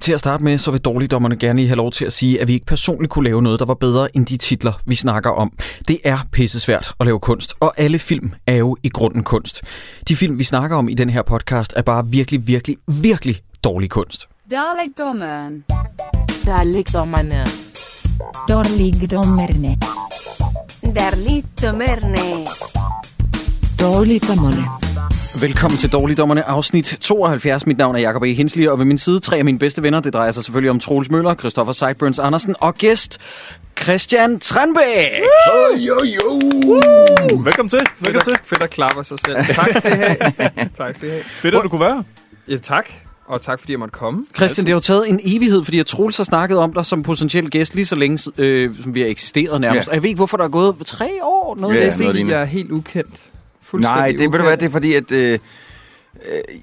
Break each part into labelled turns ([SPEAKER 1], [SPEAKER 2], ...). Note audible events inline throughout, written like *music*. [SPEAKER 1] Til at starte med, så vil dårligdommerne gerne lige have lov til at sige, at vi ikke personligt kunne lave noget, der var bedre end de titler, vi snakker om. Det er pissesvært at lave kunst, og alle film er jo i grunden kunst. De film, vi snakker om i den her podcast, er bare virkelig, virkelig, virkelig dårlig kunst.
[SPEAKER 2] Dalekdommeren.
[SPEAKER 3] Der ligger man
[SPEAKER 4] Dårligdommerne.
[SPEAKER 5] Darlittomerne.
[SPEAKER 4] Dårligdommerne.
[SPEAKER 1] Velkommen til Dårligdommerne, afsnit 72. Mit navn er Jakob E. Hensli, og ved min side tre af mine bedste venner. Det drejer sig selvfølgelig om Troels Møller, Christoffer Seiburns Andersen og gæst Christian Tranbæk.
[SPEAKER 6] Velkommen til.
[SPEAKER 7] Fedt
[SPEAKER 6] Velkommen til.
[SPEAKER 7] at, fedt at klappe af sig selv. Tak skal I *laughs* have. tak skal I have.
[SPEAKER 6] Fedt, at du kunne være.
[SPEAKER 7] Ja, tak. Og tak, fordi jeg måtte komme.
[SPEAKER 8] Altså-
[SPEAKER 1] Christian, det har jo taget en evighed, fordi jeg Troels har snakket om dig som potentiel gæst lige så længe, øh, som vi har eksisteret nærmest.
[SPEAKER 8] Ja.
[SPEAKER 1] Og jeg ved ikke, hvorfor der er gået tre år. Noget
[SPEAKER 8] Ja,
[SPEAKER 1] af
[SPEAKER 7] det er
[SPEAKER 1] den
[SPEAKER 8] noget
[SPEAKER 7] fordi,
[SPEAKER 8] lignende.
[SPEAKER 7] jeg er helt ukendt. Fuldstændig
[SPEAKER 8] Nej, det, ved du hvad, det er fordi, at... Øh,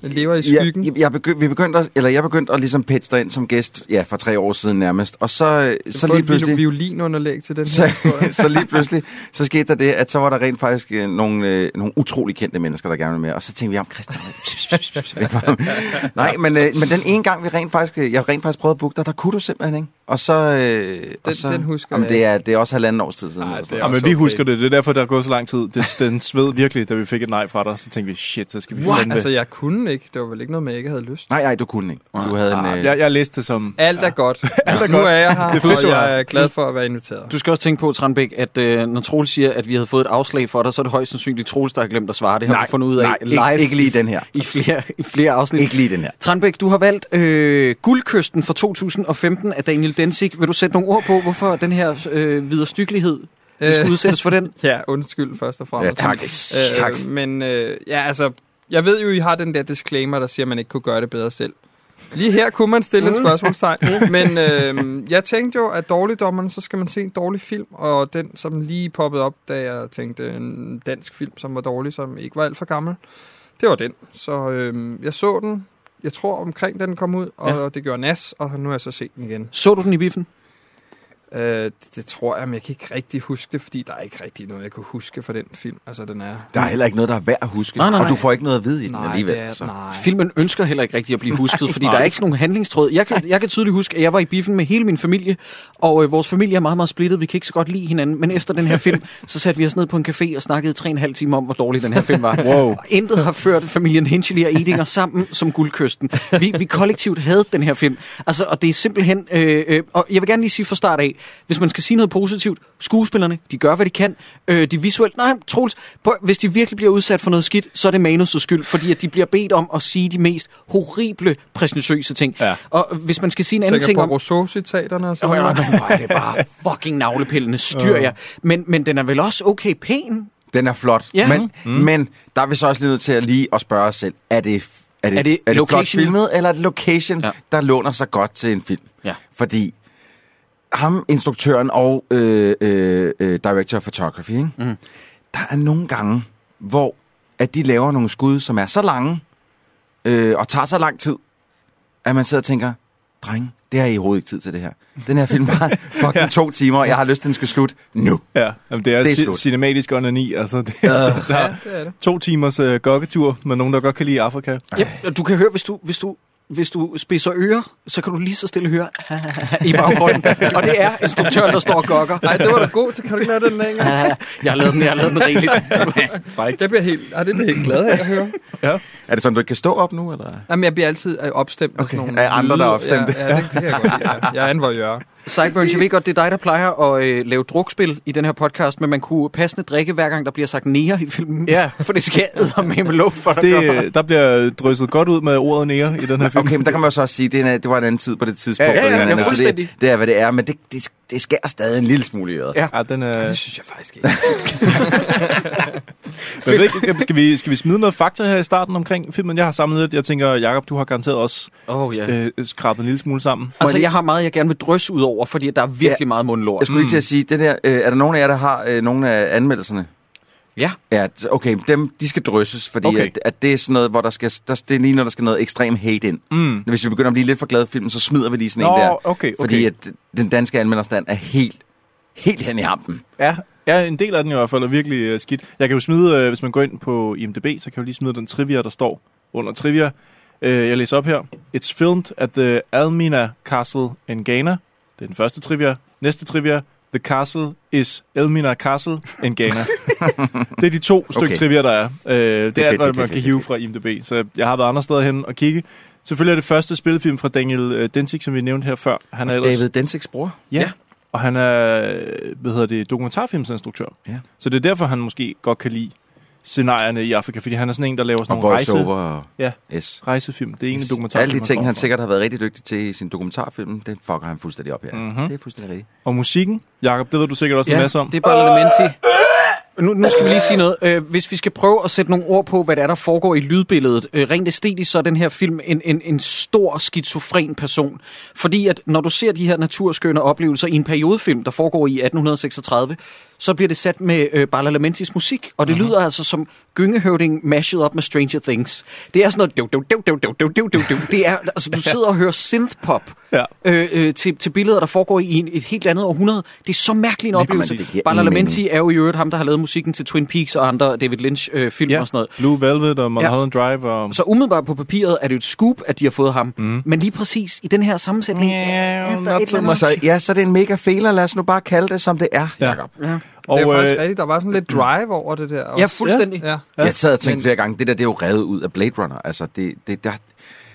[SPEAKER 7] Jeg lever i
[SPEAKER 8] jeg,
[SPEAKER 7] skyggen.
[SPEAKER 8] jeg, jeg, begy- vi begyndte at, eller jeg begyndte at ligesom pitche dig ind som gæst, ja, for tre år siden nærmest. Og så, øh, så
[SPEAKER 7] så
[SPEAKER 8] lige
[SPEAKER 7] pludselig...
[SPEAKER 8] pludselig...
[SPEAKER 7] violinunderlæg til den her
[SPEAKER 8] Så, *laughs*
[SPEAKER 7] historie.
[SPEAKER 8] så *laughs*
[SPEAKER 7] *laughs*
[SPEAKER 8] lige pludselig, så skete der det, at så var der rent faktisk øh, nogle, øh, nogle utrolig kendte mennesker, der gerne ville med. Og så tænkte vi om, Christian... *laughs* væk fra ham. *laughs* Nej, men, øh, men den ene gang, vi rent faktisk, øh, jeg rent faktisk prøvede at booke dig, der kunne du simpelthen, ikke? Og så... Øh, den, og
[SPEAKER 7] Den-
[SPEAKER 8] så
[SPEAKER 7] den husker
[SPEAKER 8] jamen,
[SPEAKER 7] jeg
[SPEAKER 8] det er, det er også halvanden års tid siden.
[SPEAKER 7] Nej,
[SPEAKER 8] eller sådan
[SPEAKER 7] det er
[SPEAKER 6] Ja, Ah, men
[SPEAKER 7] også
[SPEAKER 6] vi
[SPEAKER 7] okay.
[SPEAKER 6] husker det. Det er derfor, der er gået så lang tid. Det, den sved virkelig, da vi fik et nej fra dig. Så tænkte vi, shit, så skal vi
[SPEAKER 7] What?
[SPEAKER 6] fandme-
[SPEAKER 7] Altså, jeg kunne ikke. Det var vel ikke noget med, at jeg ikke havde lyst.
[SPEAKER 8] Nej, nej, du kunne ikke. Du havde en...
[SPEAKER 6] Ah,
[SPEAKER 8] Øh,
[SPEAKER 6] jeg, jeg læste det som...
[SPEAKER 7] Alt er godt. Alt er nu
[SPEAKER 6] godt.
[SPEAKER 7] er jeg her,
[SPEAKER 6] Det er fedt,
[SPEAKER 7] og
[SPEAKER 6] du er her.
[SPEAKER 7] jeg er glad for at være inviteret.
[SPEAKER 1] Du skal også tænke på, Tranbæk, at øh, når Troels siger, at vi havde fået et afslag for dig, så er det højst sandsynligt Troels, der har glemt at svare. Det har vi fundet ud af
[SPEAKER 8] nej,
[SPEAKER 1] live
[SPEAKER 8] Ikke, ikke lige den her.
[SPEAKER 1] i, flere, i flere afsnit.
[SPEAKER 8] Ikke lige den her.
[SPEAKER 1] Tranbæk, du har valgt øh, Guldkysten fra 2015 af Daniel Densig. Vil du sætte nogle ord på, hvorfor den her øh, viderestykkelighed øh. skal
[SPEAKER 7] Øh.
[SPEAKER 1] udsættes for den?
[SPEAKER 7] Ja, undskyld først og
[SPEAKER 8] Ja,
[SPEAKER 7] fremmest.
[SPEAKER 8] tak.
[SPEAKER 7] Øh,
[SPEAKER 8] tak.
[SPEAKER 7] Men øh, ja, altså, jeg ved jo, I har den der disclaimer, der siger, at man ikke kunne gøre det bedre selv. Lige her kunne man stille et
[SPEAKER 8] Mm. *laughs*
[SPEAKER 7] spørgsmålstegn, men øh, jeg tænkte jo, at dårligdommerne, så skal man se en dårlig film, og den, som lige poppede op, da jeg tænkte en dansk film, som var dårlig, som ikke var alt for gammel, det var den. Så øh, jeg så den, jeg tror omkring, da den kom ud, og
[SPEAKER 1] Ja.
[SPEAKER 7] ja. det gjorde nas, og nu har jeg så set den igen.
[SPEAKER 1] Så du den i biffen?
[SPEAKER 7] Øh, det, det tror jeg, men jeg kan ikke rigtig huske det, fordi der er ikke rigtig noget, jeg kunne huske fra den film. Altså, den er...
[SPEAKER 8] Der er heller ikke noget, der er værd at huske.
[SPEAKER 1] Nej, nej, nej.
[SPEAKER 8] Og du får ikke noget at vide i den
[SPEAKER 7] Nej,
[SPEAKER 8] alligevel.
[SPEAKER 7] det er,
[SPEAKER 8] så.
[SPEAKER 7] nej.
[SPEAKER 1] Filmen ønsker heller ikke rigtig at blive husket, fordi der er ikke sådan nogen handlingstråd. Jeg kan, jeg kan tydeligt huske, at jeg var i biffen med hele min familie, og øh, vores familie er meget, meget splittet. Vi kan ikke så godt lide hinanden, men efter den her film, så satte vi os ned på en café og snakkede i tre og en halv time om, hvor dårlig den her film var.
[SPEAKER 6] Wow.
[SPEAKER 1] Og intet har ført familien Hinchely og Edinger sammen som guldkysten. Vi, vi kollektivt havde den her film. Altså, og det er simpelthen... Øh, øh, og jeg vil gerne lige sige fra start af, hvis man skal sige noget positivt, skuespillerne, de gør, hvad de kan. Øh, de visuelt... Nej, Troels, prøv, hvis de virkelig bliver udsat for noget skidt, så er det manus' skyld, fordi at de bliver bedt om at sige de mest horrible, præsentøse ting.
[SPEAKER 6] Ja.
[SPEAKER 1] Og hvis man skal sige en anden
[SPEAKER 7] Tænker
[SPEAKER 1] ting
[SPEAKER 7] på
[SPEAKER 1] om...
[SPEAKER 7] Rousseau-citaterne og
[SPEAKER 1] Åh,
[SPEAKER 7] sådan
[SPEAKER 1] ja,
[SPEAKER 7] noget.
[SPEAKER 1] men hvor er det bare fucking navlepillende styr, ja. Men, men den er vel også okay pæn?
[SPEAKER 8] Den er flot.
[SPEAKER 1] Ja. Mhm.
[SPEAKER 8] Men, mm. men der er vi så også lige nødt til at lige at spørge os selv, er det, er det,
[SPEAKER 1] Er
[SPEAKER 8] er
[SPEAKER 1] det
[SPEAKER 8] det, er det flot
[SPEAKER 1] location?
[SPEAKER 8] filmet, eller er det location,
[SPEAKER 1] Ja.
[SPEAKER 8] ja. der låner sig godt til en film?
[SPEAKER 1] Ja.
[SPEAKER 8] Fordi ham, instruktøren og øh, øh, øh, director of photography, ikke?
[SPEAKER 1] Mhm.
[SPEAKER 8] Mm. der er nogle gange, hvor at de laver nogle skud, som er så lange, øh, og tager så lang tid, at man sidder og tænker, dreng, det har I overhovedet ikke tid til det her. Den her film
[SPEAKER 1] *laughs*
[SPEAKER 8] var fucking to timer, og jeg har lyst til, at den skal slutte nu.
[SPEAKER 6] Ja, jamen, det
[SPEAKER 8] Det
[SPEAKER 6] er,
[SPEAKER 8] er
[SPEAKER 6] det er
[SPEAKER 8] slut.
[SPEAKER 6] cinematisk onani. Altså, det, *laughs* det tager
[SPEAKER 7] Ja, det er det.
[SPEAKER 6] to timers øh, gokketur med nogen, der godt kan lide Afrika.
[SPEAKER 1] Ja, og du kan høre, hvis du, hvis du, hvis du spidser ører, så kan du lige så stille høre *laughs* i baggrunden. Og det er instruktøren, der står og gokker.
[SPEAKER 7] Ej, det var da god til. Kan du ikke lade den længere?
[SPEAKER 1] Jeg har lavet den, jeg har lavet den rigeligt.
[SPEAKER 7] Jeg bliver helt, ah, det bliver jeg helt glad af at høre.
[SPEAKER 8] Er det sådan, du ikke kan stå op nu, eller?
[SPEAKER 7] Jamen, jeg bliver altid øh, opstemt. Okay. Sådan nogle
[SPEAKER 8] Af andre, der er opstemt.
[SPEAKER 7] Ja, ja, det kan jeg godt lide, ja. Jeg er en voyeur.
[SPEAKER 1] Sideburns, jeg ved godt, det er dig, der plejer at øh, lave drukspil i den her podcast, men man kunne passende drikke, hver gang der bliver sagt nære i filmen.
[SPEAKER 6] Ja.
[SPEAKER 1] For det skal jeg med med lov for dig.
[SPEAKER 6] Det,
[SPEAKER 1] gør.
[SPEAKER 6] øh, der bliver drysset godt ud med ordet nære i den
[SPEAKER 8] *laughs*
[SPEAKER 6] her film.
[SPEAKER 8] Okay, men der kan man jo så også sige, det, er en- det var en anden tid på det tidspunkt.
[SPEAKER 6] Ja, ja, ja,
[SPEAKER 8] og det,
[SPEAKER 6] ja,
[SPEAKER 8] andet, så
[SPEAKER 1] fuldstændig.
[SPEAKER 8] det, det er, hvad det er, men det, det, det skærer stadig en lille smule i øret.
[SPEAKER 1] Ja.
[SPEAKER 6] Ja, den er...
[SPEAKER 7] Det synes jeg faktisk ikke.
[SPEAKER 6] *laughs* Men jeg ved ikke, skal vi, skal vi smide noget fakta her i starten omkring filmen? Jeg har samlet lidt. Jeg tænker, Jakob, du har garanteret også
[SPEAKER 1] Oh, ja.
[SPEAKER 6] øh, skrabet en lille smule sammen.
[SPEAKER 1] Altså, jeg har meget, jeg gerne vil drysse ud over, fordi der er virkelig
[SPEAKER 8] Ja.
[SPEAKER 1] meget mundlort.
[SPEAKER 8] Jeg skulle lige
[SPEAKER 6] Mm.
[SPEAKER 8] til at sige, det der, øh, er der nogen af jer, der har øh, nogle af anmeldelserne?
[SPEAKER 1] Ja.
[SPEAKER 8] Ja, t- okay, dem, de skal drysses, fordi
[SPEAKER 6] Okay.
[SPEAKER 8] okay. at, at, det er sådan noget, hvor der skal, der, det er lige, når der skal noget ekstrem hate ind.
[SPEAKER 6] Mm.
[SPEAKER 8] Hvis vi begynder at blive lidt for glade for filmen, så smider vi lige sådan
[SPEAKER 6] Nå,
[SPEAKER 8] en der.
[SPEAKER 6] okay, okay.
[SPEAKER 8] Fordi at den danske anmelderstand er helt, helt hen i hampen.
[SPEAKER 6] Ja, ja, en del af den i hvert fald er virkelig øh, skidt. Jeg kan jo smide, øh, hvis man går ind på IMDb, så kan jeg jo lige smide den trivia, der står under trivia, Øh, jeg læser op her. It's filmed at the Almina Castle in Ghana. Det er den første trivia. Næste trivia. The castle is Elmina Castle
[SPEAKER 8] *laughs*
[SPEAKER 6] in Ghana. det er de to stykke
[SPEAKER 8] Okay.
[SPEAKER 6] trivia, der er. Øh, det,
[SPEAKER 8] fedt,
[SPEAKER 6] er alt,
[SPEAKER 8] det er
[SPEAKER 6] hvad
[SPEAKER 8] fedt,
[SPEAKER 6] man kan
[SPEAKER 8] fedt,
[SPEAKER 6] hive
[SPEAKER 8] fedt.
[SPEAKER 6] fra IMDb. Så jeg har været andre steder hen og kigge. Selvfølgelig er det første spillefilm fra Daniel øh, Densig, som vi nævnte her før. Han er ellers
[SPEAKER 8] David Densigs bror.
[SPEAKER 6] Ja. Og han er, øh, hvad hedder det, dokumentarfilmsinstruktør.
[SPEAKER 8] Ja.
[SPEAKER 6] Så det er derfor, han måske godt kan lide scenarierne i Afrika, fordi han er sådan en, der laver sådan
[SPEAKER 8] Og
[SPEAKER 6] nogle rejse,
[SPEAKER 8] voiceover. og-
[SPEAKER 6] Ja.
[SPEAKER 8] Yes.
[SPEAKER 6] rejsefilm. Det er egentlig dokumentarfilm.
[SPEAKER 8] Alle de ting,
[SPEAKER 6] kommer
[SPEAKER 8] han
[SPEAKER 6] fra.
[SPEAKER 8] sikkert har været rigtig dygtig til i sin dokumentarfilm, det fucker han fuldstændig op her.
[SPEAKER 6] Mhm.
[SPEAKER 8] Det er fuldstændig rigtigt.
[SPEAKER 6] Og musikken, Jakob, det ved du sikkert også ja, en masse om.
[SPEAKER 1] det er bare Elementi. Nu, nu skal vi lige sige noget. Øh, hvis vi skal prøve at sætte nogle ord på, hvad det er, der foregår i lydbilledet. Øh, rent æstetisk, så er den her film en, en, en stor skizofren person. Fordi at når du ser de her naturskønne oplevelser i en periodefilm, der foregår i 1836, så bliver det sat med øh, Barla Lamentis musik, og det
[SPEAKER 6] Mhm.
[SPEAKER 1] lyder altså som gyngehøvding mashed op med Stranger Things. Det er sådan noget... Døv, døv, døv, døv, døv, døv, døv, døv. Det er, altså,
[SPEAKER 6] *laughs*
[SPEAKER 1] du sidder og hører synthpop
[SPEAKER 6] Ja.
[SPEAKER 1] øh, øh, til, til billeder, der foregår i en, et helt andet århundrede. Det er så mærkelig en oplevelse.
[SPEAKER 8] præcis. Det giver
[SPEAKER 1] Barla
[SPEAKER 8] ingen
[SPEAKER 1] Lamenti er jo i øvrigt ham, der har lavet musikken til Twin Peaks og andre David Lynch-film øh, film
[SPEAKER 6] ja.
[SPEAKER 1] og sådan noget.
[SPEAKER 6] Blue Velvet og Mulholland ja. Drive og...
[SPEAKER 1] Så umiddelbart på papiret er det jo et scoop, at de har fået ham. Mm. Men lige præcis i den her sammensætning...
[SPEAKER 6] Ja,
[SPEAKER 1] er der et
[SPEAKER 6] not
[SPEAKER 1] eller
[SPEAKER 6] so
[SPEAKER 1] andet-
[SPEAKER 6] much.
[SPEAKER 8] Så ja, så er det en mega fejler. Lad os nu bare kalde det, som det er,
[SPEAKER 6] Ja.
[SPEAKER 8] Jacob.
[SPEAKER 1] Ja.
[SPEAKER 6] og
[SPEAKER 7] det er faktisk
[SPEAKER 6] øh,
[SPEAKER 7] rigtigt. Der var sådan lidt drive over det der.
[SPEAKER 1] ja,
[SPEAKER 7] Også.
[SPEAKER 1] fuldstændig.
[SPEAKER 7] *laughs* ja.
[SPEAKER 6] Ja.
[SPEAKER 8] Jeg sad og tænkte
[SPEAKER 7] Men-
[SPEAKER 8] flere gange, det der, det er jo revet ud af Blade Runner. Altså, det, det der...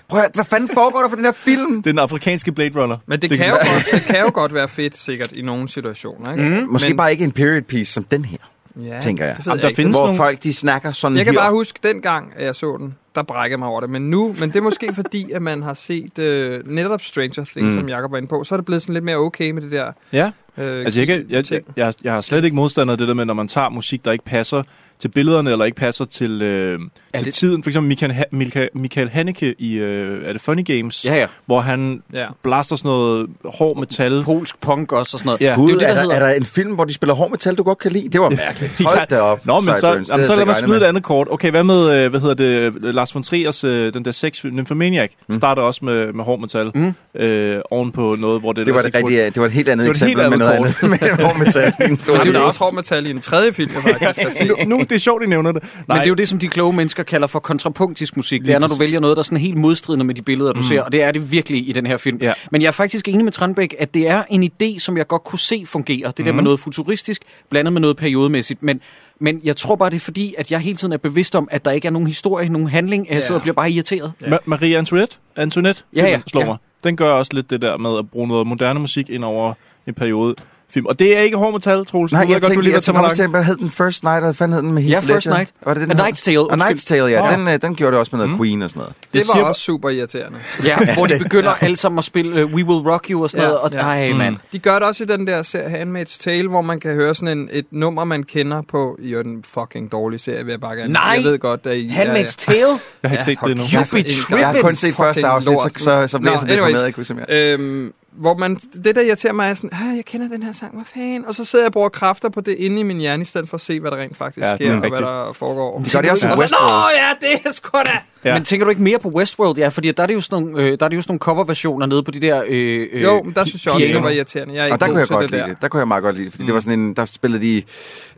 [SPEAKER 8] Prøv at, høre, hvad fanden foregår der for den her film?
[SPEAKER 6] det er den afrikanske Blade Runner.
[SPEAKER 7] Men det, det, kan jo godt, det kan jo godt være fedt, sikkert, i nogle situationer. Ikke? Mm,
[SPEAKER 8] Måske
[SPEAKER 7] men,
[SPEAKER 8] bare ikke en period piece som den her,
[SPEAKER 7] ja,
[SPEAKER 8] tænker jeg.
[SPEAKER 7] Det ved
[SPEAKER 6] Jamen,
[SPEAKER 7] jeg
[SPEAKER 6] der
[SPEAKER 7] ikke.
[SPEAKER 6] findes
[SPEAKER 8] hvor
[SPEAKER 6] nogle...
[SPEAKER 8] folk, de snakker sådan
[SPEAKER 7] Jeg kan
[SPEAKER 8] her.
[SPEAKER 7] bare huske, dengang at jeg så den, der brækkede jeg mig over det. Men nu, men det er måske fordi, at man har set øh, netop Stranger Things, mm. som Jacob var inde på, så er det blevet sådan lidt mere okay med det der.
[SPEAKER 6] Ja.
[SPEAKER 7] Øh,
[SPEAKER 6] Altså, jeg, kan, jeg, jeg,
[SPEAKER 7] ting.
[SPEAKER 6] jeg, jeg har slet ikke modstander af det der med, når man tager musik, der ikke passer til billederne, eller ikke passer til, øh, til
[SPEAKER 1] det-
[SPEAKER 6] tiden. For eksempel Michael, ha- Michael, Michael Haneke i øh, er det Funny Games,
[SPEAKER 1] Ja, ja.
[SPEAKER 6] hvor han
[SPEAKER 7] Ja.
[SPEAKER 6] blaster sådan noget hård metal.
[SPEAKER 1] Polsk punk også og sådan noget.
[SPEAKER 6] Ja.
[SPEAKER 1] det
[SPEAKER 8] Gud,
[SPEAKER 1] er jo det,
[SPEAKER 8] er,
[SPEAKER 1] der
[SPEAKER 8] der,
[SPEAKER 1] hedder...
[SPEAKER 8] er der en film, hvor de spiller hård metal, du godt kan lide? Det var
[SPEAKER 6] *laughs*
[SPEAKER 8] mærkeligt. Hold da op.
[SPEAKER 6] Nå, men så,
[SPEAKER 8] Sideburns. Det
[SPEAKER 6] jamen, så
[SPEAKER 8] havde
[SPEAKER 6] lad
[SPEAKER 8] jeg
[SPEAKER 6] mig
[SPEAKER 8] slet ikke
[SPEAKER 6] smide et
[SPEAKER 8] regnet
[SPEAKER 6] andet kort. Okay, hvad med, øh, hvad hedder det, øh, Lars von Triers, øh, den der sex Nymphomaniac, mm. starter også med, med hård metal mm. øh, oven på noget, hvor det...
[SPEAKER 8] Det var,
[SPEAKER 6] ellers
[SPEAKER 8] det,
[SPEAKER 6] ikke burde-
[SPEAKER 8] rigtige, det var et helt andet
[SPEAKER 6] Det var et helt
[SPEAKER 8] eksempel med noget
[SPEAKER 6] andet
[SPEAKER 8] andet. med hård metal. i en stor
[SPEAKER 7] Men det er
[SPEAKER 8] film.
[SPEAKER 7] også hårdt metal i en tredje film, jeg
[SPEAKER 8] *laughs*
[SPEAKER 7] faktisk har set.
[SPEAKER 6] nu, nu, det er sjovt, I nævner det. Nej,
[SPEAKER 1] Men det er jo det, som de kloge mennesker kalder for kontrapunktisk musik. Det
[SPEAKER 6] Lige
[SPEAKER 1] er, når du
[SPEAKER 6] præcis.
[SPEAKER 1] vælger noget, der er sådan helt modstridende med de billeder, du mm. ser, og det er det virkelig i den her film.
[SPEAKER 6] Ja.
[SPEAKER 1] Men jeg er faktisk enig med Tranbæk, at det er en idé, som jeg godt kunne se fungerer. Det mm. der
[SPEAKER 7] Mhm.
[SPEAKER 1] med noget futuristisk, blandet med noget periodemæssigt. Men, men jeg tror bare, det er fordi, at jeg hele tiden er bevidst om, at der ikke er nogen historie, nogen handling. Jeg sidder
[SPEAKER 7] Ja.
[SPEAKER 1] og bliver bare irriteret.
[SPEAKER 6] Ja. Ma- Marie Antoinette, Antoinette
[SPEAKER 1] Ja,
[SPEAKER 6] filmen,
[SPEAKER 1] ja,
[SPEAKER 6] slår
[SPEAKER 1] ja.
[SPEAKER 6] mig. Den gør også lidt det der med at bruge noget moderne musik ind over en periode. Film. Og det er ikke hård metal, Troels.
[SPEAKER 8] Nej,
[SPEAKER 6] Nu ved
[SPEAKER 8] jeg
[SPEAKER 6] godt, du
[SPEAKER 8] tænkte,
[SPEAKER 6] lytter
[SPEAKER 8] jeg
[SPEAKER 6] til
[SPEAKER 8] tænkte
[SPEAKER 6] mig
[SPEAKER 8] også til, hvad hed den First Night, og hvad fanden hed den med Heath
[SPEAKER 1] Ja, First
[SPEAKER 8] Ledger?
[SPEAKER 1] Night.
[SPEAKER 8] Var det det, den
[SPEAKER 1] A
[SPEAKER 8] hed?
[SPEAKER 1] Knight's Tale,
[SPEAKER 8] A
[SPEAKER 1] undskyld.
[SPEAKER 8] Night's Tale, ja.
[SPEAKER 6] Ja.
[SPEAKER 8] Den, øh, den gjorde det også med noget Queen og sådan noget.
[SPEAKER 7] Det
[SPEAKER 6] siger
[SPEAKER 7] var
[SPEAKER 6] bare-
[SPEAKER 7] også super irriterende.
[SPEAKER 1] Ja,
[SPEAKER 7] *laughs*
[SPEAKER 1] hvor de begynder alle sammen at spille uh, We Will Rock You og sådan
[SPEAKER 7] Ja,
[SPEAKER 1] noget. Og,
[SPEAKER 7] ja.
[SPEAKER 1] Ej,
[SPEAKER 6] Mm.
[SPEAKER 1] mand.
[SPEAKER 7] De gør det også i den der serie Handmaid's Tale, hvor man kan høre sådan en, et nummer, man kender på. Jo, den fucking dårlige serie, vil jeg bare gerne
[SPEAKER 1] Nej!
[SPEAKER 7] Jeg ved godt, at I...
[SPEAKER 1] Handmaid's
[SPEAKER 7] *laughs*
[SPEAKER 1] Tale?
[SPEAKER 6] Jeg har ikke set det endnu.
[SPEAKER 1] You be
[SPEAKER 8] Jeg har kun
[SPEAKER 1] Ribbon
[SPEAKER 8] set første afsnit, så, så, så blev
[SPEAKER 7] Nå,
[SPEAKER 8] jeg sådan lidt
[SPEAKER 7] anyways.
[SPEAKER 8] formeret. Jeg kunne simpelthen-
[SPEAKER 7] Øhm, hvor man, det der irriterer mig er sådan, "Ah, jeg kender den her sang, hvad fanden? Og så sidder jeg og bruger kræfter på det inde i min hjerne, i stedet for at se, hvad der rent faktisk
[SPEAKER 6] Ja,
[SPEAKER 7] ja,
[SPEAKER 6] det
[SPEAKER 7] sker,
[SPEAKER 6] er
[SPEAKER 7] og hvad
[SPEAKER 6] rigtigt.
[SPEAKER 7] der foregår.
[SPEAKER 8] Det gør det også i
[SPEAKER 7] Og så,
[SPEAKER 8] Westworld.
[SPEAKER 7] Nå ja, det er sgu da!
[SPEAKER 6] Ja.
[SPEAKER 1] Ja. Men tænker du ikke mere på Westworld? Ja, fordi der er det jo sådan nogle, øh, der er det jo sådan nogle coverversioner nede på de der... Øh, øh,
[SPEAKER 7] Jo, men der synes jeg også,
[SPEAKER 1] piano.
[SPEAKER 7] det var irriterende. Jeg er ikke
[SPEAKER 8] Og der
[SPEAKER 7] god
[SPEAKER 8] kunne jeg
[SPEAKER 7] til
[SPEAKER 8] godt
[SPEAKER 7] det
[SPEAKER 8] lide
[SPEAKER 7] der.
[SPEAKER 8] det. Der kunne jeg meget godt lide det, fordi det var sådan en, der spillede de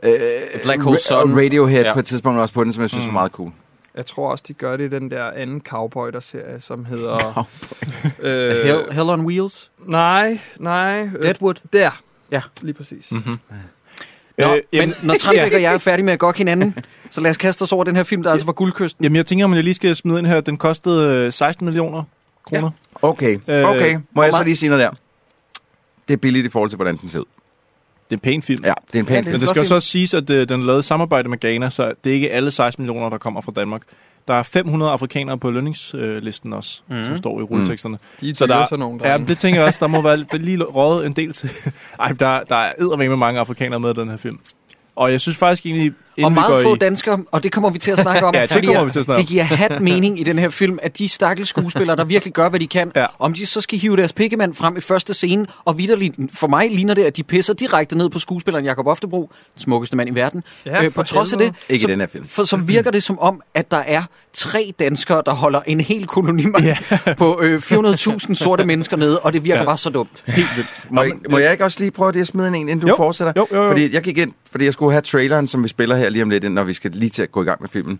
[SPEAKER 8] øh,
[SPEAKER 1] Black Hole
[SPEAKER 8] Ra-
[SPEAKER 1] Sun.
[SPEAKER 8] Radiohead
[SPEAKER 1] Ja.
[SPEAKER 8] på et tidspunkt også på den, som jeg synes var meget cool.
[SPEAKER 7] Jeg tror også, de gør det i den der anden cowboy der serie, som hedder...
[SPEAKER 1] Øh,
[SPEAKER 7] øh,
[SPEAKER 1] Hell, Hell on Wheels?
[SPEAKER 7] nej, nej. øh,
[SPEAKER 1] Deadwood?
[SPEAKER 7] Der.
[SPEAKER 1] Ja.
[SPEAKER 7] Lige præcis.
[SPEAKER 6] Mhm.
[SPEAKER 1] Nå,
[SPEAKER 6] Øh, jamen,
[SPEAKER 1] men når Tranbæk og jeg er færdige med at gokke hinanden, så lad os kaste os over den her film, der altså var guldkysten.
[SPEAKER 6] Jamen, jeg tænker, om jeg lige skal smide ind her. Den kostede øh, 16 millioner kroner.
[SPEAKER 8] Okay,
[SPEAKER 6] Øh,
[SPEAKER 8] okay. Må jeg så
[SPEAKER 6] meget-
[SPEAKER 8] lige sige noget der? Det er billigt i forhold til, hvordan den ser ud.
[SPEAKER 6] Det er en pæn film.
[SPEAKER 8] Ja, det er en
[SPEAKER 1] det
[SPEAKER 8] pæn
[SPEAKER 1] er
[SPEAKER 6] Men
[SPEAKER 8] film.
[SPEAKER 1] en
[SPEAKER 6] det
[SPEAKER 1] flot
[SPEAKER 6] skal
[SPEAKER 1] film.
[SPEAKER 6] også også siges, at øh, den er lavet i samarbejde med Ghana, så det er ikke alle 16 millioner, der kommer fra Danmark. Der er 500 afrikanere på lønningslisten også,
[SPEAKER 1] Mhm.
[SPEAKER 6] mm. som står i rulleteksterne.
[SPEAKER 7] De er
[SPEAKER 6] Så
[SPEAKER 7] så
[SPEAKER 6] der-
[SPEAKER 7] der, sådan nogle
[SPEAKER 6] Ja,
[SPEAKER 7] drenge.
[SPEAKER 6] men det tænker jeg også. Der må være der er lige røget en del til. Ej, der, der er eddermame mange afrikanere med i den her film. Og jeg synes faktisk egentlig, inden
[SPEAKER 1] Og
[SPEAKER 6] vi går
[SPEAKER 1] meget få
[SPEAKER 6] i...
[SPEAKER 1] danskere, og det kommer vi til at snakke om,
[SPEAKER 6] *laughs* Ja, det
[SPEAKER 1] fordi
[SPEAKER 6] kommer
[SPEAKER 1] at
[SPEAKER 6] vi til at snakke om.
[SPEAKER 1] det giver
[SPEAKER 6] *laughs*
[SPEAKER 1] hat mening i den her film, at de stakkels skuespillere, der virkelig gør, hvad de kan,
[SPEAKER 6] Ja.
[SPEAKER 1] ja. om de så skal hive deres pikkemand frem i første scene, og vidderligt, for mig ligner det, at de pisser direkte ned på skuespilleren Jakob Oftebro, den smukkeste mand i verden.
[SPEAKER 7] Ja,
[SPEAKER 1] øh,
[SPEAKER 7] for
[SPEAKER 1] på trods af
[SPEAKER 7] helvede.
[SPEAKER 1] det,
[SPEAKER 8] Ikke
[SPEAKER 1] så,
[SPEAKER 8] i den her film.
[SPEAKER 1] For, så virker det som om, at der er tre danskere, der holder en hel kolonimand yeah. *laughs* på øh, 400.000 sorte mennesker nede, og det virker
[SPEAKER 6] Ja.
[SPEAKER 1] ja. bare så dumt.
[SPEAKER 6] Helt vildt.
[SPEAKER 8] Må,
[SPEAKER 6] Nå,
[SPEAKER 8] jeg- må jeg ikke også lige prøve det at smide en, inden du
[SPEAKER 6] Jo,
[SPEAKER 8] fortsætter?
[SPEAKER 6] jo, jo, jo.
[SPEAKER 8] Fordi jeg gik ind, fordi jeg skulle have traileren, som vi spiller her her lige om lidt, når vi skal lige til at gå i gang med filmen.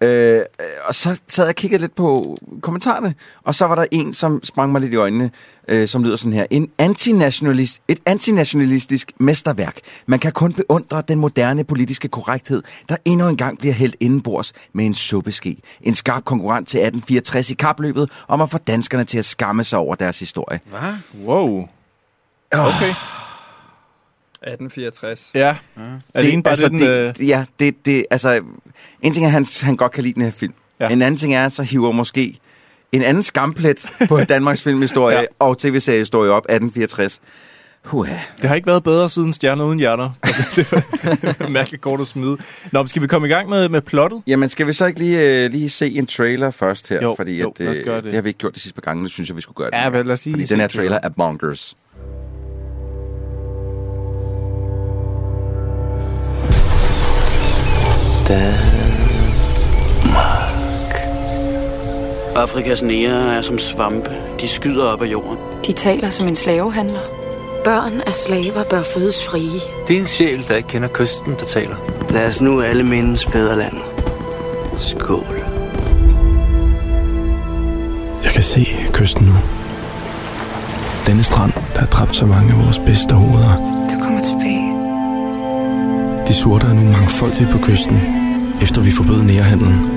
[SPEAKER 8] Øh, og så sad jeg og kiggede lidt på kommentarerne, og så var der en, som sprang mig lidt i øjnene, øh, som lyder sådan her. En antinationalist, et antinationalistisk mesterværk. Man kan kun beundre den moderne politiske korrekthed, der endnu engang bliver hældt indenbords med en suppeske. En skarp konkurrent til 1864 i kapløbet om at få danskerne til at skamme sig over deres historie.
[SPEAKER 1] Hvad?
[SPEAKER 6] Wow.
[SPEAKER 8] Okay.
[SPEAKER 7] 1864.
[SPEAKER 6] Ja. Er det, en bare
[SPEAKER 8] altså,
[SPEAKER 6] den... øh,
[SPEAKER 8] det, ja, det, det, altså, en ting er, at han, han godt kan lide den her film.
[SPEAKER 6] Ja.
[SPEAKER 8] Ja. En anden ting er, at så hiver måske en anden skamplet på
[SPEAKER 6] *laughs*
[SPEAKER 8] Danmarks filmhistorie
[SPEAKER 6] Ja.
[SPEAKER 8] ja. og tv-seriehistorie op 1864. Huha.
[SPEAKER 6] Det har ikke været bedre siden Stjerner uden *laughs* hjerner. det var mærkeligt kort at smide. Nå, men skal vi komme i gang med, med plottet?
[SPEAKER 8] Jamen, skal vi så ikke lige, øh, lige se en trailer først her?
[SPEAKER 6] Jo,
[SPEAKER 8] fordi
[SPEAKER 6] jo,
[SPEAKER 8] at, øh,
[SPEAKER 6] lad os gøre det.
[SPEAKER 8] det har vi ikke gjort de sidste par gange, nu synes jeg, vi skulle gøre det.
[SPEAKER 6] Ja, vel, lad os lige
[SPEAKER 8] Fordi
[SPEAKER 6] se
[SPEAKER 8] den her
[SPEAKER 6] en
[SPEAKER 8] trailer er bonkers.
[SPEAKER 2] Afrikas nære er som svampe. De skyder op af jorden.
[SPEAKER 4] De taler som en slavehandler. Børn af slaver bør fødes frie.
[SPEAKER 5] Det er en sjæl, der ikke kender kysten, der taler.
[SPEAKER 2] Lad os nu alle mindes fædrelandet. Skål.
[SPEAKER 9] Jeg kan se kysten nu. Denne strand, der har dræbt så mange af vores bedste hoveder.
[SPEAKER 4] Du kommer tilbage.
[SPEAKER 9] De sorte er nu mangfoldige på kysten, efter vi forbød nærhandlen.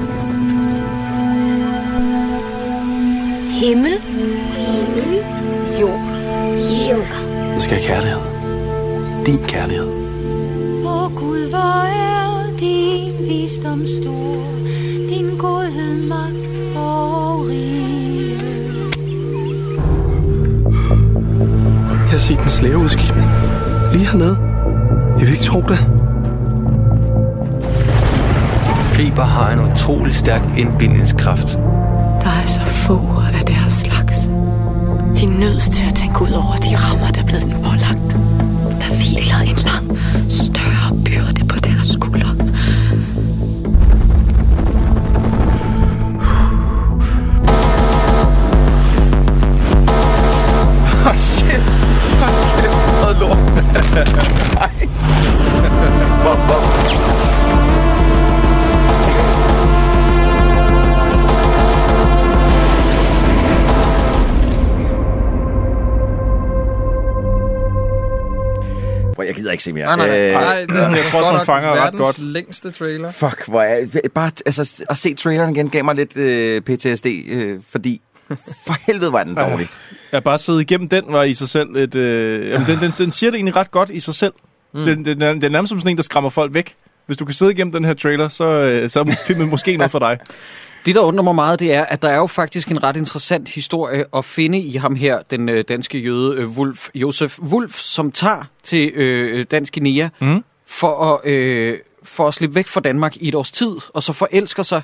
[SPEAKER 4] Himmel. Himmel. Jord. Jord.
[SPEAKER 5] Der skal kærlighed. Din kærlighed.
[SPEAKER 4] Åh Gud, hvor er din visdom stor. Din godhed, magt og rige.
[SPEAKER 9] Jeg set en slaveudskibning. Lige hernede. Jeg vil ikke tro det.
[SPEAKER 5] Feber har en utrolig stærk indbindingskraft.
[SPEAKER 4] Der er så få af deres slags. De er nødt til at tænke ud over de rammer, der er blevet den pålagt. Der hviler en lang, større byrde på deres skuldre.
[SPEAKER 8] Hvor jeg gider ikke se mere.
[SPEAKER 7] Nej, nej, nej.
[SPEAKER 8] Øh,
[SPEAKER 7] nej det er
[SPEAKER 6] jeg tror også,
[SPEAKER 7] godt
[SPEAKER 6] man
[SPEAKER 7] nok
[SPEAKER 6] fanger ret
[SPEAKER 7] verdens
[SPEAKER 6] godt.
[SPEAKER 7] længste trailer.
[SPEAKER 8] Fuck, hvor er... Bare altså, at se traileren igen gav mig lidt øh, PTSD, øh,
[SPEAKER 6] *laughs*
[SPEAKER 8] fordi... For helvede var den dårlig.
[SPEAKER 6] Jeg bare siddet igennem den, var i sig selv et... Øh, jamen, den, den, den siger det egentlig ret godt i sig selv. Mm. Den, den, er- den er nærmest som sådan en, der skræmmer folk væk. Hvis du kan sidde igennem den her trailer, så, øh, så er filmen måske noget for dig.
[SPEAKER 1] Det, der undrer mig meget, det er, at der er jo faktisk en ret interessant historie at finde i ham her, den øh, danske jøde øh, Wolf, Josef Wolf, som tager til øh, Dansk Guinea
[SPEAKER 6] Mhm.
[SPEAKER 1] mm. for, at, øh, for at slippe væk fra Danmark i et års tid, og så forelsker sig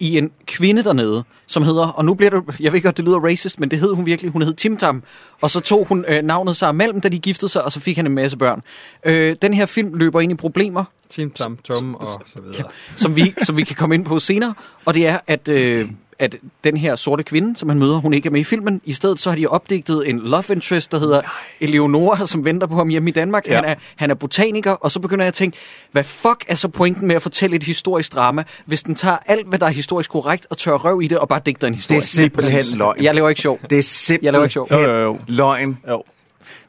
[SPEAKER 1] i en kvinde dernede, som hedder, og nu bliver det, jeg ved godt, det lyder racist, men det hed hun virkelig, hun hed Tim Tam, og så tog hun øh, navnet sig imellem, da de giftede sig, og så fik han en masse børn. Øh, den her film løber ind i problemer,
[SPEAKER 7] Team Tam Tom og så videre.
[SPEAKER 1] som vi, som vi kan komme ind på senere. Og det er, at, øh, at den her sorte kvinde, som han møder, hun ikke er med i filmen. I stedet så har de opdigtet en love interest, der hedder Eleonora, som venter på ham hjemme i Danmark.
[SPEAKER 6] Ja.
[SPEAKER 1] Ja. Han, er, han er botaniker, og så begynder jeg at tænke, hvad fuck er så pointen med at fortælle et historisk drama, hvis den tager alt, hvad der er historisk korrekt, og tør røv i det, og bare digter en
[SPEAKER 8] Det
[SPEAKER 1] historie.
[SPEAKER 8] er simpelthen løgn.
[SPEAKER 1] Jeg laver ikke sjov.
[SPEAKER 8] Det er
[SPEAKER 1] Jeg laver ikke
[SPEAKER 8] simpelthen
[SPEAKER 1] sjov.
[SPEAKER 6] Jo, jo, jo.
[SPEAKER 8] løgn.
[SPEAKER 6] jo.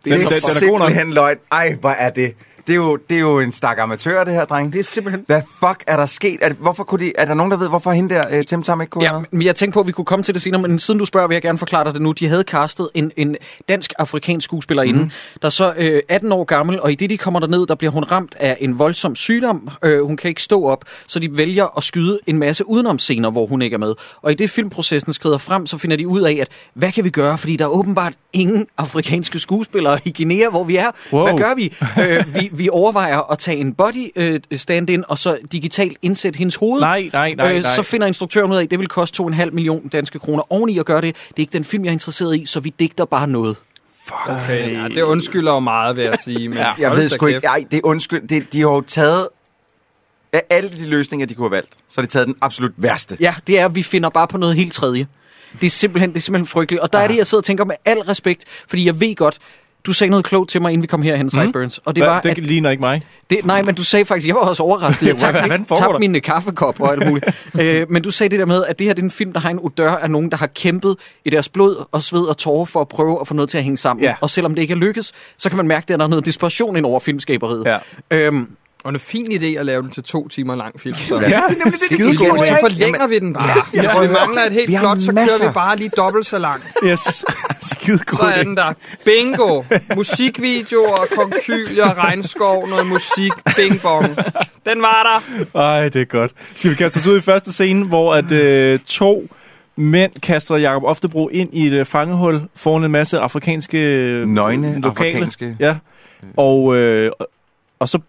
[SPEAKER 8] Det er, det
[SPEAKER 6] Den- den-
[SPEAKER 8] er
[SPEAKER 6] den er god nok.
[SPEAKER 8] simpelthen løgn. Ej, hvor er det? Det er, jo, det er jo en stak amatør, det her, dreng.
[SPEAKER 1] Det er simpelthen...
[SPEAKER 8] Hvad fuck er der sket? Er, hvorfor kunne de, er der nogen, der ved, hvorfor hende der, uh, Tim Tam, ikke kunne
[SPEAKER 1] Ja,
[SPEAKER 8] noget?
[SPEAKER 1] men jeg tænkte på, at vi kunne komme til det senere, men siden du spørger, vil jeg gerne forklare dig det nu. De havde castet en, en dansk-afrikansk skuespillerinde, mm. der er så øh, 18 år gammel, og i det, de kommer derned, der bliver hun ramt af en voldsom sygdom. Øh, hun kan ikke stå op, så de vælger at skyde en masse udenom scener, hvor hun ikke er med. Og i det filmprocessen skrider frem, så finder de ud af, at hvad kan vi gøre? Fordi der er åbenbart ingen afrikanske skuespillere i Guinea, hvor vi er.
[SPEAKER 6] Wow.
[SPEAKER 1] Hvad gør vi? øh, vi? Vi overvejer at tage en body øh, stand-in, og så digitalt indsætte hendes hoved.
[SPEAKER 6] Nej, nej, nej, nej.
[SPEAKER 1] Øh, så finder instruktøren ud af, at det vil koste 2,5 millioner danske kroner oveni at gøre det. Det er ikke den film, jeg er interesseret i, så vi digter bare noget.
[SPEAKER 7] Okay, ja, det undskylder jo meget, vil jeg sige. Men ja,
[SPEAKER 8] Jeg ved sgu ikke. Ej, det er undskyld. Det, de har jo taget... Af alle de løsninger, de kunne have valgt, så har de taget den absolut værste.
[SPEAKER 1] Ja, det er, at vi finder bare på noget helt tredje. Det er simpelthen, det er simpelthen frygteligt. Og der er det, jeg sidder og tænker med al respekt, fordi jeg ved godt, Du sagde noget klogt til mig, inden vi kom herhen, Sideburns. Mm. Og det
[SPEAKER 6] Mhm. Hva,
[SPEAKER 1] var,
[SPEAKER 6] det
[SPEAKER 1] at
[SPEAKER 6] ligner ikke mig.
[SPEAKER 1] det, nej, men du sagde faktisk, jeg var også overrasket. Jeg *laughs*
[SPEAKER 6] Ja, hvad
[SPEAKER 1] tabte,
[SPEAKER 6] fanden foregår der?
[SPEAKER 1] tabte mine kaffekop og alt muligt. øh, men du sagde det der med, at det her det er en film, der har en odør af nogen, der har kæmpet i deres blod og sved og tårer for at prøve at få noget til at hænge sammen.
[SPEAKER 6] Ja.
[SPEAKER 1] Og selvom det ikke er lykkes, så kan man mærke, at der er noget desperation ind over filmskaberiet.
[SPEAKER 6] Ja.
[SPEAKER 1] Øhm,
[SPEAKER 7] Og en fin idé at lave den til to timer lang film. Så.
[SPEAKER 8] Ja, det er nemlig det, det
[SPEAKER 7] Så forlænger vi den bare. Ja, Hvis vi mangler et
[SPEAKER 8] Vi
[SPEAKER 7] helt
[SPEAKER 8] har
[SPEAKER 7] plot, så kører
[SPEAKER 8] masser.
[SPEAKER 7] vi bare lige dobbelt så langt.
[SPEAKER 6] Yes. Skide
[SPEAKER 7] Så
[SPEAKER 6] god
[SPEAKER 7] er
[SPEAKER 6] idé.
[SPEAKER 7] den der. Bingo. Musikvideoer, konkylier, regnskov, noget musik. Bing bong. Den var der.
[SPEAKER 6] Ej, det er godt. Skal vi kaste os ud i første scene, hvor at øh, to mænd kaster Jakob Oftebro ind i et øh, fangehul foran en masse afrikanske øh,
[SPEAKER 8] Nøgne afrikanske.
[SPEAKER 6] Ja. Og, øh, og- og så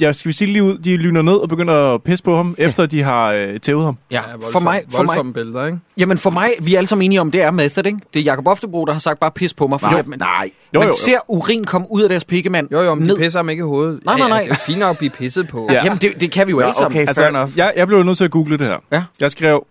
[SPEAKER 6] ja, skal vi sige det lige ud, de lyner ned og begynder at pisse på ham, efter de har øh, tævet ham.
[SPEAKER 1] ja, for mig, for mig,
[SPEAKER 7] voldsomme billeder, ikke?
[SPEAKER 1] jamen for mig, vi er alle sammen enige om, det er method, ikke? Det er Jacob Oftebro, der har sagt bare pis på mig. Fordi, at man,
[SPEAKER 8] Nej.
[SPEAKER 6] Jo,
[SPEAKER 1] man
[SPEAKER 6] jo, jo.
[SPEAKER 1] ser urin komme ud af deres pikkemand.
[SPEAKER 7] Jo, jo, men de
[SPEAKER 1] ned.
[SPEAKER 7] pisser ham ikke i hovedet.
[SPEAKER 1] Nej,
[SPEAKER 7] Ja,
[SPEAKER 1] nej,
[SPEAKER 7] ja,
[SPEAKER 1] nej.
[SPEAKER 7] Det er fint nok at blive pisset på.
[SPEAKER 6] Ja.
[SPEAKER 1] Jamen, det, det kan vi jo
[SPEAKER 8] Nå,
[SPEAKER 1] alle sammen. Altså,
[SPEAKER 8] okay, fair enough.
[SPEAKER 6] jeg, jeg blev nødt til at google det her.
[SPEAKER 1] Ja.
[SPEAKER 6] Jeg skrev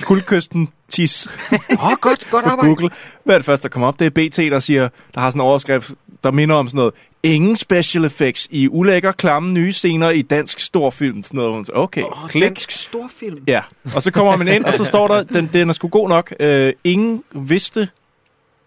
[SPEAKER 6] Guldkysten tis
[SPEAKER 1] Åh, oh, godt, godt
[SPEAKER 6] på
[SPEAKER 1] arbejde.
[SPEAKER 6] Google. Hvad er det første, der kommer op? Det er BT, der siger, der har sådan en overskrift, der minder om sådan noget. Ingen special effects i ulækker, klamme nye scener i dansk storfilm. Sådan noget. Okay,
[SPEAKER 1] Åh,
[SPEAKER 6] oh, klik.
[SPEAKER 1] Dansk storfilm.
[SPEAKER 6] Ja, og så kommer man ind, og så står der, den, den er sgu god nok. Øh, ingen vidste,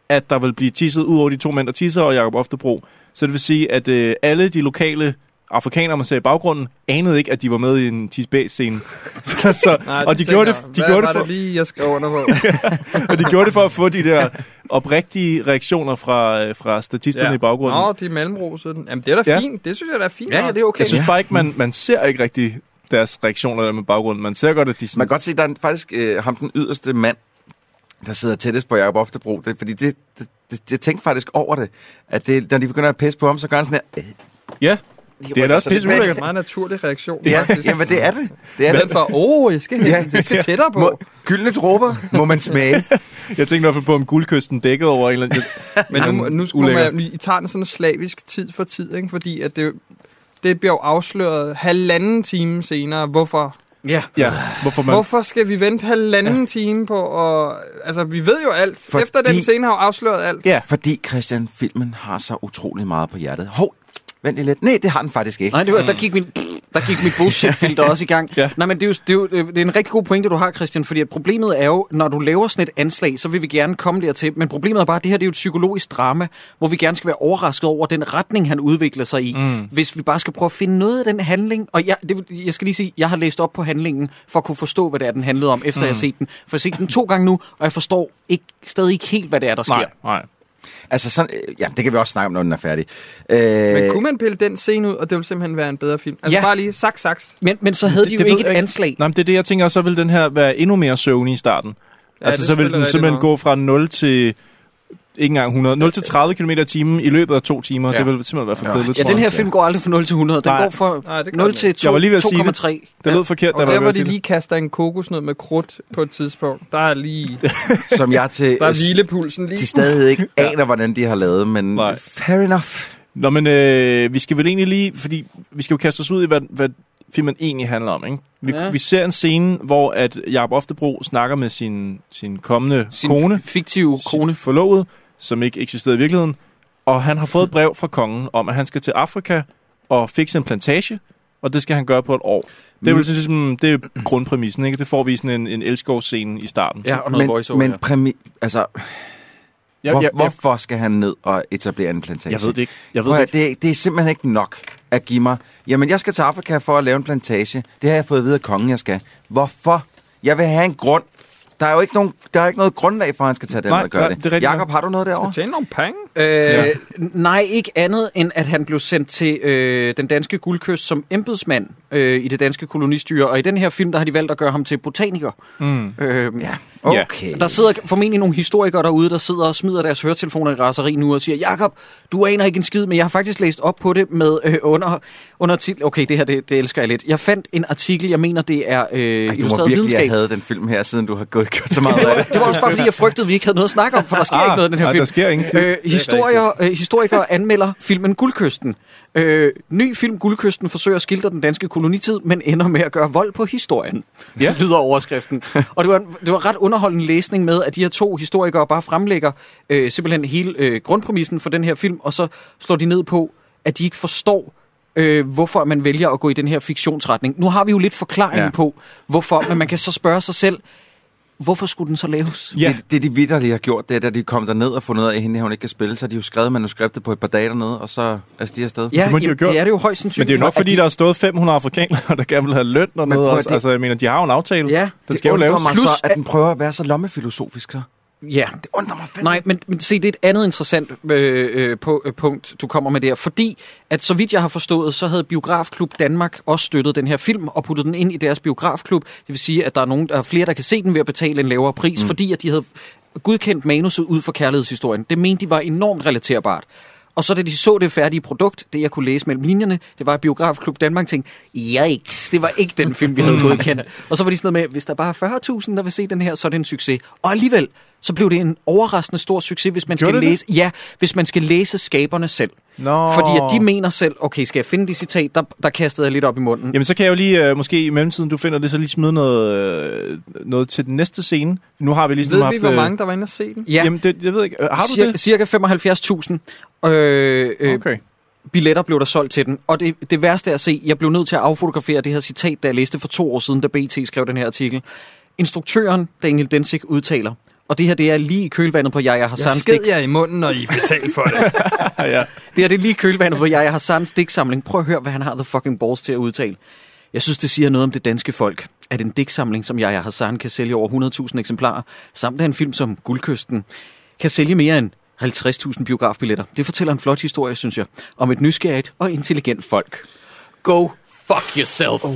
[SPEAKER 6] at der ville blive tisset, ud over de to mænd, der tisser, og Jacob Oftebro. Så det vil sige, at øh, alle de lokale afrikanere, man ser i baggrunden, anede ikke, at de var med i en tisbæs-scene. *laughs* så, så,
[SPEAKER 7] Nej,
[SPEAKER 6] og de
[SPEAKER 7] tænker
[SPEAKER 6] gjorde, det,
[SPEAKER 7] jeg,
[SPEAKER 6] de,
[SPEAKER 7] hvad
[SPEAKER 6] gjorde
[SPEAKER 7] var
[SPEAKER 6] det for,
[SPEAKER 7] det lige, jeg skrev under på?
[SPEAKER 6] og de gjorde det for at få de der oprigtige reaktioner fra, øh, fra statisterne ja. i baggrunden.
[SPEAKER 7] Nå, de er mellemrosede. den. Jamen, det er da
[SPEAKER 6] Ja.
[SPEAKER 7] fint. Det synes jeg, der er fint.
[SPEAKER 1] Ja, ja,
[SPEAKER 7] nok.
[SPEAKER 1] det er okay.
[SPEAKER 6] Jeg synes bare ikke, man, man ser ikke rigtig deres reaktioner der med baggrunden. Man ser godt, at de sådan...
[SPEAKER 8] Man kan godt se, at der er en- faktisk øh, ham den yderste mand, der sidder tættest på Jacob Oftebro. Det, fordi det, det, det, jeg tænkte faktisk over det, at det, når de begynder at pisse på ham, så gør han sådan her. Øh,
[SPEAKER 6] Ja, det er da også
[SPEAKER 8] rykker sig
[SPEAKER 6] pisse
[SPEAKER 8] lidt
[SPEAKER 7] Det er
[SPEAKER 6] ulækkert.
[SPEAKER 7] en meget naturlig reaktion.
[SPEAKER 8] ja, *laughs*
[SPEAKER 7] faktisk.
[SPEAKER 8] jamen det er det. Det er
[SPEAKER 7] I stedet
[SPEAKER 8] det.
[SPEAKER 7] for, åh, oh, jeg skal
[SPEAKER 8] Ja.
[SPEAKER 7] hen, jeg skal tættere på.
[SPEAKER 8] Må, gyldne dråber må man smage.
[SPEAKER 6] Jeg tænkte i hvert fald på, om guldkysten dækkede over en eller
[SPEAKER 7] *laughs*
[SPEAKER 6] anden...
[SPEAKER 7] Men nu, nu skulle
[SPEAKER 6] ulækkert.
[SPEAKER 7] man, I tager den sådan slavisk tid for tid, ikke? fordi at det, det bliver jo afsløret halvanden time senere. Hvorfor?
[SPEAKER 1] Ja.
[SPEAKER 6] Ja, hvorfor man...
[SPEAKER 7] Hvorfor skal vi vente halvanden ja. time på at... Altså, vi ved jo alt. Fordi...
[SPEAKER 8] Fordi-
[SPEAKER 7] Efter den scene har jo afsløret alt.
[SPEAKER 6] Ja.
[SPEAKER 8] Fordi Christian, filmen har så utrolig meget på hjertet. Hov, vent lige lidt. Nej, det har den faktisk ikke.
[SPEAKER 1] Nej, det var, der, gik min, der gik mit
[SPEAKER 6] *laughs*
[SPEAKER 1] bullshit-filter også i gang.
[SPEAKER 6] Ja.
[SPEAKER 1] ja. Nej, men det er, jo, det, er jo, det er en rigtig god pointe, du har, Christian, fordi at problemet er jo, når du laver sådan et anslag, så vil vi gerne komme dertil, men problemet er bare, at det her det er jo et psykologisk drama, hvor vi gerne skal være overrasket over den retning, han udvikler sig i, mm. hvis vi bare skal prøve at finde noget af den handling, og jeg, det, vil- jeg skal lige sige, jeg har læst op på handlingen, for at kunne forstå, hvad det er, den handlede om, efter mm. jeg har set den, for jeg har set den to gange nu, og jeg forstår ikke, stadig ikke helt, hvad det er, der sker.
[SPEAKER 6] Nej, nej.
[SPEAKER 8] Altså sådan, øh, ja, det kan vi også snakke om, når den er færdig. Øh,
[SPEAKER 7] Men kunne man pille den scene ud, og det ville simpelthen være en bedre film? Altså
[SPEAKER 1] Ja.
[SPEAKER 7] bare lige saks, saks.
[SPEAKER 1] Men, men så havde
[SPEAKER 6] Det-
[SPEAKER 1] de
[SPEAKER 6] det
[SPEAKER 1] jo
[SPEAKER 6] ved
[SPEAKER 1] ikke
[SPEAKER 6] jeg
[SPEAKER 1] et
[SPEAKER 6] ikke.
[SPEAKER 1] anslag.
[SPEAKER 6] Nej, men det er det, jeg tænker, så vil den her være endnu mere søvnig i starten. Ja,
[SPEAKER 7] det
[SPEAKER 6] altså,
[SPEAKER 7] er
[SPEAKER 6] så vil
[SPEAKER 7] selvfølgelig
[SPEAKER 6] den
[SPEAKER 7] rigtigt
[SPEAKER 6] simpelthen
[SPEAKER 7] nok.
[SPEAKER 6] gå fra 0 til... Ikke engang 100. 0 til 30 km i timen i løbet af to timer. Ja.
[SPEAKER 7] Ja.
[SPEAKER 6] Det vil simpelthen være for
[SPEAKER 8] Ja.
[SPEAKER 6] kedeligt,
[SPEAKER 1] Ja,
[SPEAKER 6] tror
[SPEAKER 1] den her
[SPEAKER 6] jeg.
[SPEAKER 1] film går aldrig fra 0 til 100. Den
[SPEAKER 6] Nej.
[SPEAKER 1] Nej. går fra
[SPEAKER 7] Nej, det gør
[SPEAKER 1] 0
[SPEAKER 7] den
[SPEAKER 1] til
[SPEAKER 7] ikke.
[SPEAKER 6] Jeg var lige ved at
[SPEAKER 1] 2,
[SPEAKER 6] sige det.
[SPEAKER 1] 2,3.
[SPEAKER 6] Det lød forkert, da
[SPEAKER 7] Og
[SPEAKER 6] jeg
[SPEAKER 7] der,
[SPEAKER 6] var
[SPEAKER 7] hvor
[SPEAKER 6] ved at
[SPEAKER 7] de
[SPEAKER 6] sige det.
[SPEAKER 7] lige kaster en kokosnød med krudt på et tidspunkt, der er lige...
[SPEAKER 8] Som jeg til,
[SPEAKER 7] *laughs* Der er hvilepulsen lige.
[SPEAKER 8] til stadig ikke aner, hvordan de har lavet, men
[SPEAKER 6] Nej.
[SPEAKER 8] Nej. fair enough.
[SPEAKER 6] Nå, men øh, vi skal vel egentlig lige... Fordi vi skal jo kaste os ud i, hvad, hvad filmen egentlig handler om, ikke? Vi, ja.
[SPEAKER 1] Ja.
[SPEAKER 6] vi ser en scene, hvor at Jacob Oftebro snakker med sin, sin kommende sin kone.
[SPEAKER 1] fiktive kone.
[SPEAKER 6] sin forlovede, som ikke eksisterede i virkeligheden. Og han har fået et brev fra kongen om, at han skal til Afrika og fikse en plantage, og det skal han gøre på et år. Det er vel sådan, ligesom, det er grundpræmissen, ikke? Det får vi i sådan en, en elskovsscene i starten.
[SPEAKER 1] Ja, og
[SPEAKER 8] men men præmi- altså,
[SPEAKER 6] jeg,
[SPEAKER 8] hvor,
[SPEAKER 6] jeg, jeg,
[SPEAKER 8] hvorfor skal han ned og etablere en plantage?
[SPEAKER 6] jeg ved det ikke. Jeg ved
[SPEAKER 8] Prøv
[SPEAKER 6] det
[SPEAKER 8] at,
[SPEAKER 6] ikke.
[SPEAKER 8] høre, det, det er simpelthen ikke nok at give mig. Jamen, jeg skal til Afrika for at lave en plantage. Det har jeg fået at vide af kongen, jeg skal. Hvorfor? Jeg vil have en grund. Der er jo ikke, nogen, der er ikke noget grundlag for, at han skal tage den
[SPEAKER 6] Nej,
[SPEAKER 8] og gøre
[SPEAKER 6] nej,
[SPEAKER 8] det.
[SPEAKER 6] det er rigtigt
[SPEAKER 8] Jakob, har du noget derovre?
[SPEAKER 7] Tjene nogle penge.
[SPEAKER 1] Øh, nej, ikke andet end, at han blev sendt til øh, den danske guldkyst som embedsmand øh, i det danske kolonistyre. Og i den her film, der har de valgt at gøre ham til botaniker. Mm. Øh, ja.
[SPEAKER 6] Ja.
[SPEAKER 8] Okay.
[SPEAKER 1] Der sidder formentlig nogle historikere derude, der sidder og smider deres høretelefoner i raseri nu og siger, Jakob, du aner ikke en skid, men jeg har faktisk læst op på det med øh, under, under titel. Okay, det her, det, det elsker jeg lidt. Jeg fandt en artikel, jeg mener, det er øh,
[SPEAKER 8] Ej, du må
[SPEAKER 1] illustreret
[SPEAKER 8] virkelig
[SPEAKER 1] videnskab.
[SPEAKER 8] have hadet den film her, siden du har gået gjort så meget af det.
[SPEAKER 1] Det var også bare fordi, jeg frygtede, at vi ikke havde noget at snakke om, for der sker
[SPEAKER 6] Ah,
[SPEAKER 1] ikke noget i den her
[SPEAKER 6] nej,
[SPEAKER 1] film.
[SPEAKER 6] der sker ingenting.
[SPEAKER 1] Øh, historier, øh, historikere anmelder filmen Guldkysten. Øh, ny film Guldkysten forsøger at skildre den danske kolonitid, men ender med at gøre vold på historien.
[SPEAKER 6] Ja.
[SPEAKER 1] *laughs* Ja. lyder overskriften. Og det var, det var ret underholdende læsning med, at de her to historikere bare fremlægger øh, simpelthen hele øh, grundpræmissen for den her film, og så slår de ned på, at de ikke forstår, øh, hvorfor man vælger at gå i den her fiktionsretning. Nu har vi jo lidt forklaring
[SPEAKER 8] Ja.
[SPEAKER 1] ja. på, hvorfor, men man kan så spørge sig selv, hvorfor skulle den så laves?
[SPEAKER 6] *laughs* Ja.
[SPEAKER 8] Det, det, de vidder, de har gjort, det er, da de kom derned og fundet ud af, at hende her, hun ikke kan spille, så har de jo skrevet manuskriptet på et par dage dernede, og så er de afsted.
[SPEAKER 1] Ja,
[SPEAKER 6] det må de
[SPEAKER 1] jamen,
[SPEAKER 6] jo have gjort.
[SPEAKER 1] det er det jo højst
[SPEAKER 6] Men
[SPEAKER 1] sandsynligt.
[SPEAKER 6] det er jo nok, fordi
[SPEAKER 1] at
[SPEAKER 6] der har stået 500 afrikanere, *laughs* der gerne vil have løn og
[SPEAKER 8] prøv
[SPEAKER 6] noget.
[SPEAKER 8] at
[SPEAKER 6] Også.
[SPEAKER 8] det-
[SPEAKER 6] Altså, jeg mener, de har jo en aftale.
[SPEAKER 1] Ja,
[SPEAKER 6] den
[SPEAKER 8] det
[SPEAKER 6] skal jo
[SPEAKER 8] undrer
[SPEAKER 6] laves.
[SPEAKER 8] mig
[SPEAKER 1] Plus,
[SPEAKER 8] så, at
[SPEAKER 1] at-
[SPEAKER 8] den prøver at være så lommefilosofisk så.
[SPEAKER 1] de, ja.
[SPEAKER 8] Det undrer mig fandme.
[SPEAKER 1] Nej, men, men se, det er et andet interessant øh, øh, på, øh, punkt, du kommer med der. Fordi, at så vidt jeg har forstået, så havde Biografklub Danmark også støttet den her film og puttet den ind i deres biografklub. Det vil sige, at der er, nogen, der er flere, der kan se den ved at betale en lavere pris, mm. fordi at de havde godkendt manuset ud for kærlighedshistorien. Det mente de var enormt relaterbart. Og så da de så det færdige produkt, det jeg kunne læse mellem linjerne, det var at Biografklub Danmark tænkte, yikes, det var ikke den film, vi
[SPEAKER 6] *laughs*
[SPEAKER 1] havde godkendt. Og så var de sådan noget med, hvis der bare er 40.000, der vil se den her, så er det en succes. Og alligevel, så blev det en overraskende stor succes, hvis man,
[SPEAKER 6] Gjorde
[SPEAKER 1] skal
[SPEAKER 6] det det?
[SPEAKER 1] læse, ja, hvis man skal læse skaberne selv.
[SPEAKER 6] Nå.
[SPEAKER 1] Fordi at de mener selv, okay, skal jeg finde det citat, der, der kastede jeg lidt op i munden.
[SPEAKER 6] Jamen, så kan jeg jo lige, øh, måske i mellemtiden, du finder det, så lige smide noget, øh, noget til den næste scene. Nu har vi ligesom
[SPEAKER 7] Ved
[SPEAKER 6] haft...
[SPEAKER 7] vi, hvor
[SPEAKER 6] øh,
[SPEAKER 7] mange der var inde og se den?
[SPEAKER 1] Ja,
[SPEAKER 6] Jamen, det, jeg ved ikke. Øh, Har du
[SPEAKER 1] cir-
[SPEAKER 6] det?
[SPEAKER 1] Cirka 75.000 øh, øh,
[SPEAKER 6] Okay.
[SPEAKER 1] billetter blev der solgt til den. Og det, det værste er at se, jeg blev nødt til at affotografere det her citat, da jeg læste for to år siden, da BT skrev den her artikel. Instruktøren Daniel Densik udtaler, og det her det er lige i kølvandet på Yahya
[SPEAKER 7] Jeg
[SPEAKER 1] Hassans
[SPEAKER 7] sked
[SPEAKER 1] digt.
[SPEAKER 7] jer i munden, *laughs* når I betalte for det.
[SPEAKER 6] Ah, *laughs* ja.
[SPEAKER 1] Det her det er lige i kølvandet på Yahya Hassans digtsamling. Prøv at høre, hvad han har the fucking balls til at udtale. Jeg synes, det siger noget om det danske folk, at en digtsamling som Yahya Hassan kan sælge over 100.000 eksemplarer, samt at en film som Guldkysten kan sælge mere end 50.000 biografbilletter. Det fortæller en flot historie, synes jeg, om et nysgerrigt og intelligent folk. Go fuck yourself. Oh,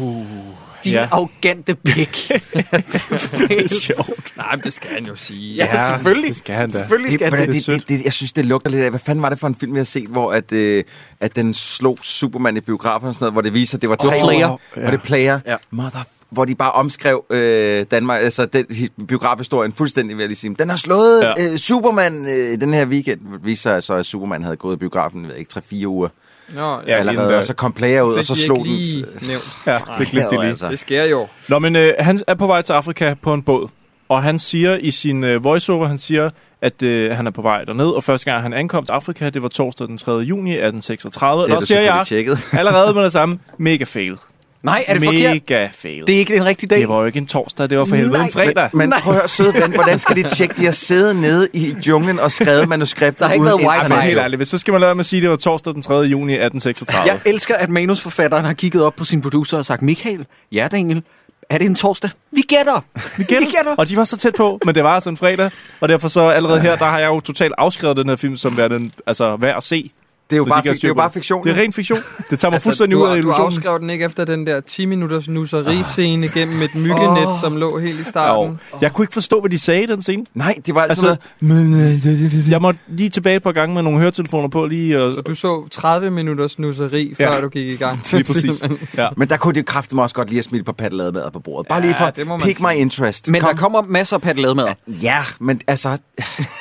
[SPEAKER 1] Din
[SPEAKER 6] ja.
[SPEAKER 1] arrogante pik. *laughs* det er sjovt.
[SPEAKER 7] Nej, men det skal han jo sige.
[SPEAKER 1] Ja, selvfølgelig.
[SPEAKER 6] Det skal han da.
[SPEAKER 1] Selvfølgelig skal det.
[SPEAKER 8] det, det, det,
[SPEAKER 6] det er
[SPEAKER 8] det, det, jeg synes, det lugter lidt af, hvad fanden var det for en film, jeg har set, hvor at, øh, at den slog Superman i biografen og sådan noget, hvor det viser, at det var tre
[SPEAKER 1] Player.
[SPEAKER 8] Hvor det er player.
[SPEAKER 1] Ja.
[SPEAKER 8] Ja. Mother hvor de bare omskrev øh, Danmark, altså den hi- biografhistorien fuldstændig, vil jeg lige sige. Den har slået
[SPEAKER 6] Ja.
[SPEAKER 8] ja. øh, Superman øh, den her weekend. Det viser sig så, at Superman havde gået i biografen, ved jeg ikke, 3-4 uger
[SPEAKER 7] Nå,
[SPEAKER 6] Ja,
[SPEAKER 8] ja,
[SPEAKER 6] inden
[SPEAKER 8] allerede,
[SPEAKER 6] der-
[SPEAKER 8] og så kom player ud, og så
[SPEAKER 7] Fik de
[SPEAKER 8] slog
[SPEAKER 7] ikke
[SPEAKER 8] den.
[SPEAKER 7] lige nævnt.
[SPEAKER 6] Ja, det glemte de lige. Altså.
[SPEAKER 7] Det sker jo.
[SPEAKER 6] Nå, men øh, han er på vej til Afrika på en båd, og han siger i sin øh, voiceover, han siger, at øh, han er på vej derned, og første gang han ankom til Afrika, det var torsdag den 3. juni 1836.
[SPEAKER 8] Det er
[SPEAKER 6] og
[SPEAKER 8] du
[SPEAKER 6] siger
[SPEAKER 8] selvfølgelig
[SPEAKER 6] jeg
[SPEAKER 8] tjekket.
[SPEAKER 6] allerede med det samme, mega fail.
[SPEAKER 1] Nej, er det
[SPEAKER 6] mega
[SPEAKER 1] forkert?
[SPEAKER 6] fail.
[SPEAKER 1] Det er ikke en rigtig dag.
[SPEAKER 6] det var jo ikke en torsdag, det var for helvede en fredag.
[SPEAKER 8] Men, men
[SPEAKER 1] Nej.
[SPEAKER 8] prøv at høre, søde ven, hvordan skal de tjekke, de har siddet nede i junglen og skrevet manuskripter
[SPEAKER 1] Der har ikke
[SPEAKER 8] uden
[SPEAKER 1] været wifi.
[SPEAKER 6] Men
[SPEAKER 8] internet?
[SPEAKER 6] helt ærligt, hvis så skal man lade med at sige, at det var torsdag den 3. juni 1836.
[SPEAKER 1] Jeg elsker, at manusforfatteren har kigget op på sin producer og sagt, Michael, ja Daniel, er det en torsdag? Vi gætter! Vi gætter! Vi gætter.
[SPEAKER 6] Og de var så tæt på, men det var altså en fredag, og derfor så allerede her, der har jeg jo totalt afskrevet den her film, som værd, den, altså, værd at se.
[SPEAKER 8] Det er jo
[SPEAKER 6] Så de
[SPEAKER 8] bare,
[SPEAKER 6] kan
[SPEAKER 8] fi- det er
[SPEAKER 6] styre
[SPEAKER 8] jo
[SPEAKER 6] på
[SPEAKER 8] bare fiktion.
[SPEAKER 6] Det er ren fiktion. Det tager mig altså,
[SPEAKER 7] Altså,
[SPEAKER 6] fuldstændig ud af
[SPEAKER 7] du, du
[SPEAKER 6] illusionen. Ah.
[SPEAKER 7] afskrev den ikke efter den der 10-minutters nusseriscene gennem et myggenet, oh. som lå helt i starten.
[SPEAKER 6] Jo. Jeg kunne ikke forstå, hvad de sagde i den scene.
[SPEAKER 8] Nej, det var altså,
[SPEAKER 6] Altså-
[SPEAKER 8] altså noget... Men, øh, det- det- det- det-
[SPEAKER 6] Jeg måtte lige tilbage et par gange med nogle høretelefoner på lige. øh, Og,
[SPEAKER 7] Så du så 30 minutters nusseri, før du gik i gang. *laughs*
[SPEAKER 6] lige præcis. Ja.
[SPEAKER 8] men der kunne det kræfte mig også godt lige at smide på paddelademader på bordet. Bare lige for
[SPEAKER 7] det må
[SPEAKER 8] ja,
[SPEAKER 7] man
[SPEAKER 8] pick my
[SPEAKER 7] sige.
[SPEAKER 8] interest.
[SPEAKER 1] Men der kommer masser af
[SPEAKER 8] *laughs*
[SPEAKER 1] paddelademader.
[SPEAKER 8] Ja, men altså, det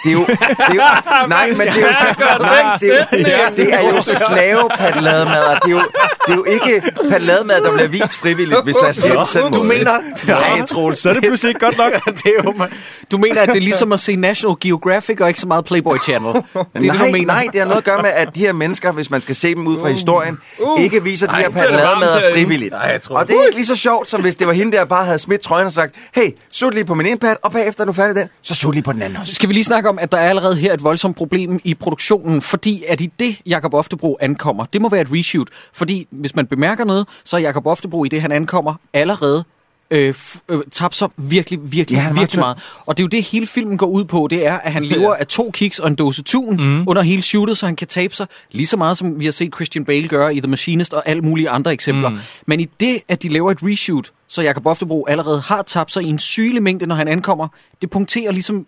[SPEAKER 8] er jo... Det er jo nej, men det er jo... *laughs* Nej, det, er jo- det er jo slavepaddelademader. Det er jo, det er jo ikke paddelademader, der bliver vist frivilligt, hvis lad os sige det på sådan
[SPEAKER 1] Du
[SPEAKER 8] måde.
[SPEAKER 1] mener... Nej, Troels.
[SPEAKER 6] *laughs* Så er det pludselig ikke godt nok.
[SPEAKER 1] det er jo mig. Du mener, at det er ligesom at se National Geographic og ikke så meget Playboy Channel. Det er
[SPEAKER 8] Det, nej,
[SPEAKER 1] det, du mener.
[SPEAKER 8] nej, det har noget at gøre med, at de her mennesker, hvis man skal se dem ud fra historien,
[SPEAKER 7] Uh.
[SPEAKER 8] ikke viser de her
[SPEAKER 7] det er det varmt
[SPEAKER 8] paddelademader
[SPEAKER 7] herinde.
[SPEAKER 8] frivilligt. Nej, og det er ikke lige så sjovt, som hvis det var hende, der bare havde smidt trøjen og sagt, hey, sut lige på min ene pad, og bagefter, når du er færdig den, så sut lige på den anden også.
[SPEAKER 1] Skal vi lige snakke om, at der er allerede her et voldsomt problem i produktionen, fordi at i det, Jakob Oftebro ankommer, det må være et reshoot. Fordi hvis man bemærker noget, så er Jakob Oftebro i det, han ankommer, allerede øh, f- øh, tabt sig virkelig, virkelig,
[SPEAKER 8] Ja,
[SPEAKER 1] ja,
[SPEAKER 8] han var
[SPEAKER 1] virkelig
[SPEAKER 8] tynd.
[SPEAKER 1] meget. Og det er jo det, hele filmen går ud på, det er, at han lever af to kiks og en dåse tun
[SPEAKER 8] Mhm.
[SPEAKER 1] mm. under hele shootet, så han kan tabe sig lige så meget, som vi har set Christian Bale gøre i The Machinist og alle mulige andre eksempler. Mm. Men i det, at de laver et reshoot, så Jakob Oftebro allerede har tabt sig i en sygelig mængde, når han ankommer, det punkterer ligesom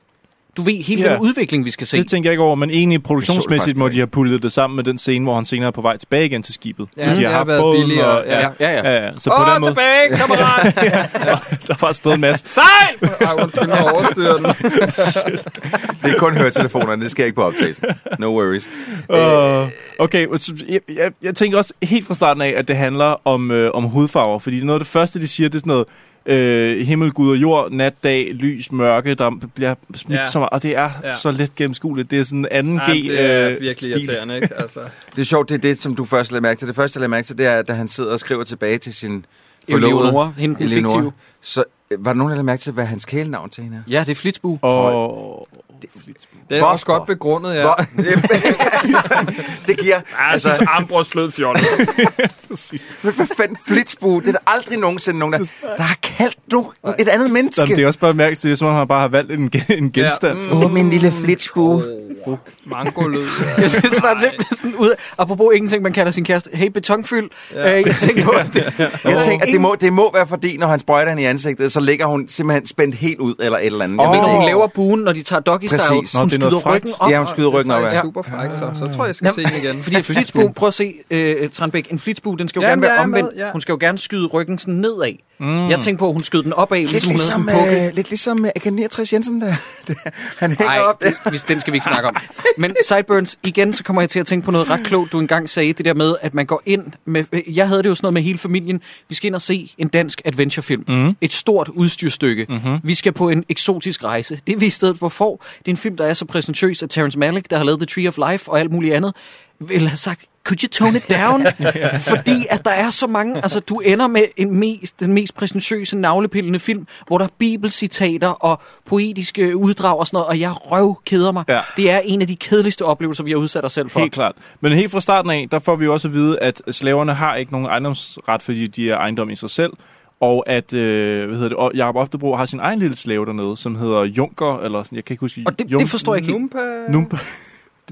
[SPEAKER 1] du ved, hele
[SPEAKER 6] Ja.
[SPEAKER 1] yeah. den udvikling, vi skal se.
[SPEAKER 6] Det tænker jeg ikke over, men egentlig
[SPEAKER 8] Jeg så det
[SPEAKER 6] produktionsmæssigt
[SPEAKER 8] faktisk
[SPEAKER 6] må
[SPEAKER 8] ikke.
[SPEAKER 6] de have pullet det sammen med den scene, hvor han senere er på vej tilbage igen til skibet.
[SPEAKER 7] Ja,
[SPEAKER 6] så de
[SPEAKER 7] det har været
[SPEAKER 6] båden
[SPEAKER 7] billigere, ja.
[SPEAKER 1] ja, ja, ja.
[SPEAKER 6] ja, ja. Så på
[SPEAKER 7] Åh,
[SPEAKER 6] den måde,
[SPEAKER 7] tilbage,
[SPEAKER 6] *laughs*
[SPEAKER 7] kammerat!
[SPEAKER 6] der var stadig en *laughs* masse.
[SPEAKER 7] Sejl! Ej, undskyld, jeg overstyrer den.
[SPEAKER 8] Det er kun høretelefonerne, det sker ikke på optagelsen. No worries.
[SPEAKER 6] Øh, okay, og så- jeg, jeg, jeg tænker også helt fra starten af, at det handler om, øh, om hudfarver, fordi noget af det første, de siger, det er sådan noget, øh, himmel, gud og jord, nat, dag, lys, mørke, der bliver smidt
[SPEAKER 7] Ja.
[SPEAKER 6] ja. så meget. Og det er
[SPEAKER 7] Ja.
[SPEAKER 6] ja. så let gennemskueligt. Det er sådan øh, en 2G-stil.
[SPEAKER 7] Jamen, det er virkelig irriterende, ikke? Altså,
[SPEAKER 8] Det er sjovt, det er det, som du først lagde mærke til. Det første, jeg lagde mærke til, det er, da han sidder og skriver tilbage til sin forlovede,
[SPEAKER 1] Eleonora, hende den
[SPEAKER 8] Eleonora.
[SPEAKER 1] fiktive.
[SPEAKER 8] Så øh, var der nogen, der lagde mærke til, hvad hans kælenavn til hende er?
[SPEAKER 1] Ja, det er Flitsbu.
[SPEAKER 6] Og...
[SPEAKER 7] det er
[SPEAKER 8] Hvorfor?
[SPEAKER 7] også godt begrundet, ja.
[SPEAKER 8] Hvor- *laughs* det giver... Altså,
[SPEAKER 7] Ambros lød
[SPEAKER 6] *laughs*
[SPEAKER 7] fjollet.
[SPEAKER 8] men hvad fanden flitsbue? Det er der aldrig nogensinde nogen, der, der har kaldt du et andet menneske.
[SPEAKER 6] Jamen, det er også bare mærkeligt, det er som om, han bare har valgt en, gen- en genstand. Ja.
[SPEAKER 7] mm.
[SPEAKER 6] Mm.
[SPEAKER 8] Åh, min lille flitsbue.
[SPEAKER 7] Mango lød.
[SPEAKER 1] *laughs* Jeg synes bare simpelthen sådan ud af, apropos ingenting, man kalder sin kæreste, hey, betonfyld. Ja. Øh, jeg tænker på, at det,
[SPEAKER 8] Jeg tænker, at det må, det må være fordi, når han sprøjter hende i ansigtet, så ligger hun simpelthen spændt helt ud eller et eller andet.
[SPEAKER 1] Jeg
[SPEAKER 6] Åh.
[SPEAKER 1] mener, hun laver buen, når de tager doggy style.
[SPEAKER 8] Præcis. Nå,
[SPEAKER 1] Hun
[SPEAKER 6] det er noget
[SPEAKER 1] skyder
[SPEAKER 6] frækt.
[SPEAKER 1] ryggen op.
[SPEAKER 8] Ja, hun skyder ryggen op.
[SPEAKER 7] Det er
[SPEAKER 8] Ja.
[SPEAKER 7] super fræk, så. Så tror jeg, jeg skal
[SPEAKER 1] Jamen,
[SPEAKER 7] se den igen.
[SPEAKER 1] Fordi en flitsbue, prøv at se, øh, Tranbæk, en flitsbue, den skal jo gerne
[SPEAKER 7] Jamen,
[SPEAKER 1] være
[SPEAKER 7] jeg er med,
[SPEAKER 1] omvendt.
[SPEAKER 7] ja.
[SPEAKER 1] Hun skal jo gerne skyde ryggen sådan nedad. Mm. Jeg tænkte på, at hun skød den opad,
[SPEAKER 8] Lidt
[SPEAKER 1] ligesom hun havde sådan en
[SPEAKER 8] ligesom,
[SPEAKER 1] pukkel.
[SPEAKER 8] øh, lidt ligesom øh, Akan 69 Jensen, der, *laughs* der han hænger
[SPEAKER 1] Nej,
[SPEAKER 8] op der.
[SPEAKER 1] det, den skal vi ikke snakke om. Men Sideburns, igen, så kommer jeg til at tænke på noget ret klogt, du engang sagde, det der med, at man går ind med, jeg havde det jo sådan noget med hele familien, vi skal ind og se en dansk adventurefilm, mm. et stort udstyrstykke, mm-hmm. vi skal på en eksotisk rejse, det er vi i stedet for får, det er en film, der er så præsentøs, at Terrence Malick, der har lavet The Tree of Life og alt muligt andet, ville have sagt, could you tone it down?
[SPEAKER 6] *laughs*
[SPEAKER 1] Fordi at der er så mange, altså du ender med en mest, den mest præsentøse navlepillende film, hvor der er bibelcitater og poetiske uddrag og sådan noget, og jeg røvkeder mig.
[SPEAKER 6] Ja.
[SPEAKER 1] Det er en af de kedeligste oplevelser, vi har udsat os selv for.
[SPEAKER 6] Helt klart. Men helt fra starten af, der får vi jo også at vide, at slaverne har ikke nogen ejendomsret, fordi de er ejendom i sig selv. Og at, øh, hvad hedder det, og Jacob Oftebro har sin egen lille slave dernede, som hedder Junker, eller sådan, jeg kan ikke huske.
[SPEAKER 1] Og det,
[SPEAKER 6] Jun-
[SPEAKER 1] det forstår jeg ikke helt.
[SPEAKER 7] Numpa.
[SPEAKER 6] Numpa.
[SPEAKER 1] *laughs*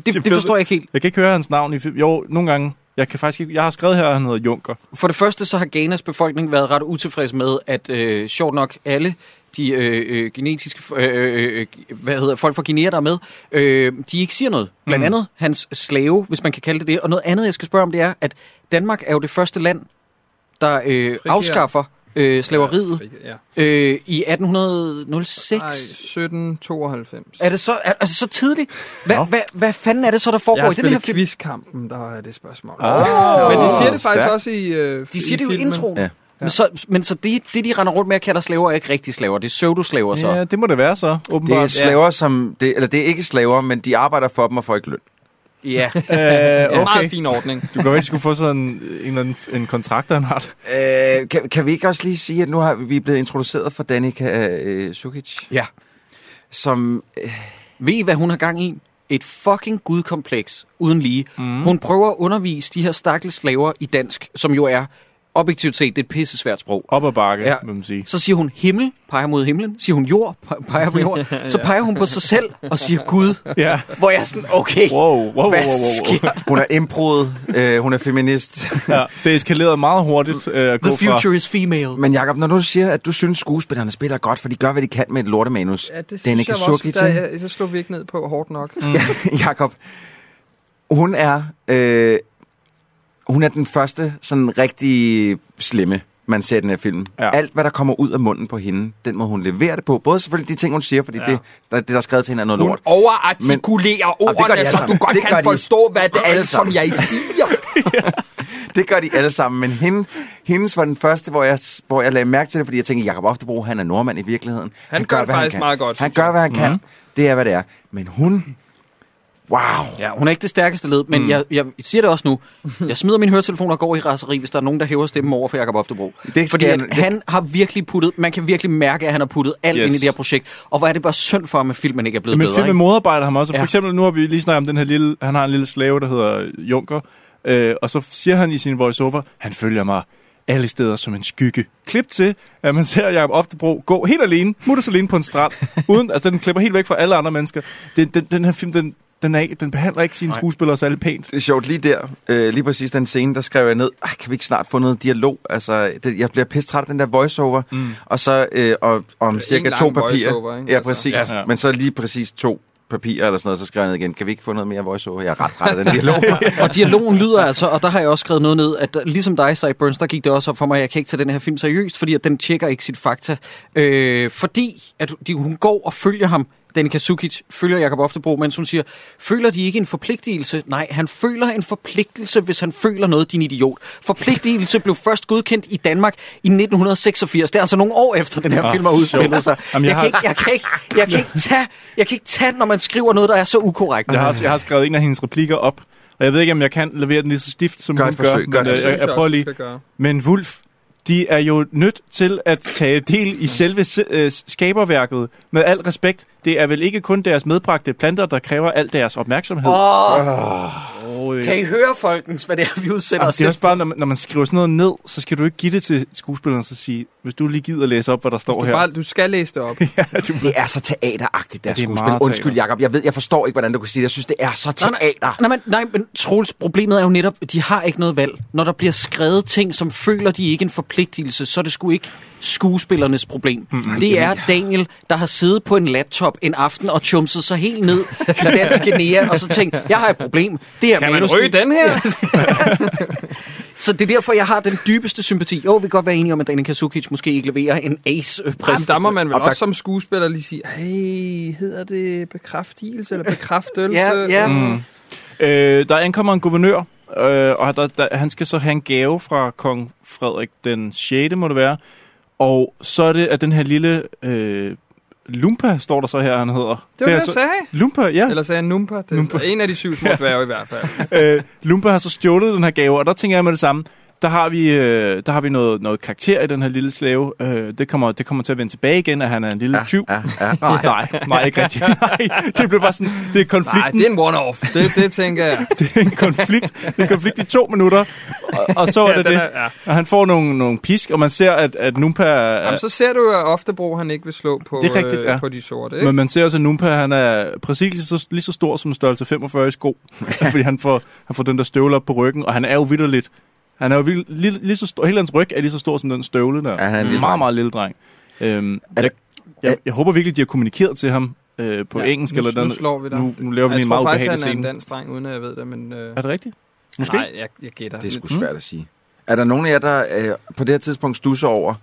[SPEAKER 1] Det, det forstår jeg ikke helt.
[SPEAKER 6] Jeg kan ikke høre hans navn i film. Jo, nogle gange. Jeg kan faktisk ikke, jeg har skrevet her, at han hedder Junker.
[SPEAKER 1] For det første så har Ghanas befolkning været ret utilfreds med, at øh, sjovt nok alle de øh, øh, genetiske, øh, øh, øh, hvad hedder folk fra Guinea, der er med, øh, de ikke siger noget. Blandt mm.
[SPEAKER 6] Mm.
[SPEAKER 1] andet hans slave, hvis man kan kalde det det. Og noget andet, jeg skal spørge om, det er, at Danmark er jo det første land, der øh, afskaffer øh, slaveriet
[SPEAKER 7] Ja.
[SPEAKER 1] øh, i 1806.
[SPEAKER 7] Ej, 1792.
[SPEAKER 1] Er det så, er, altså så tidligt? Hvad,
[SPEAKER 6] Nå.
[SPEAKER 1] hvad, hvad fanden er det så, der
[SPEAKER 7] Jeg har
[SPEAKER 1] foregår i den her
[SPEAKER 7] spillet
[SPEAKER 1] film?
[SPEAKER 7] quizkampen, der er det spørgsmål.
[SPEAKER 6] Oh.
[SPEAKER 7] Men de siger det faktisk også i øh,
[SPEAKER 1] De siger det jo i
[SPEAKER 7] filmen.
[SPEAKER 1] introen.
[SPEAKER 8] Ja.
[SPEAKER 1] Ja. Men så, men så det, det, de render rundt med at kalde dig slaver, er ikke rigtige slaver. Det er pseudoslaver så.
[SPEAKER 6] Ja, det må det være så,
[SPEAKER 8] Det er
[SPEAKER 6] åbenbart.
[SPEAKER 8] slaver, som... Det, eller det er ikke slaver, men de arbejder for dem og får ikke løn.
[SPEAKER 1] *laughs* Ja.
[SPEAKER 6] Ja,
[SPEAKER 7] Ja,
[SPEAKER 6] øh, okay.
[SPEAKER 7] meget fin ordning.
[SPEAKER 6] Du kan jo ikke skulle få sådan en, en, eller anden- en kontrakt, han har.
[SPEAKER 8] Øh, kan, kan vi ikke også lige sige, at nu har vi blevet introduceret for Danica øh, Sukic,
[SPEAKER 1] ja.
[SPEAKER 8] som... Øh,
[SPEAKER 1] Ved I, hvad hun har gang i? Et fucking gudkompleks uden lige. Mm. Hun prøver at undervise de her stakkels slaver i dansk, som jo er objektivt set det er et pissesvært sprog.
[SPEAKER 6] Op ad bakke,
[SPEAKER 1] Ja.
[SPEAKER 6] ja. vil man sige.
[SPEAKER 1] Så siger hun himmel, peger mod himlen. Siger hun jord, pe- peger på *laughs* jord. Så peger hun på sig selv og siger Gud.
[SPEAKER 6] Ja.
[SPEAKER 1] Hvor jeg er sådan, okay,
[SPEAKER 6] Wow, wow, wow, wow,
[SPEAKER 1] hvad
[SPEAKER 6] wow.
[SPEAKER 1] sker?
[SPEAKER 8] hun er improet, øh, hun er feminist.
[SPEAKER 6] Ja, det eskalerede meget hurtigt. Øh, at gå
[SPEAKER 1] The
[SPEAKER 6] fra-
[SPEAKER 1] future is female.
[SPEAKER 8] Men Jakob, når du siger, at du synes, skuespillerne spiller godt, for de gør, hvad de kan med et lortemanus.
[SPEAKER 7] Ja, det synes
[SPEAKER 8] Danica
[SPEAKER 7] jeg også,
[SPEAKER 8] Sukic,
[SPEAKER 7] der,
[SPEAKER 8] ikke?
[SPEAKER 7] ja, det slog vi ikke ned på hårdt nok.
[SPEAKER 8] *laughs* Jakob, hun er, øh, hun er den første sådan rigtig slemme, man ser i den her film. Ja.
[SPEAKER 6] Ja.
[SPEAKER 8] Alt, hvad der kommer ud af munden på hende, den må hun levere det på. Både selvfølgelig de ting, hun siger, fordi ja. det, der- det, der er skrevet til hende, er noget lort.
[SPEAKER 7] overartikulerer
[SPEAKER 8] ordene, så du godt kan forstå, hvad det er, som
[SPEAKER 7] jeg
[SPEAKER 8] *laughs*
[SPEAKER 7] siger.
[SPEAKER 8] Det gør de alle sammen, men hende, hendes var den første, hvor jeg, hvor jeg lagde mærke til det, fordi jeg tænkte, Jakob Oftebro, han er nordmand i virkeligheden. Han,
[SPEAKER 7] gør det faktisk
[SPEAKER 8] han kan.
[SPEAKER 7] meget godt,
[SPEAKER 8] Han
[SPEAKER 7] synes Mhm.
[SPEAKER 8] gør, hvad han kan. Det er, hvad det er. Men hun... Wow.
[SPEAKER 1] Ja, hun er ikke det stærkeste led, men mm. jeg, jeg siger det også nu. Jeg smider mine høretelefoner og går i raseri, hvis der er nogen, der hæver stemmen over for Jakob Oftebro.
[SPEAKER 8] skal
[SPEAKER 1] Fordi
[SPEAKER 8] jeg-
[SPEAKER 1] at
[SPEAKER 8] det-
[SPEAKER 1] han har virkelig puttet, man kan virkelig mærke, at han har puttet alt yes.
[SPEAKER 6] Yes.
[SPEAKER 1] ind i det her projekt. Og hvor er det bare synd for ham, at filmen ikke er blevet
[SPEAKER 6] Men
[SPEAKER 1] bedre.
[SPEAKER 6] filmen
[SPEAKER 1] ikke?
[SPEAKER 6] modarbejder ham også. For
[SPEAKER 1] Ja.
[SPEAKER 6] eksempel, nu har vi lige snakket om den her lille... Han har en lille slave, der hedder Junker. Øh, og så siger han i sin voiceover, han følger mig alle steder som en skygge. Klip til, at man ser Jacob Oftebro gå helt alene, mutters alene på en strand. Uden, altså, den klipper helt væk fra alle andre mennesker. Den, den, den her film, den, den, er ikke, den behandler ikke sine skuespillere særlig pænt.
[SPEAKER 8] Det er sjovt, lige der, øh, lige præcis den scene, der skrev jeg ned, "Ej, kan vi ikke snart få noget dialog? Altså, det, jeg bliver pisse træt af den der voiceover, mm. og så øh, og, om cirka
[SPEAKER 7] lang
[SPEAKER 8] to papirer.
[SPEAKER 7] voiceover, ikke?
[SPEAKER 8] Ja,
[SPEAKER 7] Altså.
[SPEAKER 8] præcis.
[SPEAKER 6] Ja, ja.
[SPEAKER 8] Men så lige præcis to papirer eller sådan noget, så skrev jeg ned igen, kan vi ikke få noget mere voiceover? Jeg er ret træt af den dialog.
[SPEAKER 1] *laughs* Og dialogen lyder altså, og der har jeg også skrevet noget ned, at der- ligesom dig, Cy Burns, der gik det også op for mig, at jeg kan ikke tage den her film seriøst, fordi at den tjekker ikke sit fakta. Øh, fordi at de, hun går og følger ham Danica Sukic følger Jakob Oftebro, mens hun siger, føler de ikke en forpligtelse? Nej, han føler en forpligtelse, hvis han føler noget, din idiot. Forpligtelse blev først godkendt i Danmark i 1986. Det er altså nogle år efter, den her
[SPEAKER 6] Ah,
[SPEAKER 1] film har udspillet
[SPEAKER 6] sjovt.
[SPEAKER 1] sig.
[SPEAKER 6] Jamen, jeg
[SPEAKER 1] Jeg
[SPEAKER 6] har-
[SPEAKER 1] kan ikke- jeg kan ikke- jeg kan ikke tage- jeg kan ikke tage, når man skriver noget, der er så ukorrekt.
[SPEAKER 6] Jeg har, jeg har skrevet en af hendes replikker op, og jeg ved ikke, om jeg kan levere den lige så stift, som
[SPEAKER 8] Gør
[SPEAKER 6] hun
[SPEAKER 8] et forsøg,
[SPEAKER 6] gør.
[SPEAKER 8] gør et
[SPEAKER 6] men, øh,
[SPEAKER 8] forsøg.
[SPEAKER 6] jeg, jeg prøver lige. Men Wulf, de er jo nødt til at tage del i selve se- øh, skaberværket. Med al respekt, det er vel ikke kun deres medbragte planter, der kræver al deres opmærksomhed.
[SPEAKER 1] Åh, kan I høre, folkens, hvad det er, vi udsætter
[SPEAKER 6] Jamen,
[SPEAKER 1] os
[SPEAKER 6] det er
[SPEAKER 1] selv
[SPEAKER 6] også bare, når man, når man skriver sådan noget ned, så skal du ikke give det til skuespilleren og så sige, hvis du lige gider læse op, hvad der står
[SPEAKER 7] Du,
[SPEAKER 6] her.
[SPEAKER 7] bare, du skal
[SPEAKER 8] *laughs*
[SPEAKER 7] læse det op.
[SPEAKER 8] Det er så teateragtigt,
[SPEAKER 6] Ja,
[SPEAKER 8] deres ja,
[SPEAKER 6] det er
[SPEAKER 8] skuespil.
[SPEAKER 6] meget
[SPEAKER 8] Undskyld,
[SPEAKER 6] teater.
[SPEAKER 8] Jakob. Jeg ved, jeg forstår ikke, hvordan du kan sige det. Jeg synes, det er så
[SPEAKER 1] Nej, nej.
[SPEAKER 8] teater.
[SPEAKER 1] Nej, men, nej, men Troels, problemet er jo netop, de har ikke noget valg. Når der bliver skrevet ting, som føler de ikke en forpligtelse, så er det sgu ikke skuespillernes problem. Mm-hmm. Det er Daniel, der har siddet på en laptop en aften og chumset sig helt ned i dansk Guinea, og så tænkt, jeg har et problem. Det er
[SPEAKER 7] Kan man
[SPEAKER 1] manus-
[SPEAKER 7] ryge den her?
[SPEAKER 1] Så det er derfor, jeg har den dybeste sympati. Jo, vi kan godt være enige om, at Danica Sukic måske ikke leverer en ace øh,
[SPEAKER 7] Jamen,
[SPEAKER 1] præst.
[SPEAKER 7] Altså, der må man vel
[SPEAKER 8] Og der-
[SPEAKER 7] også som skuespiller lige sige, hey, hedder det bekræftelse eller bekræftelse?
[SPEAKER 1] Ja, ja.
[SPEAKER 6] Mm. Øh, der ankommer en guvernør, øh, og der, der, han skal så have en gave fra kong Frederik den 6. må det være. Og så er det, at den her lille øh, Lumpa, står der så her, han hedder.
[SPEAKER 7] Det var det,
[SPEAKER 6] er
[SPEAKER 7] jeg
[SPEAKER 6] så,
[SPEAKER 7] sagde.
[SPEAKER 6] Lumpa, ja.
[SPEAKER 7] Eller sagde jeg numpa? Det
[SPEAKER 6] Numpa.
[SPEAKER 7] er en af de syv små dværge i hvert fald.
[SPEAKER 6] *laughs* øh, Lumpa har så stjålet den her gave, og der tænker jeg med det samme, der har vi, øh, der har vi noget, noget karakter i den her lille slave. Øh, det, kommer, det kommer til at vende tilbage igen, at han er en lille ja,
[SPEAKER 7] *laughs*
[SPEAKER 6] tyv.
[SPEAKER 8] Ja, ja.
[SPEAKER 6] Nej, nej, nej, ikke rigtigt. *laughs* Nej, det blev bare sådan, det
[SPEAKER 7] Nej,
[SPEAKER 6] er konflikten.
[SPEAKER 7] det er en one-off. Det, det tænker jeg.
[SPEAKER 6] *laughs* det er en konflikt. Det er en konflikt i to minutter. Og, og så er ja, det det. Er, *laughs* ja. Og han får nogle, nogle pisk, og man ser, at, at Numpa... Er,
[SPEAKER 7] Jamen, så ser du jo at ofte Bro, han ikke vil slå på,
[SPEAKER 6] Det er rigtigt,
[SPEAKER 7] øh,
[SPEAKER 6] ja.
[SPEAKER 7] på de sorte. Ikke?
[SPEAKER 6] men man ser også, at Numpa han er præcis lige så, lige så stor som en størrelse 45
[SPEAKER 7] *laughs*
[SPEAKER 6] i sko. fordi han får, han får den der støvle op på ryggen, og han er jo vidderligt. Han er jo vild, lige, lige så stor, hele hans ryg er lige så stor som den støvle der.
[SPEAKER 8] Ja, han er en lille
[SPEAKER 6] meget,
[SPEAKER 8] dreng.
[SPEAKER 6] meget lille dreng. Øhm,
[SPEAKER 8] Er det-
[SPEAKER 6] jeg, jeg, håber virkelig, de har kommunikeret til ham øh, på ja, engelsk.
[SPEAKER 7] nu,
[SPEAKER 6] eller den,
[SPEAKER 7] nu slår vi dig.
[SPEAKER 6] nu, nu laver vi lige
[SPEAKER 7] jeg
[SPEAKER 6] en
[SPEAKER 7] tror
[SPEAKER 6] meget
[SPEAKER 7] faktisk, han
[SPEAKER 6] ubehagelig
[SPEAKER 7] er en
[SPEAKER 6] scene.
[SPEAKER 7] dansk dreng, uden at jeg ved det, men... Øh,
[SPEAKER 6] Er det rigtigt? Måske?
[SPEAKER 7] Nej, jeg, jeg gætter.
[SPEAKER 8] Det er sgu
[SPEAKER 6] Mm.
[SPEAKER 8] svært at sige. Er der nogen af jer, der øh, på det her tidspunkt stusser over,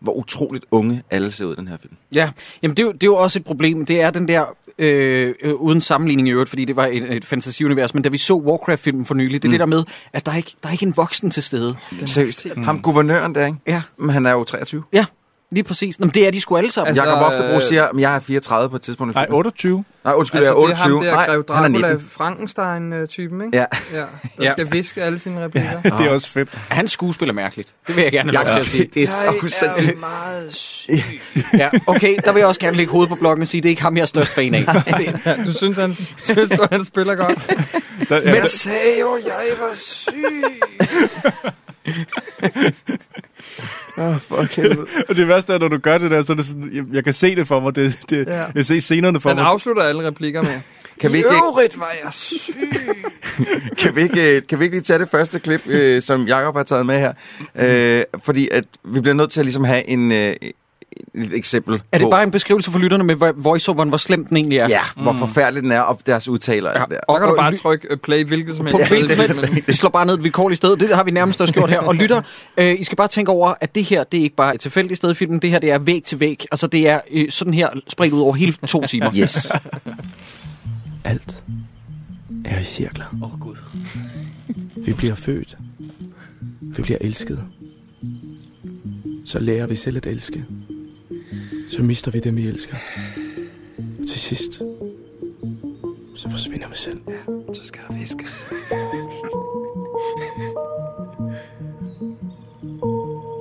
[SPEAKER 8] hvor utroligt unge alle ser ud i den her film?
[SPEAKER 1] Ja, jamen det, er jo- det er jo også et problem. Det er den der, øh, øh, uden sammenligning i øvrigt, fordi det var et, et fantasiunivers, men da vi så Warcraft-filmen for nylig, det er mm. det der med, at der er ikke der er ikke en voksen til stede.
[SPEAKER 8] Seriøst. Ham guvernøren der, ikke?
[SPEAKER 1] Ja,
[SPEAKER 8] Men han er jo 23.
[SPEAKER 1] ja, lige præcis. Nå, men det er de sgu alle sammen.
[SPEAKER 7] Altså,
[SPEAKER 8] Altså, Jakob
[SPEAKER 7] øh,
[SPEAKER 8] Oftebro siger, at jeg er 34 på et tidspunkt. i
[SPEAKER 6] Nej,
[SPEAKER 8] filmen."
[SPEAKER 6] 28.
[SPEAKER 8] Nej, undskyld,
[SPEAKER 7] altså,
[SPEAKER 8] jeg er
[SPEAKER 7] det er
[SPEAKER 8] 28.
[SPEAKER 7] ham der, Grev
[SPEAKER 8] Nej, han er
[SPEAKER 7] Dracula,
[SPEAKER 8] 19.
[SPEAKER 7] Frankenstein-typen, ikke?
[SPEAKER 8] Ja.
[SPEAKER 7] ja der
[SPEAKER 1] Ja.
[SPEAKER 7] skal viske alle sine replikker.
[SPEAKER 6] *laughs* Det er også fedt.
[SPEAKER 1] Han skuespiller mærkeligt. Det vil jeg gerne have lov til
[SPEAKER 8] Jakob,
[SPEAKER 1] at sige.
[SPEAKER 8] det er så
[SPEAKER 7] Jeg er
[SPEAKER 8] sindssygt.
[SPEAKER 7] meget syg.
[SPEAKER 1] Ja, okay, der vil jeg også gerne lægge hovedet på blokken og sige, det er ikke ham, jeg er størst fan af.
[SPEAKER 7] Du synes, han, *laughs* synes du, han spiller godt?
[SPEAKER 6] Der, ja, der,
[SPEAKER 7] sagde jo, jeg var
[SPEAKER 8] *laughs*
[SPEAKER 7] syg.
[SPEAKER 6] og det værste er, når du gør det der, så er det sådan, jeg, jeg kan se det for mig. Det, det,
[SPEAKER 7] Ja.
[SPEAKER 6] ja. Jeg kan se scenerne for
[SPEAKER 7] Han
[SPEAKER 6] mig.
[SPEAKER 7] afslutter alle replikker med.
[SPEAKER 8] Kan vi, ikke,
[SPEAKER 7] øvrigt var jeg syg.
[SPEAKER 8] kan, vi ikke, øh, kan vi ikke lige tage det første klip, øh, som Jakob har taget med her? Øh, fordi at vi bliver nødt til at ligesom have en, øh, et eksempel
[SPEAKER 1] Er det
[SPEAKER 8] på,
[SPEAKER 1] bare en beskrivelse for lytterne med hvor- voiceoveren, hvor slemt den egentlig er?
[SPEAKER 8] ja, hvor forfærdelig den er, og deres udtaler ja. der.
[SPEAKER 7] Der kan du
[SPEAKER 1] Og-
[SPEAKER 7] bare
[SPEAKER 1] og-
[SPEAKER 7] trykke øh, play hvilket som
[SPEAKER 1] på
[SPEAKER 7] helst.
[SPEAKER 1] hvilket som
[SPEAKER 7] sted,
[SPEAKER 1] helst.
[SPEAKER 7] men-
[SPEAKER 1] Vi slår bare ned et vilkårligt sted. Det har vi nærmest også gjort her. Og lytter, øh, I skal bare tænke over, at det her, det er ikke bare et tilfældigt sted i filmen. Det her, det er væg til væg. Altså, det er øh, sådan her spredt ud over hele to timer.
[SPEAKER 8] Yes.
[SPEAKER 9] Alt er i cirkler. Åh, oh, Gud. Vi bliver født. Vi bliver elsket. Så lærer vi selv at elske. Så mister vi dem, vi elsker. Og til sidst, så forsvinder vi selv.
[SPEAKER 6] *laughs*
[SPEAKER 7] Så skal der viskes.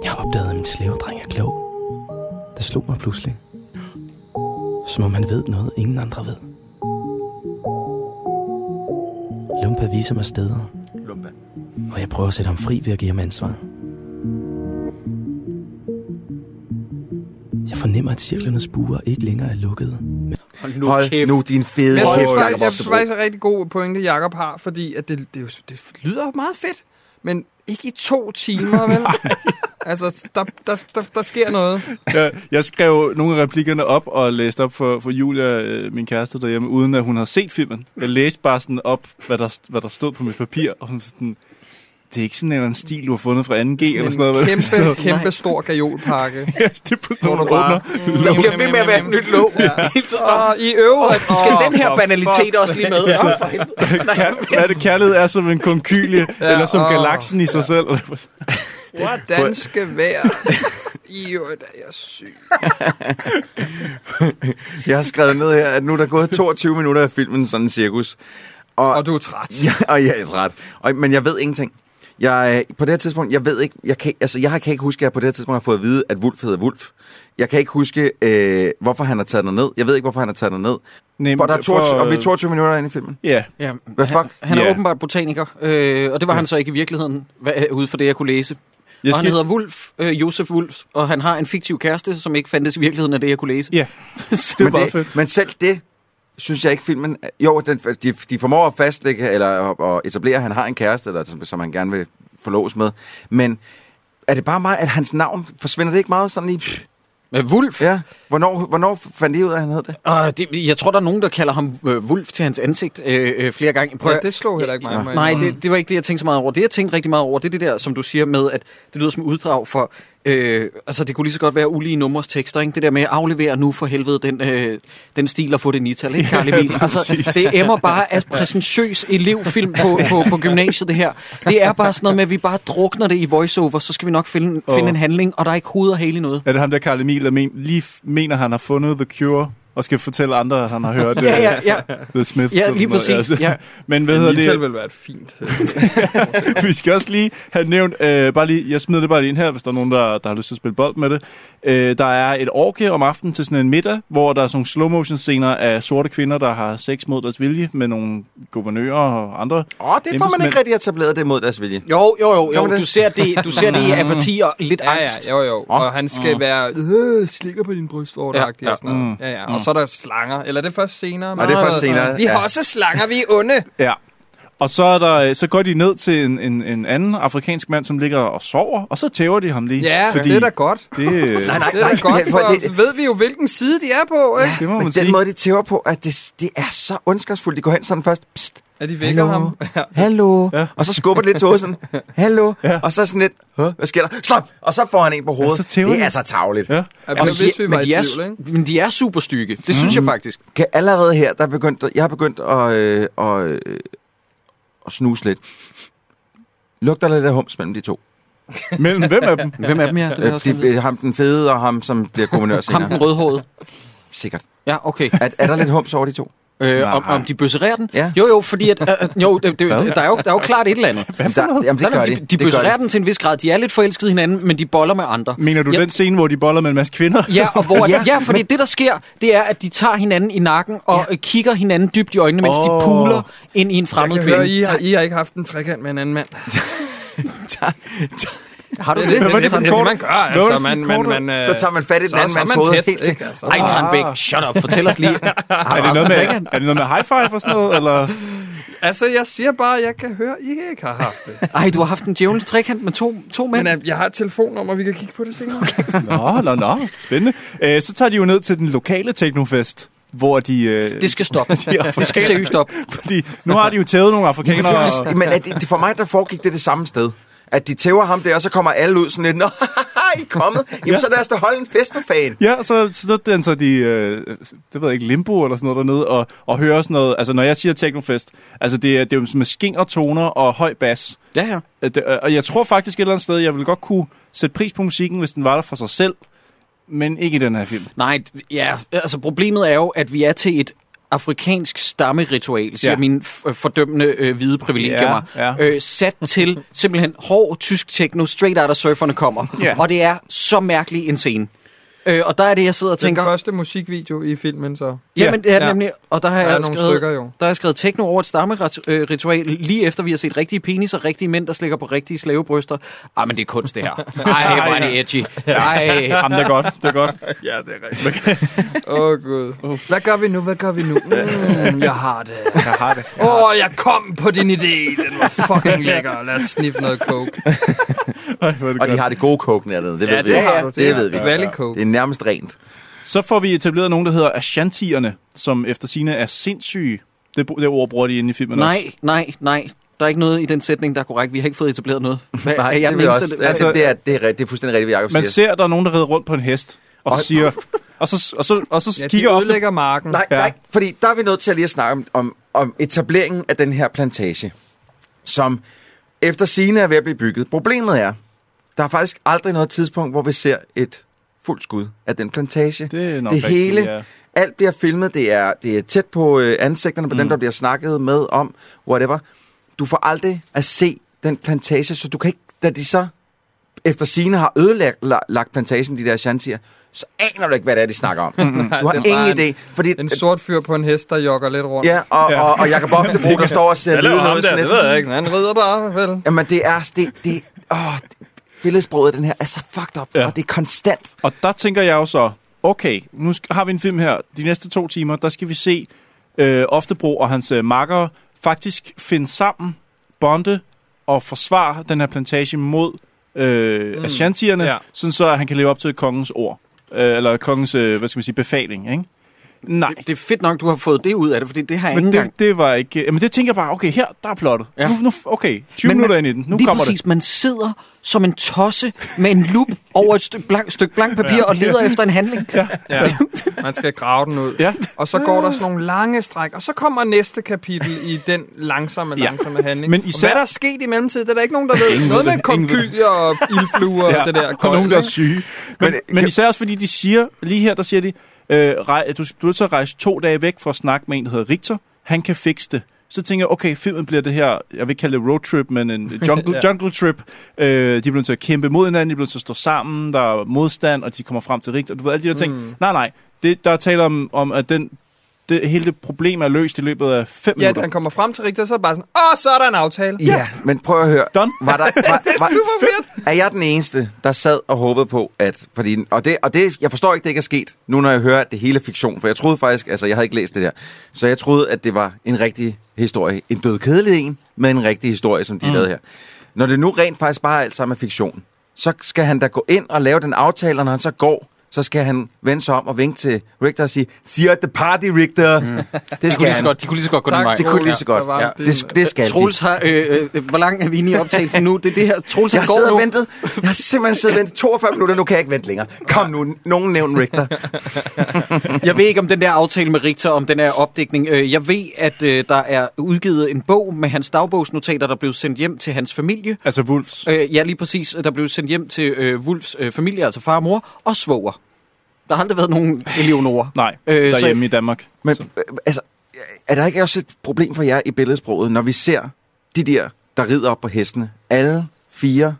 [SPEAKER 9] Jeg har opdaget, at min slavedreng er klog. Det slog mig pludselig. Som om han ved noget, ingen andre ved. Lumpa viser mig steder,
[SPEAKER 8] Lumba.
[SPEAKER 9] og jeg prøver at sætte ham fri ved at give ham ansvar. Jeg fornemmer, at cirklernes buer ikke længere er lukkede.
[SPEAKER 1] Hold nu
[SPEAKER 8] Hold
[SPEAKER 1] kæft.
[SPEAKER 8] nu din fede
[SPEAKER 7] Men jeg synes
[SPEAKER 8] kæft,
[SPEAKER 7] faktisk,
[SPEAKER 8] Jakob
[SPEAKER 7] jeg synes
[SPEAKER 8] Oftebro.
[SPEAKER 7] faktisk, det er rigtig god pointe, Jakob har, fordi at det, det, er jo, det lyder meget fedt, men ikke i to timer, vel? altså, der, der, der, der sker noget.
[SPEAKER 6] jeg, jeg skrev nogle af replikkerne op og læste op for, for Julia, øh, min kæreste derhjemme, uden at hun havde set filmen. Jeg læste bare sådan op, hvad der, hvad der stod på mit papir, og hun var sådan... det er ikke sådan en eller anden stil, du har fundet fra 2G eller sådan noget.
[SPEAKER 7] en
[SPEAKER 6] vel? Sådan
[SPEAKER 7] kæmpe,
[SPEAKER 6] noget.
[SPEAKER 7] kæmpe stor gajolpakke.
[SPEAKER 6] *laughs* Ja, det er på
[SPEAKER 7] Hvor
[SPEAKER 6] sådan noget,
[SPEAKER 7] du
[SPEAKER 6] der åbner.
[SPEAKER 7] bare...
[SPEAKER 1] Der bliver ved med at være et nyt låg. *laughs* Hele tiden. Åh,
[SPEAKER 7] Og i øvrigt...
[SPEAKER 1] Skal
[SPEAKER 7] Åh,
[SPEAKER 1] den her
[SPEAKER 7] for
[SPEAKER 1] banalitet
[SPEAKER 7] fuck's
[SPEAKER 1] også lige med? Åh, for helvede.
[SPEAKER 7] *laughs*
[SPEAKER 6] Kær- Hvad er det, kærlighed er som en konkylie,
[SPEAKER 7] Ja,
[SPEAKER 6] eller som
[SPEAKER 7] åh.
[SPEAKER 6] galaksen i sig selv?
[SPEAKER 7] Det danske vejr. I øvrigt er jeg syg.
[SPEAKER 8] Jeg har skrevet ned her, at nu er der gået 22 minutter af filmen, sådan cirkus.
[SPEAKER 7] Og du er træt.
[SPEAKER 8] Ja, og jeg er træt. Og, men jeg ved ingenting. Jeg, øh, på det her tidspunkt, jeg ved ikke, jeg kan, altså, jeg kan ikke huske, at jeg på det her tidspunkt har fået at vide, at Wulf hedder Wulf. Jeg kan ikke huske, øh, hvorfor han har taget noget ned. Jeg ved ikke, hvorfor han har taget noget ned.
[SPEAKER 6] *laughs* Nej,
[SPEAKER 8] For der er 22, og vi er 22 minutter inde i filmen.
[SPEAKER 6] Ja,
[SPEAKER 1] Ja,
[SPEAKER 8] Hvad
[SPEAKER 1] han-
[SPEAKER 8] fuck?
[SPEAKER 1] Han er
[SPEAKER 6] Ja.
[SPEAKER 1] åbenbart botaniker, øh, og det var han så ikke i virkeligheden, hvad, øh, ude fra det, jeg kunne læse.
[SPEAKER 6] jeg
[SPEAKER 1] Og han
[SPEAKER 6] skal...
[SPEAKER 1] hedder Wulf, øh, Josef Wulf, og han har en fiktiv kæreste, som ikke fandtes i virkeligheden af det, jeg kunne læse.
[SPEAKER 6] Ja, *laughs* det
[SPEAKER 8] Men,
[SPEAKER 6] var fedt.
[SPEAKER 8] det, men selv det, synes jeg ikke filmen... Jo, den, de, de formår at fastlægge eller at etablere, at han har en kæreste, eller, som, som han gerne vil forlås med. Men er det bare mig, at hans navn forsvinder det ikke meget sådan i...
[SPEAKER 1] Øh, Wulf?
[SPEAKER 8] Ja, hvornår, hvornår fandt I ud af, at han hed det?
[SPEAKER 1] Og Ah, det, jeg tror, der er nogen, der kalder ham øh, Wulf til hans ansigt øh, øh, flere gange.
[SPEAKER 7] Ja,
[SPEAKER 1] at-
[SPEAKER 7] det slog heller ikke mig. må jeg
[SPEAKER 1] Nej,
[SPEAKER 7] indrømme.
[SPEAKER 1] det, det var ikke det, jeg tænkte så meget over. Det, jeg tænkte rigtig meget over, det er det der, som du siger med, at det lyder som uddrag for... Øh, altså, det kunne lige så godt være ulige numres tekster, ikke? Det der med at aflevere nu for helvede den, øh, den stil og få det nital, ikke, Carl Emil? Altså, det emmer bare af præsentøs elevfilm på, på, på gymnasiet, det her. Det er bare sådan noget med, at vi bare drukner det i voiceover, så skal vi nok finde,
[SPEAKER 6] Åh.
[SPEAKER 1] oh. finde en handling, og der er ikke hoved og hale i noget.
[SPEAKER 6] Er det ham der, Karl Emil, der men, lige f- mener, han har fundet The Cure, og skal fortælle andre, at han har
[SPEAKER 1] *laughs*
[SPEAKER 6] hørt
[SPEAKER 1] Ja,
[SPEAKER 6] øh,
[SPEAKER 1] ja, ja.
[SPEAKER 6] The Smith?
[SPEAKER 1] Ja,
[SPEAKER 6] eller
[SPEAKER 1] lige
[SPEAKER 6] noget,
[SPEAKER 1] præcis.
[SPEAKER 6] altså.
[SPEAKER 1] Ja.
[SPEAKER 6] Men hvad hedder
[SPEAKER 7] Det
[SPEAKER 6] det?
[SPEAKER 7] Nital vil være et fint.
[SPEAKER 6] *laughs* Vi skal også lige have nævnt, øh, bare lige, jeg smider det bare lige ind her, hvis der er nogen, der, der har lyst til at spille bold med det. Øh, der er et orke om aftenen til sådan en middag, hvor der er sådan nogle slow motion scener af sorte kvinder, der har sex mod deres vilje med nogle guvernører og andre.
[SPEAKER 8] Åh, oh, det får man
[SPEAKER 6] Embedsmænd.
[SPEAKER 8] ikke rigtig etableret det mod deres vilje.
[SPEAKER 1] Jo, jo, jo,
[SPEAKER 8] Jamen,
[SPEAKER 1] jo.
[SPEAKER 8] det-
[SPEAKER 1] Du ser det, du ser det i apati og lidt
[SPEAKER 7] Ja, ja,
[SPEAKER 1] angst.
[SPEAKER 7] jo, jo. Og han skal være, øh, slikker på din bryst, over ja, Mm.
[SPEAKER 1] Ja,
[SPEAKER 7] og sådan noget. Ja, ja. Og så er der slanger. Eller er det først senere?
[SPEAKER 8] Nej, det er først senere.
[SPEAKER 7] Vi har også slanger, vi er onde.
[SPEAKER 6] Ja. Og så, er der, øh, så går de ned til en, en, en anden afrikansk mand, som ligger og sover, og så tæver de ham lige.
[SPEAKER 7] Ja, Fordi... det er da godt.
[SPEAKER 6] Det, øh,
[SPEAKER 8] Nej, nej,
[SPEAKER 7] Det er da godt,
[SPEAKER 8] men- for
[SPEAKER 7] for
[SPEAKER 8] det-
[SPEAKER 7] ved vi jo, hvilken side de er på, ikke?
[SPEAKER 6] det må
[SPEAKER 8] Men
[SPEAKER 6] man sige.
[SPEAKER 8] den måde, de tæver på, at det, det er så ondskabsfuldt. De går hen sådan først, pst,
[SPEAKER 7] At de vækker
[SPEAKER 8] Hallo.
[SPEAKER 7] ham. Ja.
[SPEAKER 8] hallo,
[SPEAKER 6] Ja.
[SPEAKER 8] ja. og så skubber det lidt til hovedet
[SPEAKER 6] *laughs*
[SPEAKER 8] sådan, hallo, ja. og så sådan lidt, "Hå, hvad sker der? Slap! Og så får han en på hovedet.
[SPEAKER 6] så
[SPEAKER 8] Ja,
[SPEAKER 6] tæver
[SPEAKER 8] det er
[SPEAKER 6] de.
[SPEAKER 8] så tavligt. Ja.
[SPEAKER 6] Ja.
[SPEAKER 7] Ja,
[SPEAKER 1] Men
[SPEAKER 7] men, hvis
[SPEAKER 1] de-
[SPEAKER 7] vi var i
[SPEAKER 1] men de er
[SPEAKER 7] tvivl, ikke?
[SPEAKER 1] su- Men de er superstykke. Det synes jeg faktisk.
[SPEAKER 8] Kan allerede her, der er begyndt, jeg har begyndt at, øh, og, øh, at snuse lidt. Lugter lidt af hums mellem de to.
[SPEAKER 6] Mellem hvem af dem?
[SPEAKER 1] Hvem er dem her? Det vil jeg
[SPEAKER 8] Øh,
[SPEAKER 1] også gerne vide.
[SPEAKER 8] de, ham den fede og ham, som bliver kommunør
[SPEAKER 1] Ham den
[SPEAKER 8] senere.
[SPEAKER 1] rødhårede.
[SPEAKER 8] Sikkert.
[SPEAKER 1] Ja, okay.
[SPEAKER 8] Er, er der lidt hums over de to?
[SPEAKER 1] Øh, om,
[SPEAKER 6] Nej.
[SPEAKER 1] om de bøsserer den?
[SPEAKER 8] Ja.
[SPEAKER 1] Jo, jo, fordi at, øh, jo, det, det, der, er jo, der er jo klart et eller andet.
[SPEAKER 8] Jamen, der, jamen, det
[SPEAKER 1] Nej,
[SPEAKER 8] gør
[SPEAKER 1] nej,
[SPEAKER 8] de.
[SPEAKER 1] de, de
[SPEAKER 8] Det gør
[SPEAKER 1] bøsserer den til en vis grad. De er lidt forelskede i hinanden, men de boller med andre.
[SPEAKER 6] Mener du
[SPEAKER 1] Ja.
[SPEAKER 6] den scene, hvor de boller med en masse kvinder?
[SPEAKER 1] Ja, og hvor,
[SPEAKER 8] Ja,
[SPEAKER 1] ja, ja, fordi det, der sker, det er, at de tager hinanden i nakken og ja. kigger hinanden dybt i øjnene, mens oh.
[SPEAKER 6] Åh.
[SPEAKER 1] de puler ind i en fremmed
[SPEAKER 7] Jeg hører,
[SPEAKER 1] kvinde.
[SPEAKER 7] I har, I har ikke haft en trekant med en anden
[SPEAKER 8] *laughs*
[SPEAKER 7] mand.
[SPEAKER 1] Har du
[SPEAKER 7] Det, det, det,
[SPEAKER 6] var
[SPEAKER 7] det, det,
[SPEAKER 6] det
[SPEAKER 7] det,
[SPEAKER 6] for en
[SPEAKER 7] det,
[SPEAKER 6] kort-
[SPEAKER 7] man gør,
[SPEAKER 6] Hvad
[SPEAKER 7] altså.
[SPEAKER 6] var det for
[SPEAKER 7] Man,
[SPEAKER 6] en
[SPEAKER 7] man,
[SPEAKER 6] kort-
[SPEAKER 7] man, øh,
[SPEAKER 8] Så tager man fat i den
[SPEAKER 7] så- så
[SPEAKER 8] anden
[SPEAKER 7] er
[SPEAKER 8] mands
[SPEAKER 7] man
[SPEAKER 8] hoved
[SPEAKER 7] tæt,
[SPEAKER 8] helt til.
[SPEAKER 7] ikke? Altså.
[SPEAKER 1] Ej, Tranbæk, shut up. Fortæl os lige.
[SPEAKER 6] Er det, noget med, er det noget med high five og sådan noget? Eller?
[SPEAKER 7] altså, jeg siger bare, at jeg kan høre, at I ikke har haft det.
[SPEAKER 1] Ej, du har haft en djævelens trekant med to, to mænd.
[SPEAKER 7] Men øh, jeg har et telefonnummer, vi kan kigge på det senere.
[SPEAKER 6] Nå, nå, nå. Spændende. Øh, så tager de jo ned til den lokale teknofest, hvor de...
[SPEAKER 1] *laughs*
[SPEAKER 6] Øh,
[SPEAKER 1] Det skal
[SPEAKER 7] *laughs*
[SPEAKER 1] stoppe. Det skal seriøst stoppe.
[SPEAKER 6] Fordi nu har de jo taget nogle afrikanere.
[SPEAKER 8] Det er
[SPEAKER 6] og-
[SPEAKER 8] også, men er det, det, for mig, der foregik det det samme sted. At de tæver ham der, og så kommer alle ud sådan lidt, Nå, I er kommet. Jamen,
[SPEAKER 6] Ja.
[SPEAKER 8] så lad os da holde en fest for fan.
[SPEAKER 6] Ja, så så den så de, øh, det ved jeg ikke, limbo eller sådan noget dernede, og, og høre sådan noget, altså når jeg siger teknofest, altså det, er- det er jo med sking og toner og høj bas,
[SPEAKER 1] Ja, ja.
[SPEAKER 6] Øh, det- øh, og jeg tror faktisk et eller andet sted, jeg ville godt kunne sætte pris på musikken, hvis den var der for sig selv, men ikke i den her film.
[SPEAKER 1] Nej, d- ja, altså problemet er jo, at vi er til et afrikansk stammeritual, siger
[SPEAKER 6] Ja.
[SPEAKER 1] ja. mine f- fordømmende øh, hvide privilegier
[SPEAKER 6] Ja,
[SPEAKER 1] mig.
[SPEAKER 6] ja.
[SPEAKER 1] Øh, sat til simpelthen hård tysk techno, straight out af surferne kommer.
[SPEAKER 6] Ja.
[SPEAKER 1] Og det er så mærkelig en scene. Øh, og der er det, jeg sidder og
[SPEAKER 7] Den
[SPEAKER 1] tænker...
[SPEAKER 7] første musikvideo i filmen, så.
[SPEAKER 1] Jamen, det er
[SPEAKER 7] Ja.
[SPEAKER 1] ja. nemlig... Og der har
[SPEAKER 7] Der er
[SPEAKER 1] jeg
[SPEAKER 7] nogle
[SPEAKER 1] skrevet,
[SPEAKER 7] stykker, jo.
[SPEAKER 1] Der har jeg skrevet techno over et stammeritual, øh, lige efter vi har set rigtige penis og rigtige mænd, der slikker på rigtige slavebryster. Ej, men det er kunst, det her. Ej, hvor er det edgy. Ej.
[SPEAKER 6] Jamen, det er godt, det er godt.
[SPEAKER 7] Ja, det er rigtigt. Åh, oh, Gud. Hvad gør vi nu? Hvad gør vi nu? Mm, jeg har det. Jeg har det. Åh, oh, jeg kom på din idé. Den var fucking lækker. Lad os sniffe noget coke.
[SPEAKER 6] *laughs* Ej, hvor er det
[SPEAKER 8] Og de
[SPEAKER 6] godt.
[SPEAKER 8] har det gode coke dernede, det ved vi.
[SPEAKER 7] det har du.
[SPEAKER 8] Det, det ved vi.
[SPEAKER 7] Valley coke.
[SPEAKER 8] Det er nærmest rent.
[SPEAKER 6] Så får vi etableret nogen, der hedder Ashantierne, som efter sine er sindssyge. Det, br- det ord bruger de inde i filmen også.
[SPEAKER 1] Nej, nej, nej. Der er ikke noget i den sætning, der er korrekt. Vi har ikke fået etableret noget. Hvad,
[SPEAKER 8] Nej,
[SPEAKER 1] er jeg
[SPEAKER 8] det, vil jeg
[SPEAKER 1] mindste-
[SPEAKER 8] også, det, altså,
[SPEAKER 6] altså-
[SPEAKER 8] det, er, det, er, ri- det er fuldstændig rigtigt, hvad Jacob
[SPEAKER 6] Man
[SPEAKER 8] siger.
[SPEAKER 6] ser, der er nogen, der rider rundt på en hest, og,
[SPEAKER 8] Og-
[SPEAKER 6] og siger... Og så, og så, og så
[SPEAKER 7] Ja,
[SPEAKER 6] kigger
[SPEAKER 7] de
[SPEAKER 6] ofte...
[SPEAKER 7] ødelægger marken. *laughs*
[SPEAKER 8] Nej, ja.
[SPEAKER 6] Ja.
[SPEAKER 8] nej, fordi der er vi nødt til at lige at snakke om, om, om etableringen af den her plantage, som efter sine er ved at blive bygget. Problemet er, der er faktisk aldrig noget tidspunkt, hvor vi ser et fuldt skud af den plantage.
[SPEAKER 6] Det, er nok
[SPEAKER 8] det
[SPEAKER 6] rigtigt,
[SPEAKER 8] hele
[SPEAKER 6] ja.
[SPEAKER 8] Alt bliver filmet, det er, det er tæt på øh, ansigterne på mm. dem, der bliver snakket med om, whatever. Du får aldrig at se den plantage, så du kan ikke, da de så efter sine har ødelagt la- lagt plantagen, de der shantier, så aner du ikke, hvad det er, de snakker
[SPEAKER 7] *laughs*
[SPEAKER 8] om. du har
[SPEAKER 7] det er bare
[SPEAKER 8] ingen idé, fordi...
[SPEAKER 7] En sort fyr på en hest, der jogger lidt rundt.
[SPEAKER 8] Ja, og, ja. og, og Jacob
[SPEAKER 7] *laughs*
[SPEAKER 8] Oftebro, der står og ser lede noget sådan
[SPEAKER 7] det
[SPEAKER 8] lidt.
[SPEAKER 7] ved jeg ikke. Han rider bare, vel?
[SPEAKER 8] Jamen, det er... Det, det, åh, det, billedsproget af den her er så fucked up, ja.
[SPEAKER 6] Ja.
[SPEAKER 8] og det er konstant.
[SPEAKER 6] Og der tænker jeg jo så, okay, nu sk- har vi en film her. De næste to timer, der skal vi se øh, Oftebro og hans øh, makker faktisk finde sammen, bonde og forsvare den her plantage mod øh,
[SPEAKER 7] Mm.
[SPEAKER 6] mm. Ashantierne,
[SPEAKER 7] Ja.
[SPEAKER 6] ja. sådan så at han kan leve op til kongens ord. Øh, eller kongens, øh, hvad skal man sige, befaling, ikke? Nej,
[SPEAKER 1] Det, det er fedt nok, du har fået det ud af det, fordi det har jeg ikke
[SPEAKER 6] men
[SPEAKER 1] engang.
[SPEAKER 6] det, det var ikke... Men det tænker jeg bare, okay, her, der er plottet.
[SPEAKER 1] Ja.
[SPEAKER 6] Ja. Nu, nu, okay, 20
[SPEAKER 1] Men-
[SPEAKER 6] men,
[SPEAKER 1] men
[SPEAKER 6] minutter ind i den, nu
[SPEAKER 1] Lige
[SPEAKER 6] kommer
[SPEAKER 1] præcis, man sidder som en tosse med en *laughs* lup over et stykke blank, stykke blank papir ja. og leder efter en handling. Ja.
[SPEAKER 7] Ja. Altså,
[SPEAKER 6] *laughs*
[SPEAKER 7] Man skal grave den ud.
[SPEAKER 6] Ja.
[SPEAKER 7] Og så går der sådan nogle lange stræk, og så kommer næste kapitel i den langsomme,
[SPEAKER 6] Ja.
[SPEAKER 7] langsomme handling.
[SPEAKER 6] Men
[SPEAKER 7] Og
[SPEAKER 6] især-
[SPEAKER 7] hvad der er sket i mellemtiden, det er der ikke nogen, der ved. Noget
[SPEAKER 6] ved
[SPEAKER 7] med
[SPEAKER 6] det. Ingen ved
[SPEAKER 7] konkylier og ildfluer og det der.
[SPEAKER 6] Og nogen, der er
[SPEAKER 7] gøjl,
[SPEAKER 6] syge. Men,
[SPEAKER 8] Men,
[SPEAKER 6] men, men især også, fordi de siger, lige her, der siger de, øh, rej, du du er nødt til at rejse to dage væk for at snakke med en, der hedder Richter. Han kan fikse det. Så tænker jeg, okay, filmen bliver det her, jeg vil ikke kalde det road trip, men *laughs* en jungle,
[SPEAKER 7] Ja.
[SPEAKER 6] ja. jungle trip. Øh, de bliver nødt til at kæmpe mod hinanden, de bliver nødt til at stå sammen, der er modstand, og de kommer frem til Richter. Du ved, alle de der ting.
[SPEAKER 7] Mm.
[SPEAKER 6] Mm. Nej, nej, det, der er tale om, om at den, det, hele det problem er løst i løbet af fem
[SPEAKER 7] Mm. Ja, da
[SPEAKER 6] minutter.
[SPEAKER 7] han kommer frem til Richter, så er det bare sådan, åh, så er der en aftale.
[SPEAKER 8] Ja. ja, men prøv at høre.
[SPEAKER 6] Done.
[SPEAKER 7] *laughs*
[SPEAKER 8] Var der, var, var,
[SPEAKER 7] Super fedt.
[SPEAKER 8] er jeg den eneste, der sad og håbede på, at... Fordi, og det, og det, jeg forstår ikke, det ikke er sket, nu når jeg hører, at det hele er fiktion. For jeg troede faktisk... Altså, jeg havde ikke læst det der. Så jeg troede, at det var en rigtig historie. En død kedelig en, men en rigtig historie, som de mm. lavede her. Når det nu rent faktisk bare alt sammen er fiktion, så skal han da gå ind og lave den aftale, og når han så går, så skal han vende sig om og vinke til Richter og sige, See you at the party, Richter! Mm. Det skal han.
[SPEAKER 1] de kunne lige så godt gå
[SPEAKER 7] Tak.
[SPEAKER 8] Det kunne lige så
[SPEAKER 7] Ja,
[SPEAKER 8] godt.
[SPEAKER 7] der var
[SPEAKER 8] Ja.
[SPEAKER 7] en-
[SPEAKER 8] Det, det skal de.
[SPEAKER 1] Troels har, øh, øh, hvor lang er vi inde i optagelsen nu? Det er det her, Troels
[SPEAKER 8] Jeg
[SPEAKER 1] han
[SPEAKER 8] har siddet
[SPEAKER 1] går
[SPEAKER 8] og
[SPEAKER 1] nu.
[SPEAKER 8] ventet. Jeg har simpelthen siddet og ventet 42 minutter. Nu kan jeg ikke vente længere. Kom nu, nogen nævn Richter.
[SPEAKER 1] Jeg ved ikke, om den der aftale med Richter, om den her opdækning. Øh, Jeg ved, at øh, der er udgivet en bog med hans dagbogsnotater, der blev sendt hjem til hans familie.
[SPEAKER 6] Altså Wolves.
[SPEAKER 1] Øh, ja, lige præcis. Der blev sendt hjem til øh, Wulfs øh, familie, altså far og mor, og svoger. Der har aldrig været nogen Eleonora.
[SPEAKER 6] Nej,
[SPEAKER 1] Øh,
[SPEAKER 6] øh,
[SPEAKER 1] så-
[SPEAKER 6] derhjemme i Danmark.
[SPEAKER 8] Men øh, altså, er der ikke også et problem for jer i billedsproget, når vi ser de der, der rider op på hestene? Alle fire,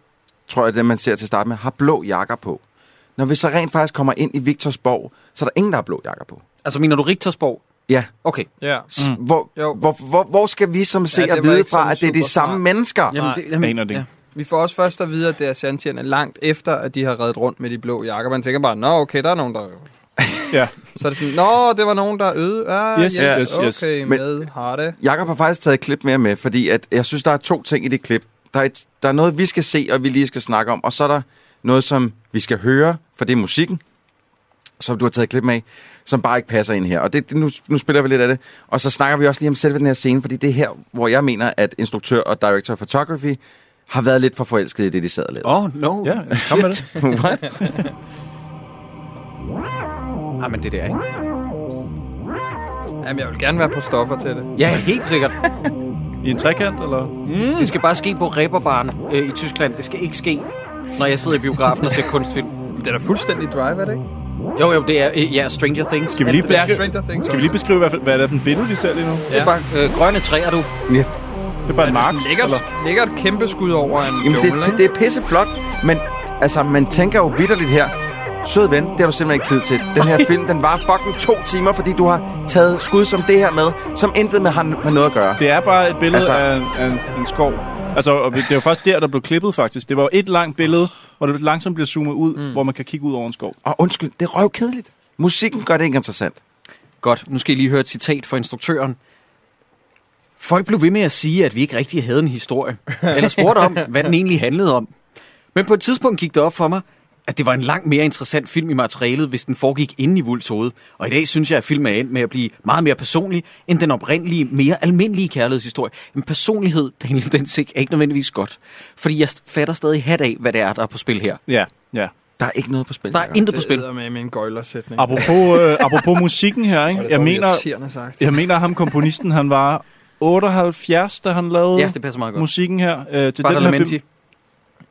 [SPEAKER 8] tror jeg, dem man ser til at starte med, har blå jakker på. Når vi så rent faktisk kommer ind i Victorsborg, så er der ingen, der har blå jakker på.
[SPEAKER 1] Altså, mener du Rigtersborg?
[SPEAKER 8] Ja,
[SPEAKER 1] Okay.
[SPEAKER 7] Ja.
[SPEAKER 8] mm. hvor,
[SPEAKER 7] Jo.
[SPEAKER 8] hvor, hvor, hvor skal vi som
[SPEAKER 7] Ja,
[SPEAKER 8] ser
[SPEAKER 7] det
[SPEAKER 8] ja,
[SPEAKER 7] var
[SPEAKER 8] vide
[SPEAKER 7] ikke sådan
[SPEAKER 8] fra, at det er de
[SPEAKER 7] super
[SPEAKER 8] samme
[SPEAKER 7] smart.
[SPEAKER 8] mennesker?
[SPEAKER 1] Jamen,
[SPEAKER 7] Nej,
[SPEAKER 1] det, jamen,
[SPEAKER 6] aner det
[SPEAKER 1] ja.
[SPEAKER 6] ikke.
[SPEAKER 7] Vi får også først at vide, at det er Shantian langt efter, at de har reddet rundt med de blå jakker. Man tænker bare, nå, okay, der er nogen, der...
[SPEAKER 6] Ja.
[SPEAKER 7] Så er det sådan, nå, det var nogen, der øde. Ah,
[SPEAKER 6] Yes, yes, yes.
[SPEAKER 7] Okay,
[SPEAKER 8] Men-
[SPEAKER 7] med har det.
[SPEAKER 8] Jakob har faktisk taget et klip mere med, fordi at jeg synes, der er to ting i det klip. Der er, et, der er noget, vi skal se, og vi lige skal snakke om, og så er der noget, som vi skal høre, for det er musikken, som du har taget et klip med, som bare ikke passer ind her. Og det, det- nu, nu spiller vi lidt af det, og så snakker vi også lige om selve den her scene, fordi det er her, hvor jeg mener, at instruktør og director of photography har været lidt for forelsket i det, de sad og lavede.
[SPEAKER 1] Oh, no.
[SPEAKER 6] Ja, kom med det.
[SPEAKER 8] What?
[SPEAKER 1] Ah, men det der, ikke?
[SPEAKER 7] Jamen, jeg vil gerne være på stoffer til det.
[SPEAKER 1] Ja, helt sikkert.
[SPEAKER 6] I en trekant, eller?
[SPEAKER 1] Det skal bare ske på ræberbaren øh, i Tyskland. Det skal ikke ske, når jeg sidder i biografen og ser kunstfilm.
[SPEAKER 7] Det er da fuldstændig drive, er det ikke?
[SPEAKER 1] Jo, jo, det er øh, ja, Stranger Things.
[SPEAKER 6] Skal vi lige
[SPEAKER 7] Det er
[SPEAKER 6] beskrive,
[SPEAKER 7] Stranger Things.
[SPEAKER 6] skal vi lige beskrive hvad, for- hvad det er for en billede, vi ser lige nu?
[SPEAKER 1] Det er bare øh, grønne træer, du.
[SPEAKER 6] Det er bare
[SPEAKER 7] Det
[SPEAKER 6] en
[SPEAKER 7] er
[SPEAKER 6] mark.
[SPEAKER 7] sådan lækkert, lækkert kæmpe skud over en
[SPEAKER 8] Jamen,
[SPEAKER 7] jungle,
[SPEAKER 8] det, det,
[SPEAKER 7] ikke?
[SPEAKER 8] det er pisseflot, men altså, man tænker jo vidderligt her, sød ven, det har du simpelthen ikke tid til. Den her film, den var fucking to timer, fordi du har taget skud som det her med, som intet med har med noget at gøre.
[SPEAKER 6] Det er bare et billede
[SPEAKER 8] Altså-
[SPEAKER 6] altså, af, en, af en, en skov. Altså, og vi- det var faktisk der, der blev klippet, faktisk. Det var et langt billede, hvor det langsomt bliver zoomet ud, mm. hvor man kan kigge ud over en skov.
[SPEAKER 8] Og undskyld, det er røvkedeligt. Musikken gør det ikke interessant.
[SPEAKER 1] Godt, nu skal I lige høre et citat fra instruktøren. Folk blev ved med at sige, at vi ikke rigtig
[SPEAKER 6] *laughs*
[SPEAKER 1] havde en historie. Eller spurgte om, hvad den egentlig handlede om. Men på et tidspunkt gik det op for mig, at det var en langt mere interessant film i materialet, hvis den foregik inde i Wulfs hoved. Og i dag synes jeg, at filmen er endt med at blive meget mere personlig, end den oprindelige, mere almindelige kærlighedshistorie. Men personlighed, Daniel Densig, er ikke nødvendigvis godt. Fordi jeg fatter stadig hat af, hvad det er, der er på spil her.
[SPEAKER 6] Ja, ja.
[SPEAKER 8] Der er ikke noget på spil.
[SPEAKER 1] Der er
[SPEAKER 8] Jacob.
[SPEAKER 1] intet på spil.
[SPEAKER 7] Det er med, med en gøjlersætning.
[SPEAKER 6] Apropos, øh, apropos musikken her, ikke? Jeg mener,
[SPEAKER 7] sagt.
[SPEAKER 6] jeg mener, ham komponisten, han var 78, da han lavede
[SPEAKER 1] Ja, det passer meget godt.
[SPEAKER 6] musikken her øh, til den her film.
[SPEAKER 1] Badalamenti.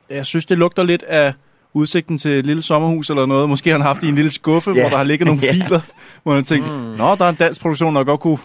[SPEAKER 6] Jeg synes, det lugter lidt af udsigten til et lille sommerhus eller noget. Måske har han haft det i en lille skuffe, yeah. hvor der har ligget nogle
[SPEAKER 8] Ja.
[SPEAKER 6] yeah. filer, hvor han tænkte, mm. nå, der er en dansk produktion, der godt kunne,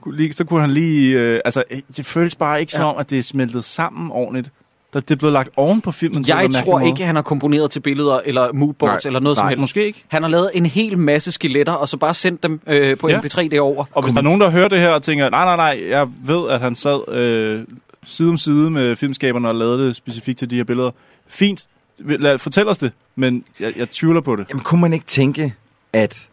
[SPEAKER 6] kunne lige, så kunne han lige... Øh, altså, øh, det føles bare ikke ja. som om, at det er smeltet sammen ordentligt. Der, det er blevet lagt oven på filmen. på en
[SPEAKER 1] Jeg
[SPEAKER 6] eller anden
[SPEAKER 1] tror
[SPEAKER 6] mærkelig
[SPEAKER 1] ikke, at han har komponeret til billeder eller moodboards
[SPEAKER 8] Nej,
[SPEAKER 1] eller noget som
[SPEAKER 6] måde.
[SPEAKER 1] helst.
[SPEAKER 6] Måske ikke.
[SPEAKER 1] Han har lavet en hel masse skeletter, og så bare sendt dem øh, på
[SPEAKER 6] Ja.
[SPEAKER 1] ja. MP3 derover.
[SPEAKER 6] Og hvis der er nogen, der hører det her og tænker, nej, nej, nej, jeg ved, at han sad øh, side om side med filmskaberne og lavede det specifikt til de her billeder. Fint, Lad, fortæl os det, men jeg, jeg tvivler på det.
[SPEAKER 8] Jamen, kunne man ikke tænke, at...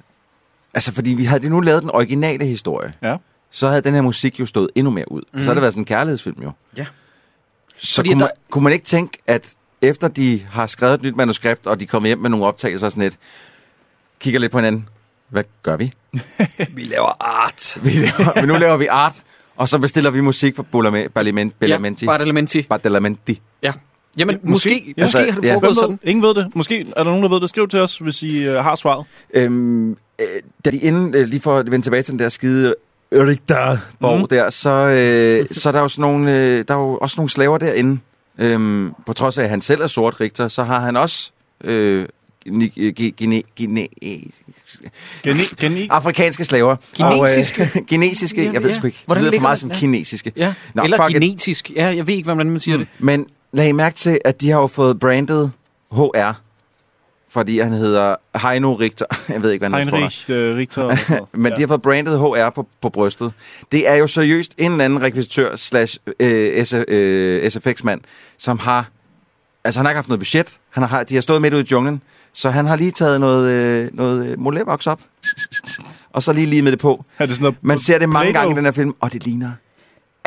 [SPEAKER 8] Altså, fordi vi havde nu lavet den originale historie.
[SPEAKER 6] Ja.
[SPEAKER 8] Så havde den her musik jo stået endnu mere ud. Mm. Så havde det været sådan en kærlighedsfilm jo.
[SPEAKER 1] Mhm. Ja.
[SPEAKER 8] Så
[SPEAKER 1] Fordi
[SPEAKER 8] kunne,
[SPEAKER 1] der-
[SPEAKER 8] man, kunne man ikke tænke, at efter de har skrevet et nyt manuskript, og de kommer hjem med nogle optagelser og sådan lidt, kigger lidt på hinanden. Hvad gør vi? *laughs*
[SPEAKER 7] Vi laver art.
[SPEAKER 8] vi laver, men nu laver vi art, og så bestiller vi musik fra Bolame- Parlament, Bellamenti.
[SPEAKER 1] Ja, Badalamenti.
[SPEAKER 8] Badalamenti.
[SPEAKER 1] Jamen,
[SPEAKER 6] Ja,
[SPEAKER 1] måske,
[SPEAKER 6] måske.
[SPEAKER 1] måske,
[SPEAKER 6] Ja.
[SPEAKER 1] ja. måske
[SPEAKER 8] Altså,
[SPEAKER 1] har det
[SPEAKER 8] ja.
[SPEAKER 6] Hvem
[SPEAKER 1] foregået
[SPEAKER 6] ved?
[SPEAKER 1] sådan.
[SPEAKER 6] det? Ingen ved det. Måske er der nogen, der ved det. Skriv til os, hvis I øh, har svaret.
[SPEAKER 8] Øhm, øh, da de inden, øh, lige for at vende tilbage til den der skide Rigterborg
[SPEAKER 6] Mhm.
[SPEAKER 8] mm. der, så, øh, så er der jo sådan nogle, øh, der er jo også nogle slaver derinde. Øhm, på trods af, at han selv er sort Richter, så har han også øh, gine, gine, gine,
[SPEAKER 6] Geni, geni.
[SPEAKER 8] Ah, afrikanske slaver.
[SPEAKER 1] Kinesiske?
[SPEAKER 8] Og, øh, *laughs* kinesiske, jeg ved
[SPEAKER 1] Ja,
[SPEAKER 8] sgu ikke.
[SPEAKER 1] hvordan
[SPEAKER 8] det lyder
[SPEAKER 1] ligger
[SPEAKER 8] for meget
[SPEAKER 1] det?
[SPEAKER 8] som
[SPEAKER 1] Ja.
[SPEAKER 8] kinesiske.
[SPEAKER 1] Ja.
[SPEAKER 8] Nå,
[SPEAKER 1] Eller
[SPEAKER 8] fuck it.
[SPEAKER 1] genetisk. Ja, jeg ved ikke, hvordan man siger mm. det.
[SPEAKER 8] Men lag I mærke til, at de har jo fået brandet HR, fordi han hedder Heino Richter. *laughs* Jeg ved ikke, hvad han hedder. tror jeg.
[SPEAKER 6] Heinrich øh, Richter. eller sådan noget.
[SPEAKER 8] Men ja. de har fået brandet HR på, på brystet. Det er jo seriøst en eller anden rekvisitør slash øh, SF, øh, SFX-mand, som har... Altså, han har ikke haft noget budget. Han har, de har stået midt ude i junglen, så han har lige taget noget, øh, noget øh, molevox op, og så lige lige med det på.
[SPEAKER 6] Er det sådan noget?
[SPEAKER 8] Man ser det mange
[SPEAKER 6] Play-Doh?
[SPEAKER 8] gange i den her film, og det ligner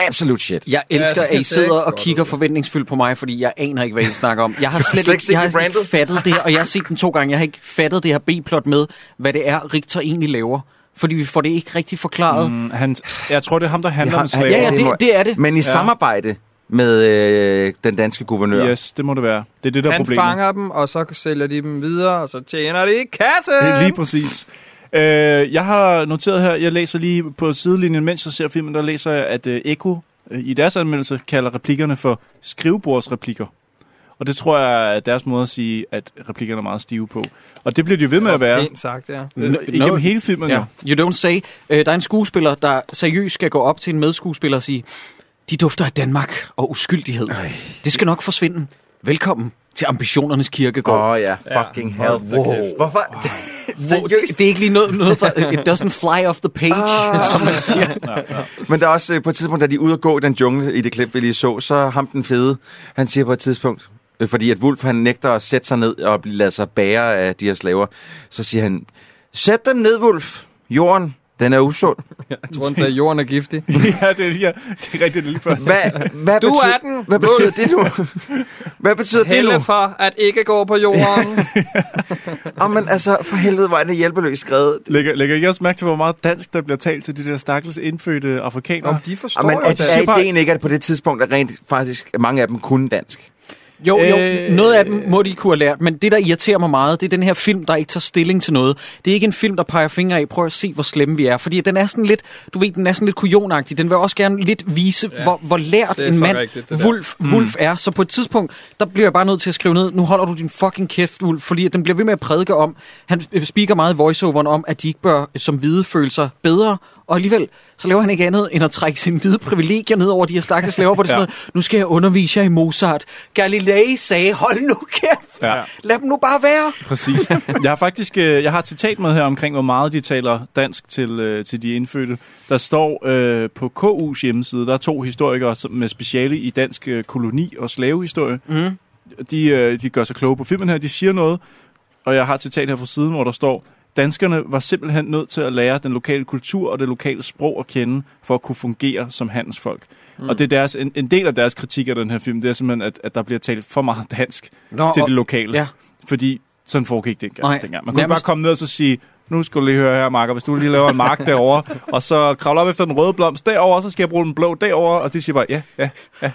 [SPEAKER 8] absolut shit.
[SPEAKER 1] Jeg elsker,
[SPEAKER 7] det
[SPEAKER 1] ja, at I
[SPEAKER 7] ser
[SPEAKER 1] sidder
[SPEAKER 7] ikke
[SPEAKER 1] og
[SPEAKER 7] godt
[SPEAKER 1] kigger
[SPEAKER 7] ud.
[SPEAKER 1] forventningsfuldt på mig, fordi jeg aner ikke, hvad I snakker om. Jeg har slet,
[SPEAKER 8] slet ikke
[SPEAKER 1] ikke,
[SPEAKER 8] set
[SPEAKER 1] jeg
[SPEAKER 8] det
[SPEAKER 1] har ikke
[SPEAKER 8] brandet.
[SPEAKER 1] fattet det her, og jeg har set den to gange. Jeg har ikke fattet det her B-plot med, hvad det er, Richter egentlig laver. Fordi vi får det ikke rigtig forklaret. Mm.
[SPEAKER 6] Mm, han, jeg tror, det er ham, der handler
[SPEAKER 8] har-
[SPEAKER 1] Ja,
[SPEAKER 6] om
[SPEAKER 1] ja,
[SPEAKER 6] slaver.
[SPEAKER 1] det, det er det.
[SPEAKER 8] Men i ja. samarbejde med øh, den danske guvernør.
[SPEAKER 6] Yes, det må det være. Det er det, der er
[SPEAKER 7] Han
[SPEAKER 6] problemet.
[SPEAKER 7] fanger dem, og så sælger de dem videre, og så tjener de kasse.
[SPEAKER 6] Det er lige præcis. Øh, jeg har noteret her, jeg læser lige på sidelinjen, mens jeg ser filmen, der læser jeg, at øh, Eko øh, i deres anmeldelse kalder replikkerne for skrivebordsreplikker. Og det tror jeg er deres måde at sige, at replikkerne er meget stive på. Og det bliver de jo ved med at være.
[SPEAKER 7] Pænt sagt, ja.
[SPEAKER 6] øh,
[SPEAKER 1] Nå-
[SPEAKER 6] Igennem
[SPEAKER 1] nå-
[SPEAKER 6] hele filmen.
[SPEAKER 1] Ja.
[SPEAKER 6] Ja.
[SPEAKER 1] You don't say. Øh, der er en skuespiller, der seriøst skal gå op til en medskuespiller og sige, de dufter af Danmark og uskyldighed. Øj. Det skal nok forsvinde. Velkommen til ambitionernes kirkegård.
[SPEAKER 8] Åh oh, ja, fucking
[SPEAKER 7] Ja.
[SPEAKER 8] hell.
[SPEAKER 7] Hold da kæft.
[SPEAKER 8] Hvorfor? *laughs*
[SPEAKER 1] Wow, det, det er ikke lige noget, noget for, it doesn't fly off the page, ah. som man siger.
[SPEAKER 8] Men der er også øh, på et tidspunkt, da de er ude og gå i den jungle i det klip, vi lige så, så er ham den fede, han siger på et tidspunkt, øh, fordi at Wolf han nægter at sætte sig ned og blive- lade sig bære af de her slaver, så siger han, sæt dem ned, Wolf. Jorden, den er
[SPEAKER 7] *laughs*
[SPEAKER 8] usund.
[SPEAKER 7] Jeg tror, han sagde, at jorden er giftig.
[SPEAKER 6] ja, det er, ja, det er rigtigt, det er lige før.
[SPEAKER 8] Hvad, hvad
[SPEAKER 7] Du
[SPEAKER 8] betyder,
[SPEAKER 7] er den!
[SPEAKER 8] Hvad betyder det nu?
[SPEAKER 7] *laughs*
[SPEAKER 8] Hvad betyder
[SPEAKER 7] Helle
[SPEAKER 8] det nu?
[SPEAKER 7] for at ikke gå på jorden.
[SPEAKER 8] Oh, men altså, for helvede, hvor er det hjælpeløst skrevet.
[SPEAKER 6] Lægger, lægger I også mærke til, hvor meget dansk, der bliver talt til de der stakkels indfødte afrikanere?
[SPEAKER 7] Om de forstår
[SPEAKER 8] Og man,
[SPEAKER 7] jo
[SPEAKER 8] er,
[SPEAKER 7] det.
[SPEAKER 6] siger
[SPEAKER 8] er
[SPEAKER 6] bare-
[SPEAKER 8] ideen ikke, at på det tidspunkt, at rent faktisk mange af dem kunne dansk?
[SPEAKER 1] Jo, jo,
[SPEAKER 6] Øh.
[SPEAKER 1] øh, noget af dem må de kunne have lært, men det, der irriterer mig meget, det er den her film, der ikke tager stilling til noget. Det er ikke en film, der peger fingre af, prøv at se, hvor slemme vi er. Fordi den er sådan lidt, du ved, den er sådan lidt kujonagtig. Den vil også gerne lidt vise, ja. hvor, hvor lært
[SPEAKER 7] Det er
[SPEAKER 1] en
[SPEAKER 7] så
[SPEAKER 1] mand
[SPEAKER 7] rigtigt, det der.
[SPEAKER 1] Wolf, mm. Wolf er. Så på et tidspunkt, der bliver jeg bare nødt til at skrive ned, nu holder du din fucking kæft, Wolf, fordi at den bliver ved med at prædike om, han øh, speaker meget i voiceoveren om, at de ikke bør øh, som hvide føle sig bedre, og alligevel, så laver han ikke andet, end at trække sine hvide privilegier ned over de her stakkels slaver, hvor det er sådan
[SPEAKER 6] Ja.
[SPEAKER 1] *laughs* noget, nu skal jeg undervise jer i Mozart. Galilei sagde, hold nu kæft!
[SPEAKER 6] Ja.
[SPEAKER 1] Ja. Lad dem nu bare være!
[SPEAKER 6] Præcis. Jeg har faktisk øh, jeg har et citat med her omkring, hvor meget de taler dansk til, øh, til de indfødte. Der står øh, på KU's hjemmeside, der er to historikere som- med speciale i dansk øh, koloni- og slavehistorie.
[SPEAKER 1] Mm.
[SPEAKER 6] De, øh, de gør sig kloge på filmen her, de siger noget, og jeg har et citat her fra siden, hvor der står, Danskerne var simpelthen nødt til at lære den lokale kultur og det lokale sprog at kende, for at kunne fungere som handelsfolk. Mm. Og det er deres, en, en del af deres kritik af den her film, det er simpelthen, at, at der bliver talt for meget dansk
[SPEAKER 1] Nå,
[SPEAKER 6] til
[SPEAKER 1] og-
[SPEAKER 6] det lokale.
[SPEAKER 1] Ja.
[SPEAKER 6] Fordi Sådan foregik det ikke
[SPEAKER 1] Nej,
[SPEAKER 6] Nej, dengang. Man kunne
[SPEAKER 1] nærmest-
[SPEAKER 6] bare komme ned og så sige, nu skal du lige høre her, Marker, hvis du lige laver en
[SPEAKER 1] *laughs*
[SPEAKER 6] mark derovre, og så kravler op efter den røde blomst derovre, så skal jeg bruge den blå derovre, og de siger bare, ja, ja,
[SPEAKER 1] *laughs*
[SPEAKER 6] ja.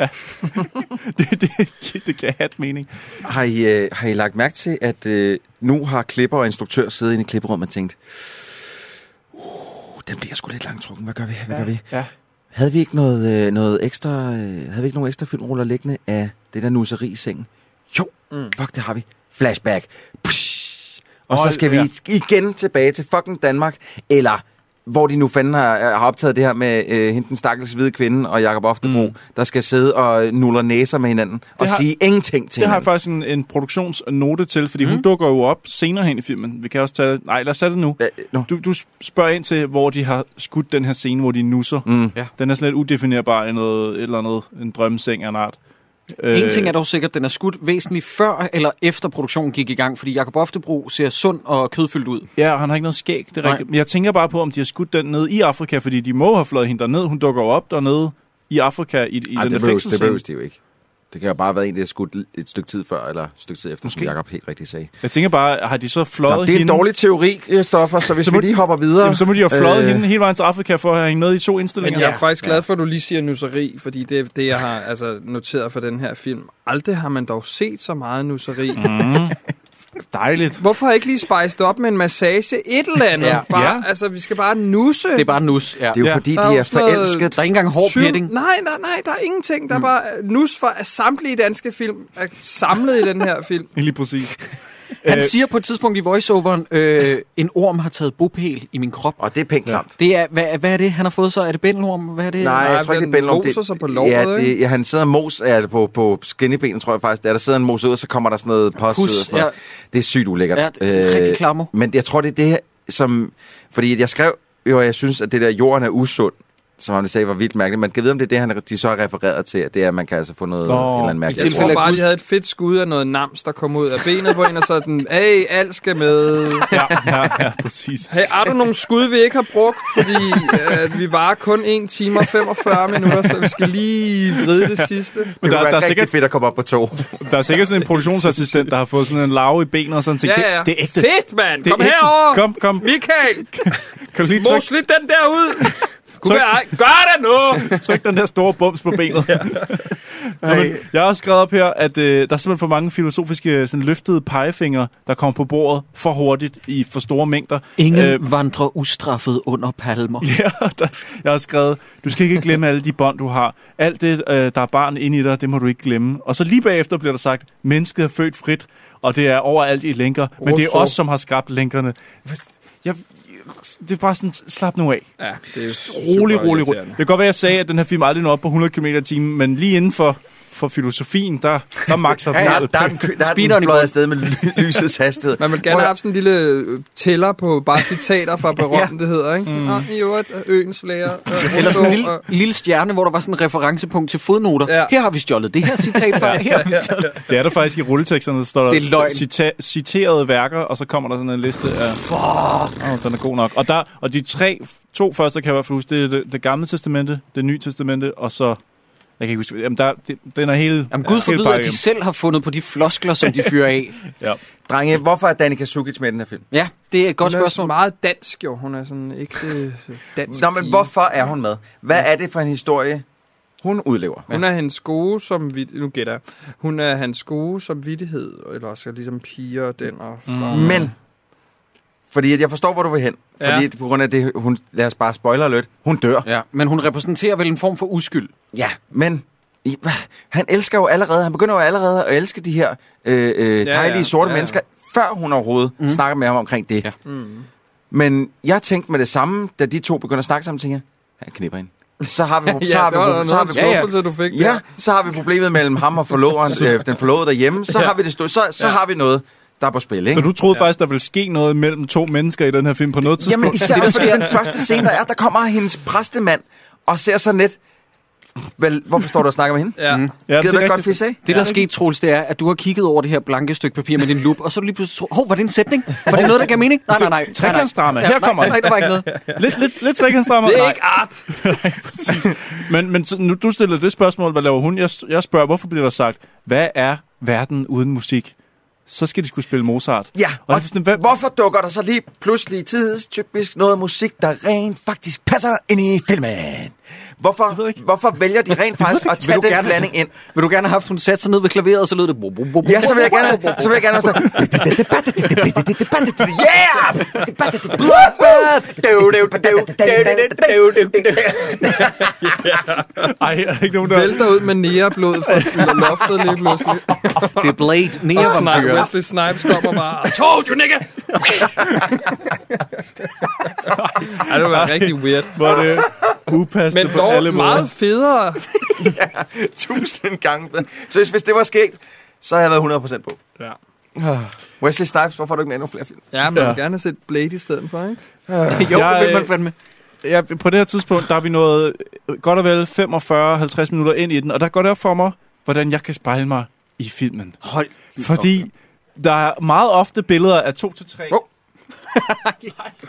[SPEAKER 6] ja. det, det, det kan have et mening.
[SPEAKER 8] Har I, øh, har I lagt mærke til, at øh, nu har klipper og instruktør siddet inde i klipperummet og tænkt, uh, den bliver sgu lidt langtrukken, hvad gør vi, hvad ja. gør vi?
[SPEAKER 6] Ja.
[SPEAKER 8] Havde vi ikke noget, øh, noget ekstra, øh, havde vi ikke nogen ekstra filmruller liggende af det der nusseri i sengen? Jo, mm. fuck, det har vi. Flashback. Psh. Og så
[SPEAKER 6] Hold-
[SPEAKER 8] skal
[SPEAKER 6] ja.
[SPEAKER 8] vi igen tilbage til fucking Danmark, eller hvor de nu fanden har, øh, har optaget det her med øh, henten stakkels hvide kvinde og Jakob Oftebro, mm. der skal sidde og øh, nuller næser med hinanden det og
[SPEAKER 6] har-
[SPEAKER 8] har, sige ingenting til
[SPEAKER 6] Det har jeg
[SPEAKER 8] hinanden.
[SPEAKER 6] faktisk en, en produktionsnote til, fordi
[SPEAKER 8] Mhm.
[SPEAKER 6] mm. hun dukker jo op senere hen i filmen. Vi kan også tage... Nej, lad os tage det nu.
[SPEAKER 8] Hva- Nå.
[SPEAKER 6] Du, du spørger ind til, hvor de har skudt den her scene, hvor de nusser.
[SPEAKER 8] Mm.
[SPEAKER 1] Ja.
[SPEAKER 6] Den er sådan lidt udefinerbar i noget, et eller andet, en drømmeseng af en art.
[SPEAKER 1] Øh. En ting er dog sikkert, den er skudt væsentligt før eller efter produktionen gik i gang, fordi Jakob Oftebro ser sund og kødfyldt ud.
[SPEAKER 6] Ja, og han har ikke noget skæg, det er
[SPEAKER 1] Nej.
[SPEAKER 6] rigtigt. Men jeg tænker bare på, om de har skudt den ned i Afrika, fordi de må have fløjet hende derned. Hun dukker jo op dernede i Afrika i, i
[SPEAKER 8] Ej,
[SPEAKER 6] den der
[SPEAKER 8] det behøves, det
[SPEAKER 6] fængselsscene.
[SPEAKER 8] behøves de jo ikke. Det kan jo bare have været en, der er skudt et stykke tid før, eller et stykke tid efter, Måske. som
[SPEAKER 6] Måske.
[SPEAKER 8] Jacob helt rigtigt sagde.
[SPEAKER 6] Jeg tænker bare, har de så fløjet
[SPEAKER 8] Nå, det er en
[SPEAKER 6] hende?
[SPEAKER 8] dårlig teori, Stoffer, så hvis
[SPEAKER 6] Så
[SPEAKER 8] så vi
[SPEAKER 6] må-
[SPEAKER 8] lige hopper videre...
[SPEAKER 6] Jamen, så må de jo have fløjet
[SPEAKER 8] Øh,
[SPEAKER 6] øh... hende hele vejen til Afrika for at have hende med i to indstillinger.
[SPEAKER 7] Men jeg er faktisk glad for, at du lige siger nusseri, fordi det er det, jeg har altså, noteret for den her film. Aldrig har man dog set så meget nusseri.
[SPEAKER 1] Mm.
[SPEAKER 6] Mm.
[SPEAKER 8] *laughs*
[SPEAKER 6] Dejligt.
[SPEAKER 7] Hvorfor har jeg ikke lige spejst op med en massage? Et eller andet.
[SPEAKER 1] Ja.
[SPEAKER 7] ja. Bare,
[SPEAKER 6] Ja.
[SPEAKER 7] altså, vi skal bare nusse.
[SPEAKER 1] Det er bare nus. Ja.
[SPEAKER 8] Det er jo
[SPEAKER 6] Ja.
[SPEAKER 8] fordi,
[SPEAKER 7] Der er
[SPEAKER 8] de
[SPEAKER 7] jo
[SPEAKER 8] er
[SPEAKER 7] sådan noget-
[SPEAKER 8] forelsket.
[SPEAKER 1] Der er ikke engang hård
[SPEAKER 7] Tyv-
[SPEAKER 1] petting. Mm.
[SPEAKER 7] Nej, nej, nej, der er ingenting. Der er bare øh, nus for at samtlige danske film er samlet i den her film.
[SPEAKER 6] Lige præcis.
[SPEAKER 1] Han
[SPEAKER 6] Øh.
[SPEAKER 1] siger på et tidspunkt i voiceoveren, øh, en orm har taget bopæl i min krop.
[SPEAKER 8] Og det er pænt klamt.
[SPEAKER 1] Det er, hvad, hvad er det, han har fået så? Er det bændelorm? Hvad er det?
[SPEAKER 8] Nej,
[SPEAKER 7] Nej,
[SPEAKER 8] jeg tror ikke, det
[SPEAKER 7] den
[SPEAKER 8] er Bellum.
[SPEAKER 7] moser sig på låret,
[SPEAKER 8] ja, det,
[SPEAKER 7] ikke?
[SPEAKER 8] ja, han sidder og mos ja, på, på skinnebenen, tror jeg faktisk. Ja, der sidder en mos ud, og så kommer der sådan noget post ud. Og
[SPEAKER 1] Pus,
[SPEAKER 8] sådan noget. Det er sygt ulækkert. Øh,
[SPEAKER 1] Ja, det- det er rigtig klammer.
[SPEAKER 8] Men jeg tror, det er det, her, som... Fordi jeg skrev jo, at jeg synes, at det der jorden er usund, som han sagde, var vildt mærkeligt. Man kan vide, om det er det, han, de så har refereret til, at det er, at man kan altså få noget
[SPEAKER 6] Nå,
[SPEAKER 8] en eller anden
[SPEAKER 1] i
[SPEAKER 8] mærkeligt.
[SPEAKER 7] Jeg
[SPEAKER 1] tilfælde
[SPEAKER 7] tror
[SPEAKER 1] af
[SPEAKER 7] bare,
[SPEAKER 1] Gud.
[SPEAKER 7] de havde et fedt skud af noget nams, der kom ud af benet på en, og så er den, hey, alt skal med.
[SPEAKER 6] Ja, ja, ja, præcis.
[SPEAKER 7] Hey, har du nogle skud, vi ikke har brugt? Fordi øh, vi var kun 1 time og 45 minutter, så vi skal lige vride det sidste.
[SPEAKER 8] Det
[SPEAKER 6] Men
[SPEAKER 8] der, være
[SPEAKER 6] der, der, er
[SPEAKER 8] rigtig
[SPEAKER 6] sikkert,
[SPEAKER 8] fedt at komme op på to. *laughs*
[SPEAKER 6] der er sikkert sådan en produktionsassistent, der har fået sådan en larve i benet og sådan ting.
[SPEAKER 7] Ja, ja.
[SPEAKER 6] Det, det er ægte.
[SPEAKER 7] Fedt, mand!
[SPEAKER 6] Det er
[SPEAKER 7] Kom
[SPEAKER 6] ægte.
[SPEAKER 7] herover!
[SPEAKER 6] Kom, kom.
[SPEAKER 7] Michael,
[SPEAKER 6] Kan du lige trykke,
[SPEAKER 7] mos lidt den der ud! Kunne
[SPEAKER 6] Tryk.
[SPEAKER 7] være, ej, gør det nu!
[SPEAKER 6] tryk den der store bums på benet? ja. Nå, men, jeg har også skrevet op her, at øh, der er simpelthen for mange filosofiske sådan, løftede pegefinger, der kommer på bordet for hurtigt i for store mængder.
[SPEAKER 1] Ingen
[SPEAKER 6] Øh, *laughs*
[SPEAKER 1] øh, vandrer ustraffet under palmer.
[SPEAKER 6] Ja, der, jeg har skrevet, du skal ikke glemme alle de bånd, du har. Alt det, øh, der er barn inde i dig, det må du ikke glemme. Og så lige bagefter bliver der sagt, mennesket er født frit, og det er overalt i lænker, men det er
[SPEAKER 7] Russo.
[SPEAKER 6] os, som har skabt lænkerne. Jeg, det er bare sådan, slap nu af.
[SPEAKER 7] Ja, det er
[SPEAKER 6] Rolig, rolig, rolig. Det kan godt være, jeg sagde, at den her film aldrig når op på 100 km i timen, men lige inden for, for filosofien, der,
[SPEAKER 1] *laughs*
[SPEAKER 6] der makser den
[SPEAKER 8] Der,
[SPEAKER 6] ud.
[SPEAKER 8] der er den, kø- der er
[SPEAKER 1] Speederen
[SPEAKER 8] den
[SPEAKER 1] i
[SPEAKER 8] fløjet
[SPEAKER 1] bunden.
[SPEAKER 8] afsted med ly- lysets hastighed.
[SPEAKER 7] Man vil gerne
[SPEAKER 8] Prøv
[SPEAKER 7] have
[SPEAKER 8] at-
[SPEAKER 7] haft sådan en lille øh, tæller på bare citater
[SPEAKER 6] *laughs*
[SPEAKER 7] fra berømtheder, ikke?
[SPEAKER 6] Mm.
[SPEAKER 7] Sådan, "Nå, I øvrigt, øh, øens lærer. øh,
[SPEAKER 1] Eller sådan en lille,
[SPEAKER 7] Rousseau, og-
[SPEAKER 1] lille stjerne, hvor der var sådan en referencepunkt til fodnoter.
[SPEAKER 7] Ja.
[SPEAKER 1] Ja. Her har vi stjålet det her citat fra. Her har vi stjålet.
[SPEAKER 6] Det er der faktisk i rulleteksterne, der står der
[SPEAKER 1] Det er løgn.
[SPEAKER 6] cita- citerede værker, og så kommer der sådan en liste af... Fuck! Oh, den er god nok. Og, der, og de tre, to første kan jeg i hvert fald huske, det er det, det gamle testamente, det nye testamente, og så... Jeg kan ikke huske, jamen der, det, den er hele...
[SPEAKER 1] Jamen, Gud
[SPEAKER 6] hele
[SPEAKER 1] forbyder, at
[SPEAKER 6] pakken.
[SPEAKER 1] de selv har fundet på de floskler, som de fyrer af.
[SPEAKER 8] Drenge, hvorfor er Danica Sukic med i den her film?
[SPEAKER 1] Ja, det er et godt
[SPEAKER 7] Hun er sådan
[SPEAKER 1] spørgsmål.
[SPEAKER 7] meget dansk, jo. Hun er sådan ikke øh, dansk.
[SPEAKER 8] Nå, men
[SPEAKER 7] pige.
[SPEAKER 8] hvorfor er hun med? Hvad er det for en historie, hun udlever?
[SPEAKER 7] Hun er hans gode som vid- nu gætter jeg. Hun er hans gode som vidtighed, eller også ligesom piger og den og fra.
[SPEAKER 8] Mm. Men, fordi at jeg forstår, hvor du vil hen.
[SPEAKER 7] Ja.
[SPEAKER 8] Fordi ja. på grund af det, hun, lad os bare spoiler alert, hun dør.
[SPEAKER 1] Ja, men hun repræsenterer vel en form for uskyld.
[SPEAKER 8] Ja, men i- hva? han elsker jo allerede, han begynder jo allerede at elske de her øh, øh,
[SPEAKER 7] Ja,
[SPEAKER 8] dejlige
[SPEAKER 7] ja.
[SPEAKER 8] sorte
[SPEAKER 7] Ja, Mhm. ja.
[SPEAKER 8] mennesker, før hun overhovedet mm. snakker med ham omkring det.
[SPEAKER 1] Ja.
[SPEAKER 8] Ja.
[SPEAKER 7] Mm.
[SPEAKER 8] Men jeg tænkte med det samme, da de to begynder at snakke sammen, tænkte jeg, han knipper hende. Så har vi,
[SPEAKER 7] *laughs* Ja,
[SPEAKER 8] så har vi,
[SPEAKER 7] det var da
[SPEAKER 8] så har
[SPEAKER 7] noget
[SPEAKER 8] vi,
[SPEAKER 7] ja, ja. du fik.
[SPEAKER 8] Ja,
[SPEAKER 7] der.
[SPEAKER 8] så har vi problemet mellem ham og
[SPEAKER 7] *laughs*
[SPEAKER 8] forloveren, øh, den forlovede derhjemme. Så har vi det stå, så, så har vi noget, der er på spil, ikke?
[SPEAKER 6] Så du troede ja. faktisk, der ville ske noget mellem to mennesker i den her film på noget tidspunkt?
[SPEAKER 8] Jamen
[SPEAKER 7] *laughs*
[SPEAKER 8] især også fordi den første scene, der er, der kommer hendes præstemand og ser så net... Vel, hvorfor står du og snakker med hende?
[SPEAKER 7] Ja. Mm.
[SPEAKER 6] ja,
[SPEAKER 8] Gider du ikke godt
[SPEAKER 6] rigtigt.
[SPEAKER 8] fisse af?
[SPEAKER 1] Det, der er sket, Troels, det er, at du har kigget over det her blanke stykke papir med din lup, og så er du lige pludselig tro, hov, var det en sætning? Var det noget, der gav mening? Nej, nej, nej. nej, nej.
[SPEAKER 6] Trekantsdrama. Her kommer
[SPEAKER 1] nej,
[SPEAKER 6] den.
[SPEAKER 1] nej, der var ikke noget.
[SPEAKER 6] Lidt, lidt, lidt trekantsdrama.
[SPEAKER 7] Det er ikke
[SPEAKER 6] Nej. *laughs*
[SPEAKER 7] art.
[SPEAKER 6] Men, men så, nu, du stiller det spørgsmål, hvad laver hun? Jeg, jeg spørger, hvorfor bliver der sagt, hvad er verden uden musik? så skal de skulle spille Mozart.
[SPEAKER 8] Ja, og
[SPEAKER 6] Og jeg sådan, hvad,
[SPEAKER 8] hvorfor dukker der så lige pludselig tidstypisk noget musik, der rent faktisk passer ind i filmen?
[SPEAKER 6] Det ved jeg ikke.
[SPEAKER 8] Hvorfor, hvorfor vælger de rent faktisk at tage
[SPEAKER 1] Vil du
[SPEAKER 8] den
[SPEAKER 1] gerne-
[SPEAKER 8] blanding ind?
[SPEAKER 1] Vil du gerne have haft, hun satte sig ned ved klaveret, og så lød det... bo- bo- bo- bo-
[SPEAKER 8] Ja, så vil jeg
[SPEAKER 1] bo-
[SPEAKER 8] gerne,
[SPEAKER 1] bo- bo- bo-
[SPEAKER 8] så vil jeg gerne også Yeah!
[SPEAKER 6] *laughs* Ej, er der ikke nogen, der...
[SPEAKER 7] Vælter ud med næreblod *laughs* fra loftet lige pludselig.
[SPEAKER 1] Det er Blade,
[SPEAKER 7] Og
[SPEAKER 1] nære
[SPEAKER 7] Snipe,
[SPEAKER 1] vampyrer.
[SPEAKER 7] Wesley Snipes kommer bare. I told you, nigga! Ej, det var rigtig weird.
[SPEAKER 6] Hvor er det upassende
[SPEAKER 7] Men
[SPEAKER 6] på alle
[SPEAKER 7] dog
[SPEAKER 6] måder.
[SPEAKER 7] meget federe.
[SPEAKER 8] Tusind gange. Så hvis, hvis det var sket, så havde jeg været 100% på.
[SPEAKER 7] Ja.
[SPEAKER 8] Wesley Snipes, hvorfor har du ikke med endnu flere film?
[SPEAKER 7] Ja, men ja.
[SPEAKER 6] Ja.
[SPEAKER 7] vil gerne have set Blade i stedet for, ikke?
[SPEAKER 1] *laughs* Jo, det vil
[SPEAKER 6] Jeg,
[SPEAKER 1] man
[SPEAKER 6] øh,
[SPEAKER 1] fandme.
[SPEAKER 6] ja, på det her tidspunkt, der er vi nået øh, godt og vel 45-50 minutter ind i den, og der går det op for mig, hvordan jeg kan spejle mig i filmen.
[SPEAKER 1] Hold din
[SPEAKER 6] Fordi
[SPEAKER 1] op.
[SPEAKER 6] der er meget ofte billeder af to til tre.
[SPEAKER 8] Wow.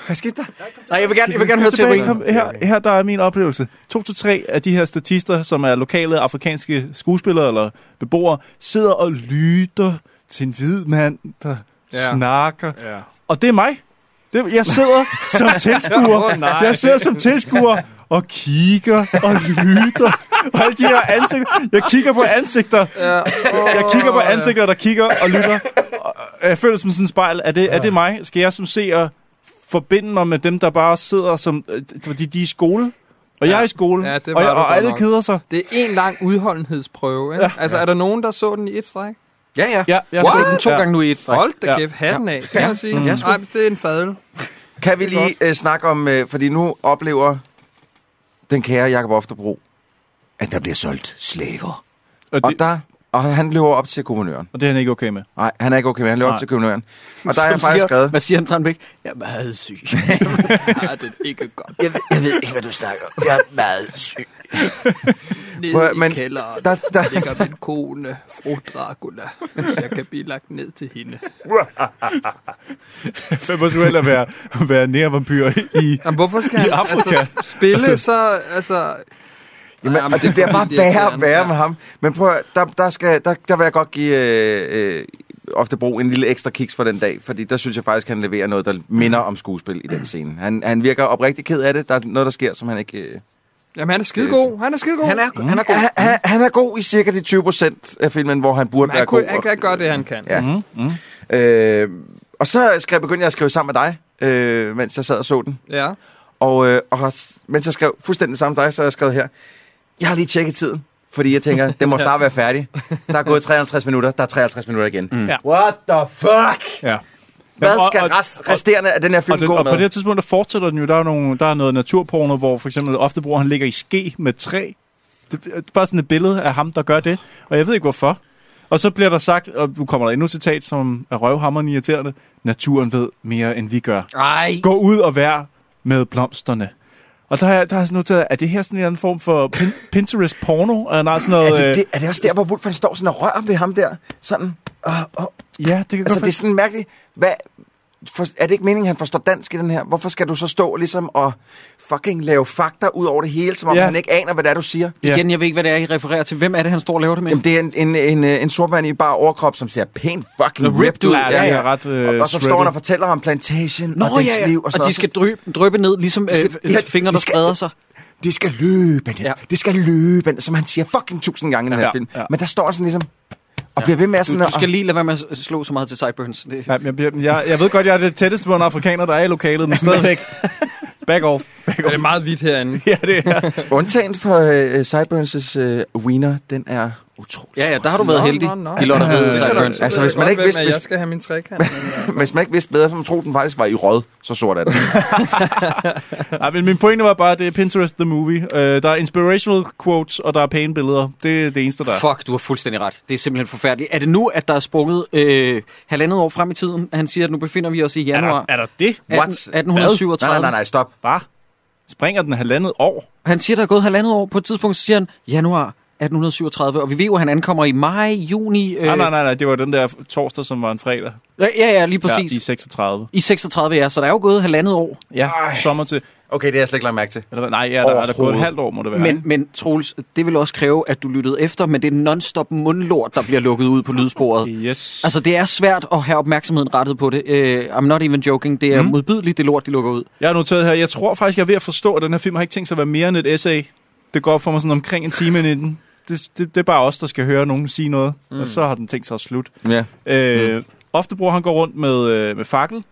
[SPEAKER 8] Hvad skete der?
[SPEAKER 1] Nej, jeg vil gerne, jeg vil gerne høre til
[SPEAKER 6] Tilbage, kom, her, her der er min oplevelse. To til tre af de her statister, som er lokale afrikanske skuespillere eller beboere, sidder og lytter til en hvid mand, der
[SPEAKER 7] Ja.
[SPEAKER 6] ja. snakker.
[SPEAKER 7] Ja.
[SPEAKER 6] Og det er mig. Det, jeg sidder
[SPEAKER 1] *laughs*
[SPEAKER 6] som tilskuer.
[SPEAKER 7] Åh, nej.
[SPEAKER 6] Jeg sidder som tilskuer og kigger og lytter. Og alle de her ansigter. Jeg kigger på ansigter. Jeg kigger på ansigter, der kigger og lytter. Og Jeg føler som sådan et spejl. Er det, er det mig? Skal jeg som seer forbinde mig med dem, der bare sidder som... øh, Fordi de er i skole. Og jeg er i skole.
[SPEAKER 7] Ja, det var
[SPEAKER 6] og
[SPEAKER 7] du godt
[SPEAKER 6] og alle
[SPEAKER 7] nok.
[SPEAKER 6] keder sig.
[SPEAKER 7] Det er en lang udholdenhedsprøve, ikke? Ja. Altså, er der nogen, der så den i et stræk?
[SPEAKER 1] Ja, ja.
[SPEAKER 6] Ja, jeg
[SPEAKER 1] Jeg
[SPEAKER 6] har
[SPEAKER 1] har
[SPEAKER 6] set
[SPEAKER 1] set den to
[SPEAKER 6] ja.
[SPEAKER 1] gange nu i et stræk.
[SPEAKER 7] Hold da
[SPEAKER 6] Ja.
[SPEAKER 7] kæft, hatten af, kan jeg sige.
[SPEAKER 1] Ja,
[SPEAKER 7] Mm.
[SPEAKER 1] sgu.
[SPEAKER 7] Nej, men det er en fadel.
[SPEAKER 8] Kan vi lige øh, snakke om, øh, fordi nu oplever den kære Jakob Oftebro, at der bliver solgt slaver.
[SPEAKER 6] Og
[SPEAKER 8] Og,
[SPEAKER 6] det,
[SPEAKER 8] der, og han løber op til kommunøren.
[SPEAKER 6] og det er han ikke okay *laughs* med.
[SPEAKER 8] Nej, han er ikke okay med, han løber op
[SPEAKER 6] Nej.
[SPEAKER 8] til kommunøren. Og der er
[SPEAKER 1] Som
[SPEAKER 8] jeg faktisk
[SPEAKER 1] siger-
[SPEAKER 8] skrevet,
[SPEAKER 1] Hvad siger han, Tranbæk? Jeg er meget syg.
[SPEAKER 7] Nej, det er ikke godt.
[SPEAKER 2] Jeg, ved- jeg ved ikke, hvad du snakker om. Jeg er meget
[SPEAKER 1] *laughs*
[SPEAKER 2] syg.
[SPEAKER 7] Nede
[SPEAKER 8] Prøv at- men
[SPEAKER 7] i kælderen
[SPEAKER 8] der,
[SPEAKER 7] der,
[SPEAKER 8] der,
[SPEAKER 7] ligger min kone, fru Dracula. Jeg kan blive lagt ned til hende.
[SPEAKER 6] Fem års uheld at være, at være nære vampyr i...
[SPEAKER 7] Jamen, hvorfor skal
[SPEAKER 6] I
[SPEAKER 7] han
[SPEAKER 6] Afrika.
[SPEAKER 7] altså, spille altså,
[SPEAKER 6] Altså-
[SPEAKER 7] så... Altså,
[SPEAKER 8] Jamen,
[SPEAKER 7] Jamen,
[SPEAKER 8] Jamen, og
[SPEAKER 7] det er
[SPEAKER 8] det bliver bare
[SPEAKER 7] fordi, det er
[SPEAKER 8] værre og
[SPEAKER 7] irriterende,
[SPEAKER 8] værre
[SPEAKER 7] ja.
[SPEAKER 8] med ham. Men prøv at, høre, der, der, skal, der, der vil jeg godt give øh, øh, Oftebro en lille ekstra kiks for den dag, fordi der synes jeg faktisk, han leverer noget, der minder om skuespil i den scene. Han, han virker oprigtig ked af det. Der er noget, der sker, som han ikke... Øh...
[SPEAKER 7] jamen, han er skidegod. Mm. Han er skidegod.
[SPEAKER 1] Han er, han er god.
[SPEAKER 8] Han, han, han er god i cirka de 20 procent af filmen, hvor han burde
[SPEAKER 7] Men
[SPEAKER 8] være
[SPEAKER 7] han, kunne,
[SPEAKER 8] god.
[SPEAKER 7] han kan gøre det, han kan.
[SPEAKER 8] Ja.
[SPEAKER 6] Mm,
[SPEAKER 8] Øh, og så skal jeg begynde at skrive sammen med dig, øh, mens jeg sad og så den.
[SPEAKER 7] ja.
[SPEAKER 8] Og, øh, og har, mens jeg skrev fuldstændig det samme som dig, så har jeg skrevet her, jeg har lige tjekket tiden, fordi jeg tænker,
[SPEAKER 6] *laughs*
[SPEAKER 8] den må snart være færdig. Der er gået 53 minutter, der er 53 minutter igen. Mm.
[SPEAKER 6] Ja.
[SPEAKER 8] What the fuck?
[SPEAKER 6] Ja.
[SPEAKER 8] Hvad
[SPEAKER 6] Jamen, og-
[SPEAKER 8] skal
[SPEAKER 6] og-
[SPEAKER 8] rest, resterende af den her film
[SPEAKER 6] Og, den,
[SPEAKER 8] gå
[SPEAKER 6] og på
[SPEAKER 8] med?
[SPEAKER 6] det her tidspunkt, der fortsætter den jo. Der er, nogle, der er noget naturporno, hvor for eksempel ofte bruger han ligger i ske med træ. Det, det er bare sådan et billede af ham, der gør det. Og jeg ved ikke, hvorfor. Og så bliver der sagt, og nu kommer der endnu et citat, som er røvhammerne irriterende. Naturen ved mere, end vi gør.
[SPEAKER 1] Ej.
[SPEAKER 6] Gå ud og vær med blomsterne. Og der har jeg, der har jeg sådan noteret, er det her sådan en eller anden form for pin, Pinterest-porno? Er, nej, sådan noget,
[SPEAKER 8] er,
[SPEAKER 6] øh,
[SPEAKER 8] det, det, er det også der, hvor Wolf han står sådan og rører ved ham der? Sådan. Og, og,
[SPEAKER 6] Ja, det kan
[SPEAKER 8] altså,
[SPEAKER 6] godt
[SPEAKER 8] det er sådan mærkeligt. Hvad, for, er det ikke meningen, han forstår dansk i den her? Hvorfor skal du så stå ligesom og fucking lave fakta ud over det hele, som om
[SPEAKER 6] Ja.
[SPEAKER 8] han ikke aner, hvad det er, du siger?
[SPEAKER 6] Ja.
[SPEAKER 1] Igen, jeg ved ikke, hvad det er, I refererer til. Hvem er det, han står og laver det med?
[SPEAKER 8] Jamen, det er en, en, en, øh, en sort mand i bare overkrop, som ser pænt fucking
[SPEAKER 6] Ripped
[SPEAKER 8] ripped ud.
[SPEAKER 6] ud, ja, det er ret, øh,
[SPEAKER 8] og, og så står
[SPEAKER 6] shredded.
[SPEAKER 8] han og fortæller om plantagen Nå, og dens liv. Og, sådan
[SPEAKER 1] og de skal dryppe, dryppe ned, ligesom
[SPEAKER 8] De skal-
[SPEAKER 1] øh,
[SPEAKER 8] ja,
[SPEAKER 1] ja, fingre,
[SPEAKER 8] de
[SPEAKER 1] der
[SPEAKER 8] skal-
[SPEAKER 1] spreder sig.
[SPEAKER 8] noget. Det skal løbe, det.
[SPEAKER 1] Ja.
[SPEAKER 8] Ja. Det skal løbe, som han siger fucking tusind gange i den her
[SPEAKER 6] Ja,
[SPEAKER 8] film.
[SPEAKER 6] ja.
[SPEAKER 8] Men der står han sådan ligesom og bliver ved med at
[SPEAKER 1] Du,
[SPEAKER 8] sådan...
[SPEAKER 1] du skal lige lade være med at slå så meget til sideburns. Det,
[SPEAKER 6] Ja, jeg, jeg, jeg, jeg ved godt, jeg er det tætteste på en afrikaner, der er i lokalet, men stadigvæk. *laughs* Back off.
[SPEAKER 7] Ja, det er meget vidt herinde.
[SPEAKER 6] Ja, det er.
[SPEAKER 8] og, undtagen for øh, Sideburns' øh, wiener, den er utrolig.
[SPEAKER 1] ja, ja, der har du
[SPEAKER 7] Nå,
[SPEAKER 1] været heldig,
[SPEAKER 7] nå, nå.
[SPEAKER 1] i Lotte
[SPEAKER 6] Ja,
[SPEAKER 1] med
[SPEAKER 6] ja,
[SPEAKER 7] Så kan du-
[SPEAKER 1] sideburns.
[SPEAKER 7] så
[SPEAKER 8] Altså,
[SPEAKER 7] ved
[SPEAKER 8] hvis
[SPEAKER 7] jeg
[SPEAKER 8] man
[SPEAKER 7] godt,
[SPEAKER 8] ikke
[SPEAKER 7] hvem
[SPEAKER 8] vidste-
[SPEAKER 7] er,
[SPEAKER 8] hvis-
[SPEAKER 7] Jeg skal have min trekant.
[SPEAKER 8] *laughs* Hvis man ikke vidste bedre, så man troede, den faktisk var i rød, så sort er den.
[SPEAKER 6] Nej, men min pointe var bare, at det er Pinterest the movie. Øh, der er inspirational quotes, og der er pæne billeder. Det er det eneste, der er.
[SPEAKER 1] Fuck, du har fuldstændig ret. Det er simpelthen forfærdeligt. Er det nu, at der er sprunget øh, halvandet år frem i tiden? Han siger, at nu befinder vi os i
[SPEAKER 6] Er
[SPEAKER 1] januar.
[SPEAKER 6] der, er der det?
[SPEAKER 8] What?
[SPEAKER 1] 1837.
[SPEAKER 8] Nej, nej, nej, nej, stop.
[SPEAKER 6] Hvad? Springer den halvandet år?
[SPEAKER 1] Han siger, der er gået halvandet år. På et tidspunkt så siger han, januar 1837. Og vi ved jo, at han ankommer i maj, juni... Øh,
[SPEAKER 6] Øh. Nej, nej, nej, nej. Det var den der torsdag, som var en fredag.
[SPEAKER 1] Ja, ja, lige
[SPEAKER 6] Ja,
[SPEAKER 1] præcis.
[SPEAKER 6] I 36.
[SPEAKER 1] I 36, ja. Så der er jo gået halvandet år.
[SPEAKER 6] Ja, Ej. sommer til.
[SPEAKER 8] Okay, det har jeg slet ikke lagt mærke til.
[SPEAKER 6] Eller, hvad? nej, ja, der, er der gået
[SPEAKER 8] Overhovedet.
[SPEAKER 6] et halvt år, må det være.
[SPEAKER 1] Men,
[SPEAKER 6] ikke?
[SPEAKER 1] men Troels, det vil også kræve, at du lyttede efter, men det er non-stop mundlort, der bliver lukket ud på lydsporet.
[SPEAKER 6] Yes.
[SPEAKER 1] Altså, det er svært at have opmærksomheden rettet på det. Uh, I'm not even joking. Det er mm.
[SPEAKER 6] Mm.
[SPEAKER 1] modbydeligt, det lort, de lukker ud.
[SPEAKER 6] Jeg har noteret her, jeg tror faktisk, jeg er ved at forstå, at den her film har ikke tænkt sig at være mere end et essay. Det går op for mig sådan omkring en time ind i den. Det, det, det er bare os, der skal høre nogen sige noget, mm. og så har den tænkt sig at slutte.
[SPEAKER 8] Ja.
[SPEAKER 6] Øh,
[SPEAKER 8] Mm.
[SPEAKER 6] Ofte bruger han går rundt med, øh, med fakkel,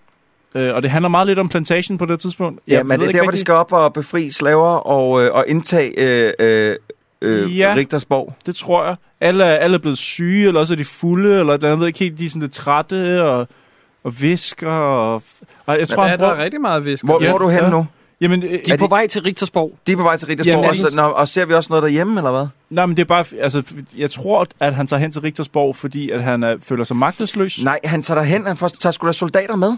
[SPEAKER 6] øh, og det handler meget lidt om plantation på det tidspunkt.
[SPEAKER 8] Ja,
[SPEAKER 6] Jeg
[SPEAKER 8] men
[SPEAKER 6] ved
[SPEAKER 8] det er
[SPEAKER 6] ikke
[SPEAKER 8] der, hvor de
[SPEAKER 6] rigtig-
[SPEAKER 8] skal op og befri slaver og, øh, og indtage øh, øh, øh,
[SPEAKER 6] Ja.
[SPEAKER 8] ja. Rigtersborg.
[SPEAKER 6] Det tror jeg. Alle, er- alle er blevet syge, eller også er de fulde, eller et eller andet. Jeg ved ikke helt, de er sådan lidt trætte, og, og visker, og... og jeg tror,
[SPEAKER 7] Ja,
[SPEAKER 6] han
[SPEAKER 7] der
[SPEAKER 6] bruger...
[SPEAKER 7] er rigtig meget visker.
[SPEAKER 8] Hvor,
[SPEAKER 6] Ja.
[SPEAKER 8] hvor er du henne
[SPEAKER 6] Ja.
[SPEAKER 8] nu?
[SPEAKER 6] Jamen, øh,
[SPEAKER 1] De er,
[SPEAKER 8] Er
[SPEAKER 1] på
[SPEAKER 8] de-
[SPEAKER 1] vej til Rigtersborg.
[SPEAKER 8] De er på vej til Rigtersborg,
[SPEAKER 6] Jamen,
[SPEAKER 8] og, så, nå, og ser vi også noget derhjemme, eller hvad?
[SPEAKER 6] nej, men det er bare... Altså, jeg tror, at han tager hen til Rigtersborg, fordi at han er, føler sig magtesløs.
[SPEAKER 8] Nej, han tager derhen, han får, tager sgu da soldater med.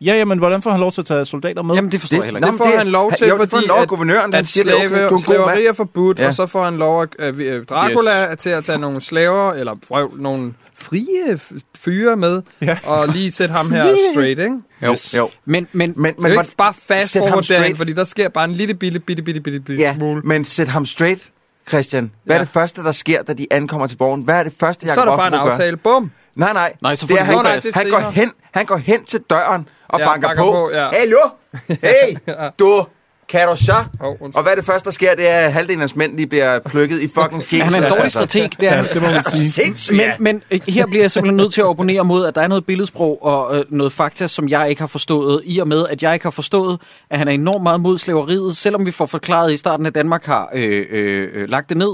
[SPEAKER 6] Ja, ja, men hvordan får han lov til at tage soldater med?
[SPEAKER 1] Jamen, det forstår det, jeg heller ikke.
[SPEAKER 8] nå,
[SPEAKER 7] Det
[SPEAKER 8] men
[SPEAKER 7] får han lov til,
[SPEAKER 8] jo, det får
[SPEAKER 7] fordi
[SPEAKER 8] han lov,
[SPEAKER 7] at-
[SPEAKER 8] at guvernøren, han
[SPEAKER 7] at
[SPEAKER 8] siger, slave,
[SPEAKER 7] slave,
[SPEAKER 8] okay, du er en god
[SPEAKER 7] slaveri
[SPEAKER 8] mand.
[SPEAKER 7] er forbudt, ja.
[SPEAKER 8] Ja.
[SPEAKER 7] og så får han lov at øh, øh, Dracula yes. til at tage nogle slaver, eller vrøv, nogle frie f- fyre med, ja. og lige sætte ham her straight, ikke?
[SPEAKER 1] Jo,
[SPEAKER 6] Yes.
[SPEAKER 1] jo. Men, men,
[SPEAKER 8] Men,
[SPEAKER 7] Men
[SPEAKER 8] men,
[SPEAKER 7] det er
[SPEAKER 8] hvor-
[SPEAKER 7] jo ikke bare fast
[SPEAKER 8] sæt ham
[SPEAKER 7] forward derhen,
[SPEAKER 8] straight.
[SPEAKER 7] fordi der sker bare en lille bitte, bitte, bitte, bitte, bitte
[SPEAKER 8] ja,
[SPEAKER 7] smule.
[SPEAKER 8] men sæt ham straight, Christian. Hvad ja. er
[SPEAKER 7] Ja.
[SPEAKER 8] det første, der sker, da de ankommer til borgen? Hvad er det første,
[SPEAKER 7] Så er
[SPEAKER 8] Jacob
[SPEAKER 7] der bare en
[SPEAKER 8] Oftebro gør?
[SPEAKER 7] aftale. Bum!
[SPEAKER 8] Nej, nej.
[SPEAKER 1] Nej, så får
[SPEAKER 8] det er,
[SPEAKER 1] de
[SPEAKER 8] han,
[SPEAKER 7] Nå, nej,
[SPEAKER 8] nej,
[SPEAKER 7] det er
[SPEAKER 8] han, går
[SPEAKER 7] senere.
[SPEAKER 8] hen, han går hen til døren og
[SPEAKER 7] Ja,
[SPEAKER 8] ja, banker,
[SPEAKER 7] banker
[SPEAKER 8] på.
[SPEAKER 7] på, ja. *laughs*
[SPEAKER 8] Hallo? Hey, du, kan du så?
[SPEAKER 7] Åh, undskyld.
[SPEAKER 8] Og hvad er det første, der sker, det er, at halvdelen af hans mænd lige bliver plukket i fucking fjes.
[SPEAKER 1] han er en dårlig strateg, det er han.
[SPEAKER 6] det må man sige.
[SPEAKER 8] Sindssygt,
[SPEAKER 1] Men,
[SPEAKER 8] ja.
[SPEAKER 1] men øh, her bliver jeg simpelthen nødt til at opponere mod, at der er noget billedsprog og øh, noget fakta, som jeg ikke har forstået. I og med, at jeg ikke har forstået, at han er enormt meget mod slaveriet, selvom vi får forklaret i starten, at Danmark har øh, øh, øh, lagt det ned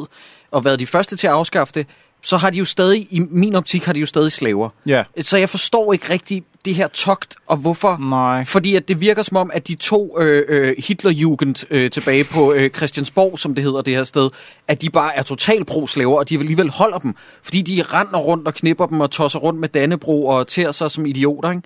[SPEAKER 1] og været de første til at afskaffe det, så har de jo stadig, i min optik, har de jo stadig slaver.
[SPEAKER 6] Ja.
[SPEAKER 1] Så jeg forstår ikke rigtig det her togt, og hvorfor...
[SPEAKER 6] Nej.
[SPEAKER 1] Fordi at det virker som om, at de to øh, øh, Hitlerjugend øh, tilbage på øh, Christiansborg, som det hedder det her sted, at de bare er totalt pro-slaver, og de alligevel holder dem. Fordi de render rundt og knipper dem og tosser rundt med Dannebro og tærer sig som idioter. Ikke?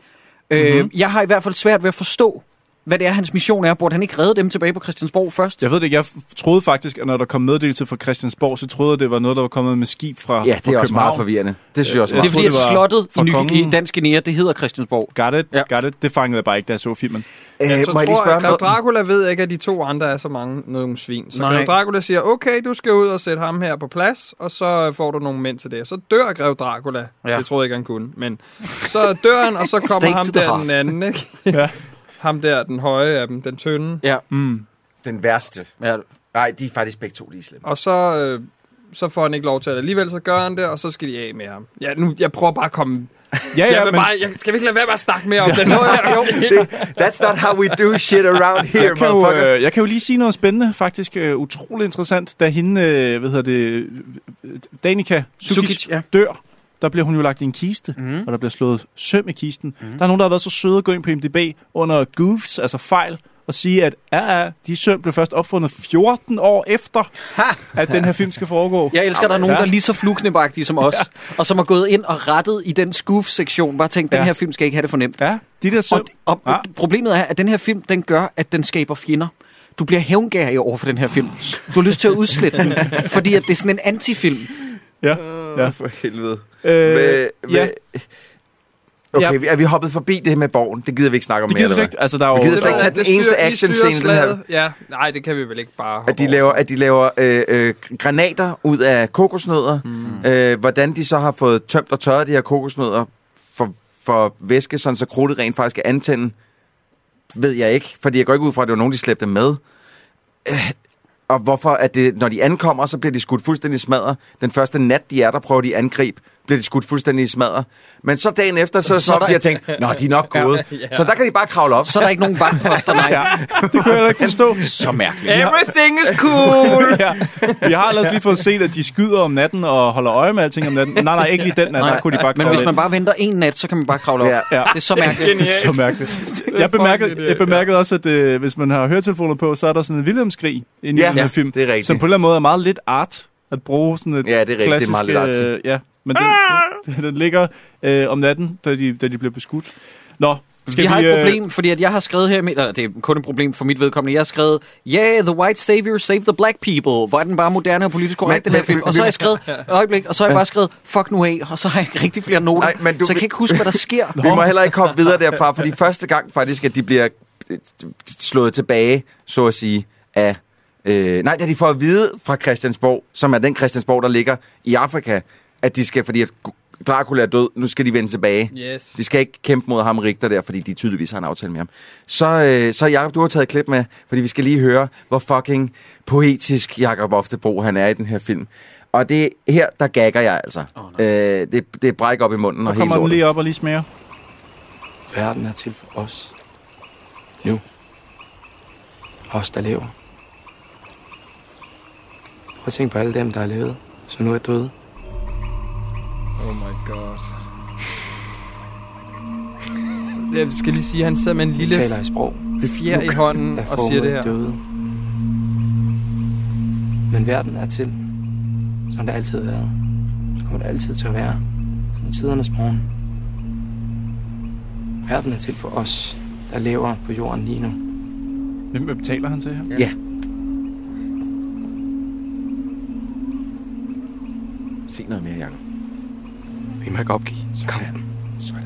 [SPEAKER 6] Mhm.
[SPEAKER 1] Mm-hmm. Øh, jeg har i hvert fald svært ved at forstå, hvad det er, hans mission er. Burde han ikke redde dem tilbage på Christiansborg først?
[SPEAKER 6] Jeg ved det ikke. Jeg f- troede faktisk, at når der kom meddelelse fra Christiansborg, så troede jeg, det var noget, der var kommet med skib fra,
[SPEAKER 8] Ja,
[SPEAKER 6] fra
[SPEAKER 8] det er også meget
[SPEAKER 6] København.
[SPEAKER 8] forvirrende. Det synes jeg også
[SPEAKER 6] Ja.
[SPEAKER 8] meget.
[SPEAKER 1] det er fordi, at
[SPEAKER 6] troede, det var
[SPEAKER 1] slottet i,
[SPEAKER 6] fra
[SPEAKER 1] ny, i
[SPEAKER 6] kongen.
[SPEAKER 1] Dansk Guinea, det hedder Christiansborg.
[SPEAKER 6] Got it,
[SPEAKER 1] Ja.
[SPEAKER 6] ja. got it. Det fangede jeg bare ikke, da jeg så filmen.
[SPEAKER 8] Øh,
[SPEAKER 7] Ja, så
[SPEAKER 8] må jeg lige
[SPEAKER 7] tror
[SPEAKER 8] spørge
[SPEAKER 7] jeg,
[SPEAKER 8] om
[SPEAKER 7] Grev
[SPEAKER 8] noget?
[SPEAKER 7] Dracula ved ikke, at de to andre er så mange nogle svin. Så
[SPEAKER 1] Nej.
[SPEAKER 7] Grev Dracula siger, okay, du skal ud og sætte ham her på plads, og så øh, får du nogle mænd til det. Så dør Grev Dracula.
[SPEAKER 1] Ja.
[SPEAKER 7] Ja. Det troede jeg ikke, han kunne. Men så dør
[SPEAKER 8] *laughs*
[SPEAKER 7] han, og så
[SPEAKER 1] Stake
[SPEAKER 7] kommer ham
[SPEAKER 1] to the
[SPEAKER 7] der
[SPEAKER 1] heart.
[SPEAKER 7] den anden, ikke?
[SPEAKER 6] Ja.
[SPEAKER 7] Ham der, den høje af dem, den tynde.
[SPEAKER 1] Ja.
[SPEAKER 6] Mm.
[SPEAKER 8] Den værste.
[SPEAKER 1] Ja.
[SPEAKER 8] Nej, de er faktisk begge to lige slemme.
[SPEAKER 7] Og så, øh, så får han ikke lov til det alligevel, så gør han det, og så skal de af med ham. Ja, nu, jeg prøver bare at komme...
[SPEAKER 6] Ja,
[SPEAKER 7] jeg
[SPEAKER 6] ja,
[SPEAKER 7] vil
[SPEAKER 6] men,
[SPEAKER 7] bare, jeg, skal vi ikke lade være med at snakke
[SPEAKER 8] *laughs*
[SPEAKER 7] mere om den? Nå, ja, jo.
[SPEAKER 8] That's not how we do shit around here,
[SPEAKER 6] jeg, kan jo,
[SPEAKER 8] motherfucker.
[SPEAKER 6] øh, jeg kan jo lige sige noget spændende, faktisk øh, utrolig interessant. Da hende, øh, hvad hedder det, øh, Danica Sukic,
[SPEAKER 1] Sukic, ja.
[SPEAKER 6] dør, der bliver hun jo lagt i en kiste, mm. og der bliver slået søm i kisten. Mm. Der er nogen, der har været så søde at gå ind på MDB under goofs, altså fejl, og sige, at ja, ja, de søm blev først opfundet 14 år efter, at den her film skal foregå.
[SPEAKER 1] Jeg elsker, at der er nogen,
[SPEAKER 6] Ja.
[SPEAKER 1] der er lige så fluknebagtige som os, og som har gået ind og rettet i den scoop-sektion. Bare tænkt, den
[SPEAKER 6] Ja.
[SPEAKER 1] her film skal ikke have det for nemt.
[SPEAKER 6] Ja, de der søm.
[SPEAKER 1] Og, og ja.
[SPEAKER 6] Ja.
[SPEAKER 1] problemet er, at den her film, den gør, at den skaber fjender. Du bliver hævngærig over for den her film. Du har lyst til at udslette den, fordi at det er sådan en antifilm.
[SPEAKER 6] Ja, ja.
[SPEAKER 8] For helvede.
[SPEAKER 6] Øh,
[SPEAKER 8] Med,
[SPEAKER 6] ja.
[SPEAKER 8] med, okay, vi- er vi hoppet forbi det her med borgen? Det gider vi ikke snakke om
[SPEAKER 6] Det
[SPEAKER 8] mere,
[SPEAKER 6] gider vi
[SPEAKER 8] eller
[SPEAKER 6] ikke. Altså, der er
[SPEAKER 8] Vi
[SPEAKER 6] jo...
[SPEAKER 8] gider slet ikke
[SPEAKER 7] Ja,
[SPEAKER 8] tage den
[SPEAKER 7] det
[SPEAKER 8] eneste
[SPEAKER 7] styrer- I styrer
[SPEAKER 8] actionscene i den her.
[SPEAKER 7] slaget. Ja, nej, det kan vi vel ikke bare
[SPEAKER 8] At de
[SPEAKER 7] hoppe
[SPEAKER 8] laver, at de laver øh, øh, granater ud af kokosnødder. Mm. Øh, hvordan de så har fået tømt og tørret de her kokosnødder for, for væske, sådan så krudtet rent faktisk er antænde, ved jeg ikke. Fordi jeg går ikke ud fra, at det var nogen, de slæbte med. Øh, og hvorfor, at det, når de ankommer, så bliver de skudt fuldstændig i smadret. Den første nat, de er der, prøver de at angribe, bliver de skudt fuldstændig i smadret. Men så dagen efter, så er det
[SPEAKER 1] Så
[SPEAKER 8] som
[SPEAKER 1] er der
[SPEAKER 8] om, de har tænkt, nå, de er nok gået. Så der kan de bare kravle op.
[SPEAKER 1] Så er der ikke nogen vagtposter, nej.
[SPEAKER 6] Ja, *laughs* det kunne jeg heller ikke forstå.
[SPEAKER 1] Så mærkeligt.
[SPEAKER 7] Everything is cool!
[SPEAKER 6] Ja. Vi har ellers lige fået set, at de skyder om natten og holder øje med alting om natten. Nej, nej, ikke lige den nat,
[SPEAKER 1] Nej.
[SPEAKER 6] der kunne de bare
[SPEAKER 1] Men
[SPEAKER 6] kravle
[SPEAKER 1] hvis man
[SPEAKER 6] ind.
[SPEAKER 1] bare venter en nat, så kan man bare kravle op.
[SPEAKER 8] Ja.
[SPEAKER 1] Det er så mærkeligt.
[SPEAKER 6] Det er
[SPEAKER 8] *laughs*
[SPEAKER 6] så mærkeligt. Jeg bemærkede, jeg bemærkede også, at øh, hvis man har høretelefoner på, så er der sådan en Williamskrig inde i
[SPEAKER 8] Ja,
[SPEAKER 6] den her film,
[SPEAKER 8] det er rigtigt.
[SPEAKER 6] som på en eller anden måde er meget lidt art at bruge sådan et
[SPEAKER 8] Ja, det er rigtigt. Det er
[SPEAKER 6] klassisk...
[SPEAKER 8] meget lidt Ah! artigt.
[SPEAKER 6] øh, ja, men den, *laughs* den, den ligger øh, om natten, da de, da de bliver beskudt. Nå, skal
[SPEAKER 1] Vi
[SPEAKER 6] vi...
[SPEAKER 1] har et
[SPEAKER 6] øh,
[SPEAKER 1] problem, fordi at jeg har skrevet her... Med, eller, det er kun et problem for mit vedkommende. Jeg har skrevet, yeah, the white savior save the black people. Hvor er den bare moderne og politisk korrekt,
[SPEAKER 8] Men-
[SPEAKER 1] den her
[SPEAKER 8] men-
[SPEAKER 1] film. Og så har jeg skrevet, øjeblik, og så har jeg bare skrevet, fuck nu af, og så har jeg ikke rigtig flere noter.
[SPEAKER 8] Nej, men du-
[SPEAKER 1] så jeg kan ikke huske, hvad der sker.
[SPEAKER 6] *laughs*
[SPEAKER 8] Vi må heller ikke hoppe videre derfra, fordi første gang faktisk, at de bliver øh, slået tilbage, så at sige, af... Øh, nej, da de får at vide fra Christiansborg, som er den Christiansborg, der ligger i Afrika, at de skal, fordi at Dracula er død, nu skal de vende tilbage.
[SPEAKER 7] Yes.
[SPEAKER 8] De skal ikke kæmpe mod ham Rigter der, fordi de tydeligvis har en aftale med ham. Så, øh, så Jacob, du har taget et klip med, fordi vi skal lige høre, hvor fucking poetisk Jacob Oftebro han er i den her film. Og det er her, der gagger jeg altså. Oh, øh, det, det brækker op i munden og
[SPEAKER 6] Nu
[SPEAKER 8] helt
[SPEAKER 6] kommer den
[SPEAKER 8] lortet.
[SPEAKER 6] lige op og lige smager.
[SPEAKER 9] Verden er til for os. Nu. Os, der lever. Prøv at tænke på alle dem, der har levet, som nu er døde.
[SPEAKER 7] Oh my god. Jeg skal lige sige, at han sidder med en
[SPEAKER 9] De
[SPEAKER 7] lille
[SPEAKER 9] taler i sprog,
[SPEAKER 7] fjer i hånden
[SPEAKER 9] der
[SPEAKER 7] og siger det
[SPEAKER 9] former
[SPEAKER 7] her.
[SPEAKER 9] døde. Men verden er til, som det altid har været. Så kommer det altid til at være, som tidernes morgen. Verden er til for os, der lever på jorden lige nu.
[SPEAKER 6] Hvem hvem taler han til her?
[SPEAKER 8] Se noget mere, Jacob.
[SPEAKER 9] Vi må ikke opgive kampen.
[SPEAKER 8] Sådan.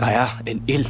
[SPEAKER 9] Der er en ild,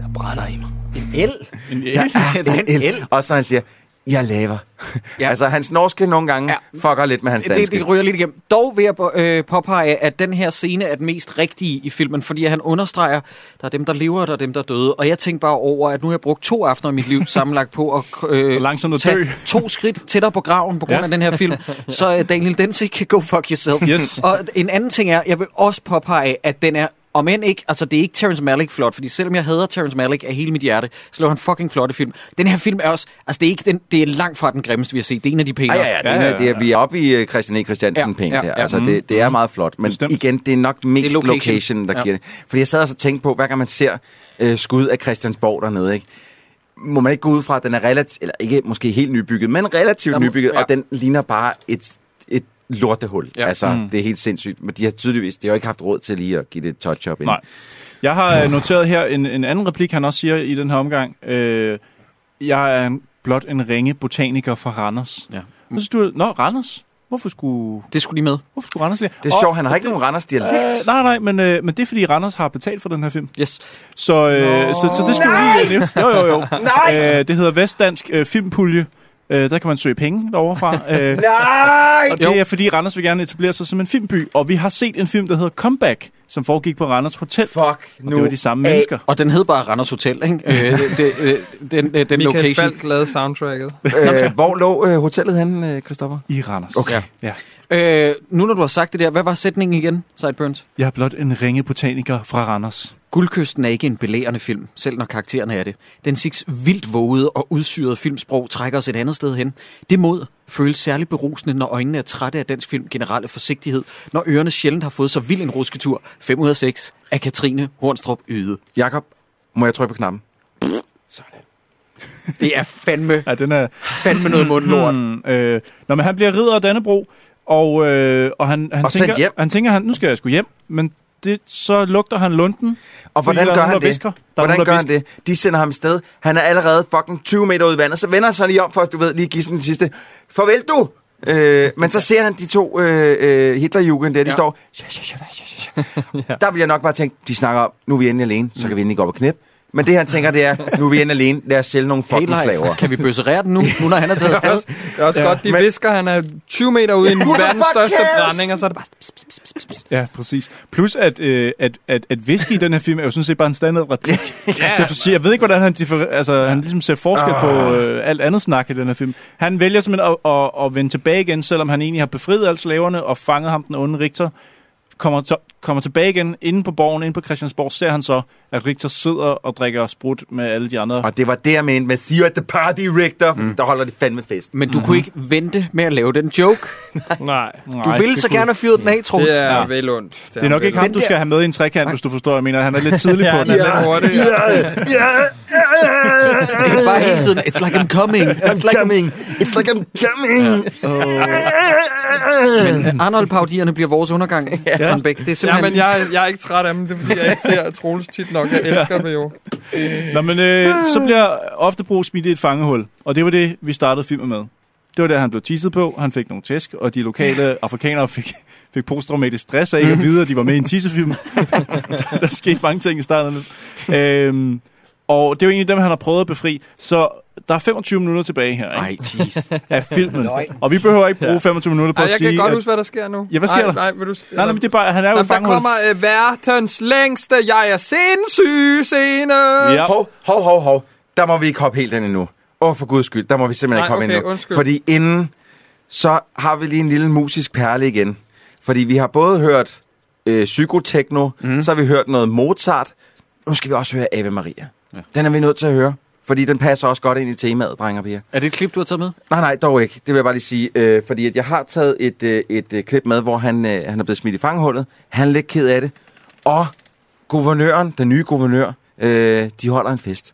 [SPEAKER 9] der brænder i mig.
[SPEAKER 1] *laughs* Der er en el.
[SPEAKER 8] Og så han siger, jeg laver. Ja.
[SPEAKER 1] Ja.
[SPEAKER 8] *laughs* altså, hans norske nogle gange ja. fucker lidt med hans danske.
[SPEAKER 1] Det, det ryger lidt igennem. Dog vil jeg øh, påpege, at den her scene er den mest rigtige i filmen, fordi han understreger, der er dem, der lever, og der er dem, der er døde. Og jeg tænkte bare over, at nu har jeg brugt to aftener i mit liv sammenlagt på at øh,
[SPEAKER 6] Og langsomt at dø.
[SPEAKER 1] tage to skridt tættere på graven på grund
[SPEAKER 6] Ja.
[SPEAKER 1] ja. af den her film. Så øh, Daniel Densig kan go fuck yourself.
[SPEAKER 6] Yes.
[SPEAKER 1] Og en anden ting er, jeg vil også påpege, at den er om end ikke, altså det er ikke Terrence Malick flot, fordi selvom jeg hader Terrence Malick af hele mit hjerte, så laver han fucking flotte film. Den her film er også, altså det er, ikke den, det er langt fra den grimmeste, vi har set. Det er en af de pænere.
[SPEAKER 8] Ja, ja, ja, det,
[SPEAKER 6] Ja,
[SPEAKER 8] ja,
[SPEAKER 6] ja,
[SPEAKER 8] ja, Det er, vi er oppe i øh, Christian E. Christiansen ja,
[SPEAKER 1] Ja,
[SPEAKER 8] penge
[SPEAKER 1] ja,
[SPEAKER 8] her.
[SPEAKER 1] ja.
[SPEAKER 8] Altså, det, det er meget flot. Men Bestemt.
[SPEAKER 6] Bestemt.
[SPEAKER 8] igen, det er nok mest det er location.
[SPEAKER 1] location.
[SPEAKER 8] location, der ja.
[SPEAKER 1] Ja.
[SPEAKER 8] giver det. Fordi jeg sad også og tænkte på, hver gang man ser øh, skud af Christiansborg dernede, ikke? må man ikke gå ud fra, at den er relativt, eller ikke måske helt nybygget, men relativt
[SPEAKER 1] Der må-
[SPEAKER 8] nybygget, ja.
[SPEAKER 1] ja.
[SPEAKER 8] og den ligner bare et, et lortehul. Ja.
[SPEAKER 1] Ja.
[SPEAKER 8] Altså, mm. det er helt sindssygt. Men de har tydeligvis, de har jo ikke haft råd til lige at give det et touch-up ind.
[SPEAKER 6] Nej. Jeg har øh, noteret her en, en anden replik, han også siger i den her omgang. Øh, jeg er en, blot en ringe botaniker fra Randers.
[SPEAKER 1] Ja.
[SPEAKER 6] Så synes du, nå, Randers? Hvorfor skulle,
[SPEAKER 1] Det skulle lige med.
[SPEAKER 6] hvorfor skulle Randers lige?
[SPEAKER 8] Det er
[SPEAKER 6] Og-
[SPEAKER 8] sjovt, han har ikke nogen Randers-dialekt.
[SPEAKER 6] Øh, nej, nej, men, øh, men det er fordi Randers har betalt for den her film.
[SPEAKER 1] Yes.
[SPEAKER 6] Så, øh, så, så det skulle vi lige øh, nævne. Jo, jo, jo.
[SPEAKER 8] *laughs* Nej!
[SPEAKER 6] Øh, det hedder Vestdansk øh, Filmpulje. Øh, der kan man søge penge derovre
[SPEAKER 8] *laughs*
[SPEAKER 6] fra. Øh,
[SPEAKER 8] Nej!
[SPEAKER 6] og det er fordi Randers vil gerne etablere sig som en filmby. Og vi har set en film, der hedder Comeback, som foregik på Randers Hotel.
[SPEAKER 8] Fuck
[SPEAKER 6] og
[SPEAKER 8] nu
[SPEAKER 6] det var de samme
[SPEAKER 8] af.
[SPEAKER 6] mennesker.
[SPEAKER 1] Og den hed bare Randers Hotel, ikke? Øh, det, det, øh, den, øh, den
[SPEAKER 7] Michael
[SPEAKER 1] location.
[SPEAKER 7] Falk lavede soundtracket.
[SPEAKER 8] Øh, hvor lå øh, hotellet henne, øh, Christoffer?
[SPEAKER 6] I Randers.
[SPEAKER 8] Okay.
[SPEAKER 6] Ja.
[SPEAKER 1] Øh, nu når du har sagt det der, hvad var sætningen igen, Sideburns?
[SPEAKER 6] Jeg er blot en ringe botaniker fra Randers.
[SPEAKER 1] Guldkysten er ikke en belærende film, selv når karaktererne er det. Den siks vildt vågede og udsyrede filmsprog trækker os et andet sted hen. Det mod føles særligt berusende, når øjnene er trætte af dansk film generelle forsigtighed, når ørerne sjældent har fået så vild en rusketur. 5 ud af 6 af Katrine Hornstrup Yde.
[SPEAKER 8] Jakob, må jeg trykke på knappen?
[SPEAKER 1] Det er fandme,
[SPEAKER 6] Ja, den er...
[SPEAKER 1] fandme noget mundlort.
[SPEAKER 6] Hmm, øh, når man, han bliver ridder af Dannebro, og, øh, og han, han,
[SPEAKER 8] Og sendt
[SPEAKER 6] tænker,
[SPEAKER 8] hjem.
[SPEAKER 6] han tænker, han, nu skal jeg sgu hjem, men det, så lugter han lunden.
[SPEAKER 8] Og
[SPEAKER 6] fordi
[SPEAKER 8] hvordan
[SPEAKER 6] der er
[SPEAKER 8] gør
[SPEAKER 6] nogen,
[SPEAKER 8] han
[SPEAKER 6] der
[SPEAKER 8] det?
[SPEAKER 6] Visker. Der er
[SPEAKER 8] Hvordan
[SPEAKER 6] nogen, der
[SPEAKER 8] gør han det? De sender ham sted. Han er allerede fucking 20 meter ud i vandet. Så vender han sig lige om for os, du ved, lige gissen den sidste. Farvel du! Øh, men så ser han de to øh, øh, Hitlerjugend der, de ja. står... Der vil jeg nok bare tænke, de snakker om, nu er vi endelig alene, så kan vi endelig gå op og knæppe. Men det han tænker, det er, nu er vi endelig alene, lad os sælge nogle fucking
[SPEAKER 1] Hey, Leif,
[SPEAKER 8] slaver.
[SPEAKER 1] Kan vi bøsserere den nu, nu når han er taget afsted?
[SPEAKER 7] Det er også
[SPEAKER 6] Ja,
[SPEAKER 7] ja, godt, de
[SPEAKER 8] men-
[SPEAKER 7] men... visker, han er 20 meter ude i en
[SPEAKER 8] Who the
[SPEAKER 7] verdens
[SPEAKER 8] fuck
[SPEAKER 7] største
[SPEAKER 8] cares?
[SPEAKER 7] brænding, og så er det bare...
[SPEAKER 6] visker. Ja, præcis. Plus at, øh, at, at, at whisky i den her film er jo sådan set bare en standard replik. ja, så jeg, jeg ved ikke, hvordan han, differ, altså, han ligesom ser forskel oh. på øh, alt andet snak i den her film. Han vælger simpelthen at, at, at vende tilbage igen, selvom han egentlig har befriet alle slaverne og fanget ham, den onde Richter. Kommer, to, kommer tilbage igen inde på borgen, inde på Christiansborg, ser han så, at Richter sidder og drikker sprut med alle de andre.
[SPEAKER 8] Og det var det, jeg mente med, see you at the party, Richter, fordi
[SPEAKER 7] Mm.
[SPEAKER 8] der holder de fandme fest.
[SPEAKER 1] Men du mm-hmm. kunne ikke vente med at lave den joke.
[SPEAKER 6] Nej,
[SPEAKER 1] Du Ej, ville så gerne have fyret den af, Troels.
[SPEAKER 7] Det er
[SPEAKER 6] Ja.
[SPEAKER 7] vel ondt. Det
[SPEAKER 6] Det er nok ikke ham,
[SPEAKER 1] Men
[SPEAKER 6] du
[SPEAKER 1] det-
[SPEAKER 6] skal have med i en trekant, hvis du forstår, hvad jeg mener. Han er lidt tidlig på
[SPEAKER 7] Ja,
[SPEAKER 6] den.
[SPEAKER 7] den er lidt hurtigt. Ja.
[SPEAKER 1] Det er bare hele tiden, it's like I'm coming. It's like I'm...
[SPEAKER 8] coming. It's like I'm coming.
[SPEAKER 1] Men Arnold-paudierne bliver vores undergang, ja. Det er
[SPEAKER 7] Ja,
[SPEAKER 1] simpelthen...
[SPEAKER 7] men jeg, jeg er ikke træt af dem. Det er, fordi jeg ikke ser Troels tit nok. Jeg elsker dem jo.
[SPEAKER 6] Nå, men øh, så bliver ofte brug smidt i et fangehul. Og det var det, vi startede filmen med. Det var der, han blev tisset på. Han fik nogle tæsk, og de lokale afrikanere fik, fik posttraumatisk stress af ikke at vide, at de var med i en tissefilm. der skete mange ting i starten. Øhm, og det er jo egentlig dem, han har prøvet at befri. Så der er 25 minutter tilbage her ikke?
[SPEAKER 1] Nej, jeez.
[SPEAKER 6] af filmen. Og vi behøver ikke bruge 25 minutter på
[SPEAKER 7] Ej,
[SPEAKER 6] at
[SPEAKER 7] jeg
[SPEAKER 6] sige...
[SPEAKER 7] kan godt
[SPEAKER 6] at,
[SPEAKER 7] huske, hvad der sker nu.
[SPEAKER 6] Ja, hvad sker
[SPEAKER 7] Ej,
[SPEAKER 6] der?
[SPEAKER 7] Nej, vil du...
[SPEAKER 6] Nej, nej, men det er bare, han er jo i
[SPEAKER 7] Jamen, der
[SPEAKER 6] fangehul.
[SPEAKER 7] kommer øh, verdens længste Jeg er sindssyg scene. Ja.
[SPEAKER 6] Ja.
[SPEAKER 8] Hov, hov, hov, hov. Der må vi ikke hoppe helt ind endnu. Åh, oh, for guds skyld, der må vi simpelthen ikke
[SPEAKER 7] Nej,
[SPEAKER 8] hoppe
[SPEAKER 7] okay,
[SPEAKER 8] ind endnu.
[SPEAKER 7] undskyld.
[SPEAKER 8] Fordi inden, så har vi lige en lille musisk perle igen. Fordi vi har både hørt øh, psykotekno,
[SPEAKER 7] Mhm.
[SPEAKER 8] mm. så har vi hørt noget Mozart. Nu skal vi også høre Ave Maria. Ja. Den er vi nødt til at høre. Fordi den passer også godt ind i temaet, drenge og piger.
[SPEAKER 1] Er det et klip, du har taget med?
[SPEAKER 8] Nej, nej, dog ikke. Det vil jeg bare lige sige. Øh, fordi at jeg har taget et, øh, et øh, klip med, hvor han, øh, han er blevet smidt i fangehullet. Han er lidt ked af det. Og guvernøren, den nye guvernør, øh, de holder en fest.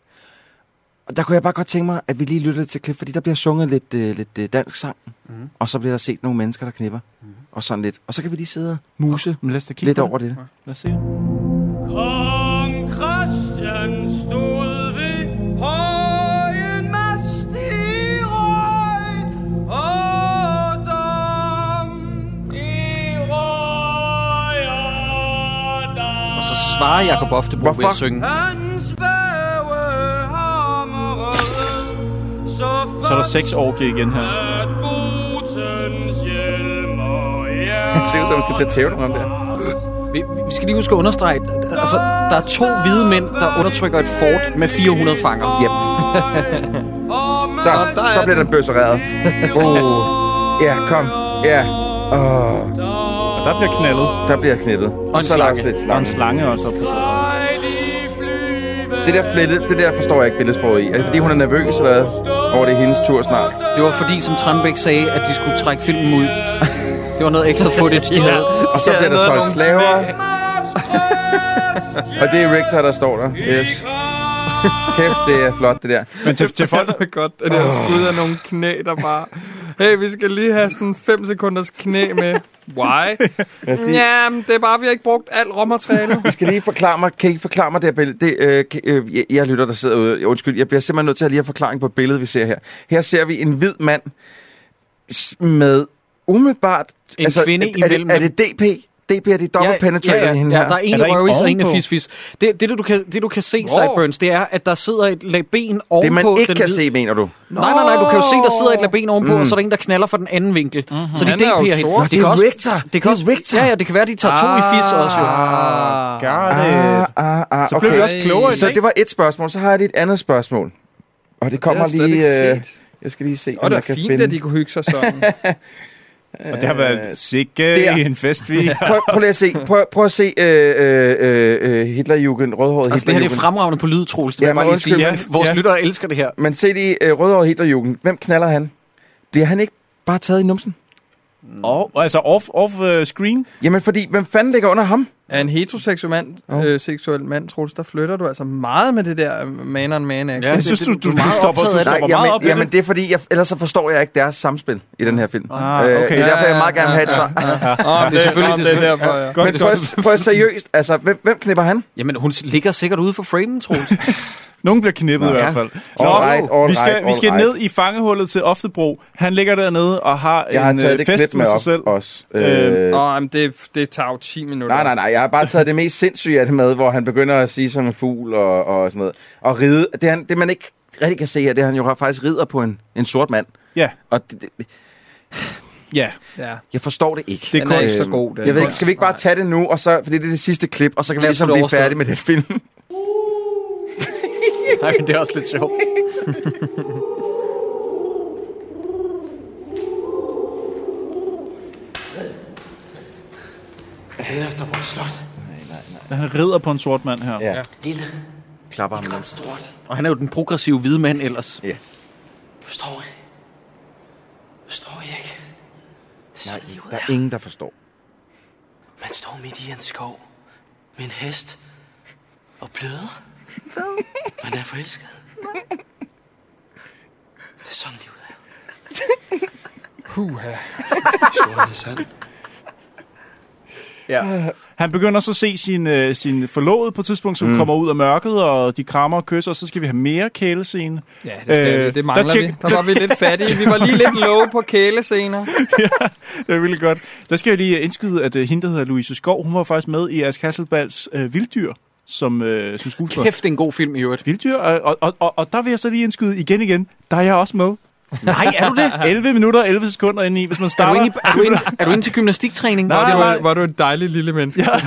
[SPEAKER 8] Og der kunne jeg bare godt tænke mig, at vi lige lyttede til et klip, fordi der bliver sunget lidt, øh, lidt øh, dansk sang. Mm. Og så bliver der set nogle mennesker, der knipper. Mm. Og sådan lidt. Og så kan vi lige sidde og muse
[SPEAKER 6] Men lad os da kigge
[SPEAKER 8] lidt
[SPEAKER 6] på
[SPEAKER 8] over det.
[SPEAKER 6] Ja, Lad os se. det.
[SPEAKER 10] Kong Christian stod ved højen mast i røg og dom i røg og dam.
[SPEAKER 1] Og så svarer Jacob Oftebro ved
[SPEAKER 8] Hvorfor?
[SPEAKER 1] at synge.
[SPEAKER 10] Hans væve hammerede, så,
[SPEAKER 6] Så er der seks orgie igen her.
[SPEAKER 10] at gutens hjelm og
[SPEAKER 8] Det ser ud som, at skal tage tævlen om der.
[SPEAKER 1] Vi, vi skal lige huske at understrege, at- altså, der er to hvide mænd, der undertrykker et fort med 400 fanger.
[SPEAKER 8] Yep. så, så bliver den bøssereret. Oh. Ja, kom. Ja. Åh.
[SPEAKER 6] Og der bliver knaldet.
[SPEAKER 8] Der bliver knippet. Og
[SPEAKER 1] en
[SPEAKER 8] så er der
[SPEAKER 1] slange.
[SPEAKER 8] også lidt
[SPEAKER 6] Der er
[SPEAKER 8] slange.
[SPEAKER 6] en slange også. oppe.
[SPEAKER 8] Det der, billede, det der forstår jeg ikke billedsproget i. Er det fordi, hun er nervøs eller hvad? Over det er hendes tur snart.
[SPEAKER 1] Det var fordi, som Tranbæk sagde, at de skulle trække filmen ud. *laughs* Det var noget ekstra footage, de havde.
[SPEAKER 8] Og så
[SPEAKER 7] Ja,
[SPEAKER 8] bliver der
[SPEAKER 7] noget
[SPEAKER 8] solgt
[SPEAKER 7] nogle
[SPEAKER 8] slaver. og det er Richter, der står der. Yes. Kæft, det er flot, det der.
[SPEAKER 6] Men til, til folk,
[SPEAKER 7] Det er godt, at jeg skud af nogle knæ, der bare... Hey, vi skal lige have sådan 5 sekunders knæ med. Why? Jamen, det er bare, vi har ikke brugt alt råmateriale.
[SPEAKER 8] Vi skal lige forklare mig, kan I ikke forklare mig det her billede? Det, øh, kan- øh, jeg, jeg lytter, der sidder ude. Undskyld, jeg bliver simpelthen nødt til at lige have forklaring på billedet, vi ser her. Her ser vi en hvid mand s- med umiddelbart...
[SPEAKER 1] En kvinde
[SPEAKER 8] Altså, er,
[SPEAKER 1] imellem
[SPEAKER 8] er, det, er det DP? DP er det dobbelt penetrator
[SPEAKER 1] ja,
[SPEAKER 8] hende
[SPEAKER 1] ja,
[SPEAKER 8] her.
[SPEAKER 1] der er en
[SPEAKER 6] Er der
[SPEAKER 1] i
[SPEAKER 6] en
[SPEAKER 1] røvis og en i
[SPEAKER 6] ovenpå?
[SPEAKER 1] fisfis. Det, det, du kan, det, du kan se,
[SPEAKER 7] Wow.
[SPEAKER 1] Sideburns, det er, at der sidder et lag ben ovenpå.
[SPEAKER 8] Det, man ikke
[SPEAKER 1] den
[SPEAKER 8] kan
[SPEAKER 1] hvide-
[SPEAKER 8] se, mener du?
[SPEAKER 1] Nej, nej, nej, du kan jo se, der sidder et lag ben ovenpå, mm. og så er der en, der knaller fra den anden vinkel. Mm-hmm. Så de
[SPEAKER 7] Mhm. Han er jo
[SPEAKER 1] DP'er hende.
[SPEAKER 7] sort. Nå,
[SPEAKER 1] Det
[SPEAKER 8] det
[SPEAKER 1] kan
[SPEAKER 8] er
[SPEAKER 1] også-
[SPEAKER 8] Richter.
[SPEAKER 1] Det kan også, ja, ja, det kan være, de tager to i fis også, jo.
[SPEAKER 6] God,
[SPEAKER 8] Ah, ah, ah,
[SPEAKER 6] så blev vi
[SPEAKER 8] okay.
[SPEAKER 7] Øh,
[SPEAKER 6] også klogere i
[SPEAKER 8] Så
[SPEAKER 6] dag.
[SPEAKER 8] det var et spørgsmål, så har jeg lige et andet spørgsmål. Og det kommer
[SPEAKER 7] har jeg slet
[SPEAKER 8] lige...
[SPEAKER 7] ikke
[SPEAKER 8] Øh, jeg skal lige se,
[SPEAKER 7] Og
[SPEAKER 8] om
[SPEAKER 7] det er
[SPEAKER 8] jeg kan
[SPEAKER 7] fint,
[SPEAKER 8] finde...
[SPEAKER 7] at de kunne hygge sig
[SPEAKER 8] *laughs*
[SPEAKER 7] sådan.
[SPEAKER 6] Og det har været sikke
[SPEAKER 8] Øh, der.
[SPEAKER 6] i en fest, vi
[SPEAKER 8] Prøv, prøv lige at se, prøv, prøv at se øh, øh, øh, øh, Hitlerjugend, rødhåret
[SPEAKER 1] Altså, det her det er
[SPEAKER 8] Hitlerjugend.
[SPEAKER 1] fremragende på lyd, Troels. Det vil
[SPEAKER 8] Ja,
[SPEAKER 1] jeg bare
[SPEAKER 8] men
[SPEAKER 1] lige sige.
[SPEAKER 8] undskyld,
[SPEAKER 1] Ja,
[SPEAKER 6] men-
[SPEAKER 1] Vores
[SPEAKER 6] ja.
[SPEAKER 1] lyttere elsker det her.
[SPEAKER 8] Men se det øh, rødhåret Hitlerjugend. Hvem knaller han? Bliver han ikke bare taget i numsen?
[SPEAKER 6] *laughs* Og, og altså off, off uh, screen.
[SPEAKER 8] Jamen, fordi hvem fanden ligger under ham?
[SPEAKER 7] Er en heteroseksuel mand,
[SPEAKER 8] Åh.
[SPEAKER 7] øh, seksuel mand, Troels, der flytter du altså meget med det der man on man action.
[SPEAKER 1] Ja,
[SPEAKER 7] Ja.
[SPEAKER 6] Jeg
[SPEAKER 1] det-
[SPEAKER 6] synes,
[SPEAKER 1] det-
[SPEAKER 6] du,
[SPEAKER 1] du
[SPEAKER 6] du,
[SPEAKER 1] er
[SPEAKER 6] du
[SPEAKER 1] meget
[SPEAKER 6] stopper,
[SPEAKER 1] optaget
[SPEAKER 6] du
[SPEAKER 1] af det.
[SPEAKER 6] stopper
[SPEAKER 8] Nej,
[SPEAKER 6] meget
[SPEAKER 8] jamen,
[SPEAKER 6] op i
[SPEAKER 8] jamen
[SPEAKER 6] det.
[SPEAKER 8] *laughs* det er fordi, jeg, ellers så forstår jeg ikke deres samspil i den her film.
[SPEAKER 6] Ah,
[SPEAKER 8] Øh, det
[SPEAKER 6] okay.
[SPEAKER 8] er derfor, jeg
[SPEAKER 7] Ja,
[SPEAKER 8] meget gerne vil have et
[SPEAKER 7] ja,
[SPEAKER 8] svar.
[SPEAKER 7] Oh, det er selvfølgelig det, er
[SPEAKER 1] selvfølgelig-
[SPEAKER 7] derfor, ja.
[SPEAKER 8] Men prøv, at- prøv at seriøst, altså, hvem, hvem knipper han?
[SPEAKER 1] Jamen, hun ligger sikkert ude for framen, Troels.
[SPEAKER 6] Nogen bliver knippet i
[SPEAKER 8] Ja.
[SPEAKER 6] hvert fald.
[SPEAKER 8] Alright, alright,
[SPEAKER 6] vi skal, vi skal
[SPEAKER 8] alright.
[SPEAKER 6] ned i fangehullet til Oftebro. Han ligger dernede og har
[SPEAKER 8] Jeg har
[SPEAKER 6] en
[SPEAKER 8] taget
[SPEAKER 6] øh,
[SPEAKER 8] det
[SPEAKER 6] fest
[SPEAKER 8] klip
[SPEAKER 6] med
[SPEAKER 8] med
[SPEAKER 6] sig
[SPEAKER 8] op
[SPEAKER 6] selv.
[SPEAKER 8] også.
[SPEAKER 6] Øhm,
[SPEAKER 8] Øh,
[SPEAKER 7] Åh, men det, det tager jo 10 minutter.
[SPEAKER 8] Nej, nej, nej. Jeg har bare taget det mest sindssyge af det med, hvor han begynder at sige som en fugl og, og sådan noget. Og ride. Det, han, det man ikke rigtig kan se her, det er, at han jo faktisk rider på en, en sort mand.
[SPEAKER 6] Ja,
[SPEAKER 8] Og det, det,
[SPEAKER 6] ja.
[SPEAKER 7] Ja.
[SPEAKER 8] jeg forstår det ikke. øh,
[SPEAKER 6] Det er
[SPEAKER 7] Den er ikke
[SPEAKER 6] kunst.
[SPEAKER 7] så god, den
[SPEAKER 8] jeg ved ikke,
[SPEAKER 7] kunst.
[SPEAKER 8] skal vi ikke bare tage det nu, og så, fordi det er det sidste klip, og så kan vi
[SPEAKER 1] Lad os
[SPEAKER 8] ligesom
[SPEAKER 1] få det
[SPEAKER 8] blive
[SPEAKER 1] overstået.
[SPEAKER 8] færdige med den film.
[SPEAKER 1] *laughs* Nej, men det er også lidt sjovt.
[SPEAKER 2] Leder efter vores slot.
[SPEAKER 6] Han rider på en sort mand her.
[SPEAKER 8] Ja.
[SPEAKER 2] Lille,
[SPEAKER 8] Klapper ham.
[SPEAKER 2] ret stort.
[SPEAKER 1] Og han er jo den progressive hvide mand ellers.
[SPEAKER 2] Forstår I? Forstår I ikke? Det er sådan livet
[SPEAKER 8] Der
[SPEAKER 2] er.
[SPEAKER 8] er ingen, der forstår.
[SPEAKER 2] Man står midt i en skov med en hest og bløder. Man er forelsket. Det er sådan livet er. Puha. Historien er sand.
[SPEAKER 1] Ja.
[SPEAKER 6] Han begynder så at se sin, øh, sin forlovede på et tidspunkt, som mm. kommer ud af mørket, og de krammer og kysser, og så skal vi have mere kælescene.
[SPEAKER 7] Ja, det, skal
[SPEAKER 6] Øh,
[SPEAKER 7] øh, vi.
[SPEAKER 6] der
[SPEAKER 7] det mangler der
[SPEAKER 6] tjek-
[SPEAKER 7] vi. Der var vi lidt fattige. Vi var lige lidt low på kælescener.
[SPEAKER 6] *laughs* Det er virkelig godt. Der skal jeg lige øh, indskyde, at øh, hende, der hedder Louise Skov, hun var faktisk med i Ask Hasselbalds øh, Vilddyr, som, øh, som skuespiller.
[SPEAKER 1] Kæft, det er en god film i øvrigt.
[SPEAKER 6] Vilddyr, og, og, og, og, og der vil jeg så lige indskyde igen igen, der er jeg også med.
[SPEAKER 1] Nej, er *laughs* du det?
[SPEAKER 6] 11 minutter og 11 sekunder inde i, hvis man
[SPEAKER 1] Er du
[SPEAKER 6] starter.
[SPEAKER 1] inde, i- er du *laughs* inde, er du inde til gymnastiktræning?
[SPEAKER 6] Nej,
[SPEAKER 7] Var
[SPEAKER 6] nej.
[SPEAKER 7] du, var du et dejligt lille menneske, ja.
[SPEAKER 6] Jeg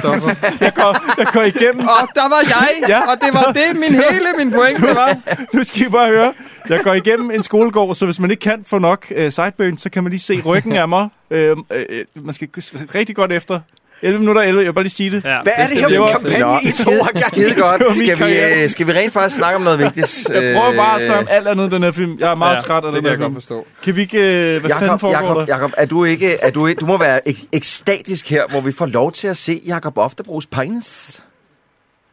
[SPEAKER 6] går, jeg *laughs* går igennem.
[SPEAKER 7] *laughs* Og der var jeg,
[SPEAKER 6] Ja.
[SPEAKER 7] ja. og det var *laughs* det, min hele min pointe var.
[SPEAKER 6] Nu skal I bare høre. Jeg går igennem en skolegård, så hvis man ikke kan få nok øh, sideburn, så kan man lige se ryggen af mig. Øh, øh, man skal gå s- rigtig godt efter. 11 minutter 11, jeg vil bare lige sige det. Ja.
[SPEAKER 1] Hvad er det her
[SPEAKER 6] Det
[SPEAKER 1] for
[SPEAKER 6] var-
[SPEAKER 1] en kampagne, I to har gang i?
[SPEAKER 8] Skide godt.
[SPEAKER 6] Det var min
[SPEAKER 8] Skal vi,
[SPEAKER 6] karriere.
[SPEAKER 8] øh, skal vi rent faktisk snakke om noget vigtigt?
[SPEAKER 6] Jeg prøver bare at snakke om
[SPEAKER 8] Øh,
[SPEAKER 6] alt andet i den her film. Jeg er meget ja,
[SPEAKER 7] Ja,
[SPEAKER 6] træt
[SPEAKER 7] det
[SPEAKER 6] af den
[SPEAKER 7] kan
[SPEAKER 6] her
[SPEAKER 7] jeg godt
[SPEAKER 6] film.
[SPEAKER 7] forstå.
[SPEAKER 6] Kan vi ikke... Øh, hvad fanden
[SPEAKER 8] Jakob,
[SPEAKER 6] foregår
[SPEAKER 8] Jakob,
[SPEAKER 6] der?
[SPEAKER 8] Jakob, er du ikke, er du ikke, du må være ek- ekstatisk her, hvor vi får lov til at se Jakob Oftebros penis.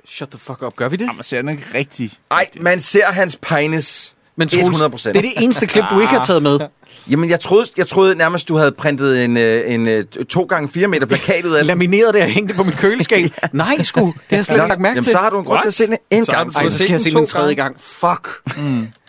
[SPEAKER 1] Shut the fuck up, gør vi det?
[SPEAKER 6] Jamen, ser den ikke rigtig?
[SPEAKER 8] Ej, man ser hans penis.
[SPEAKER 1] Men Troels,
[SPEAKER 8] 100%.
[SPEAKER 1] det er det eneste klip, du ikke har taget *laughs* med.
[SPEAKER 8] Jamen, jeg troede, jeg troede nærmest, du havde printet en, øh, en, en 2 gange 4 meter plakat ud af den.
[SPEAKER 1] Lamineret det og hængt det på mit *laughs* køleskab. Nej, sgu. Det har jeg slet
[SPEAKER 8] Nå,
[SPEAKER 1] ikke lagt mærke
[SPEAKER 8] jamen,
[SPEAKER 1] til.
[SPEAKER 8] så har du en grund til at se den en gang.
[SPEAKER 1] Ej, så skal jeg se
[SPEAKER 7] to
[SPEAKER 1] den en tredje
[SPEAKER 7] gange.
[SPEAKER 1] gang. Fuck.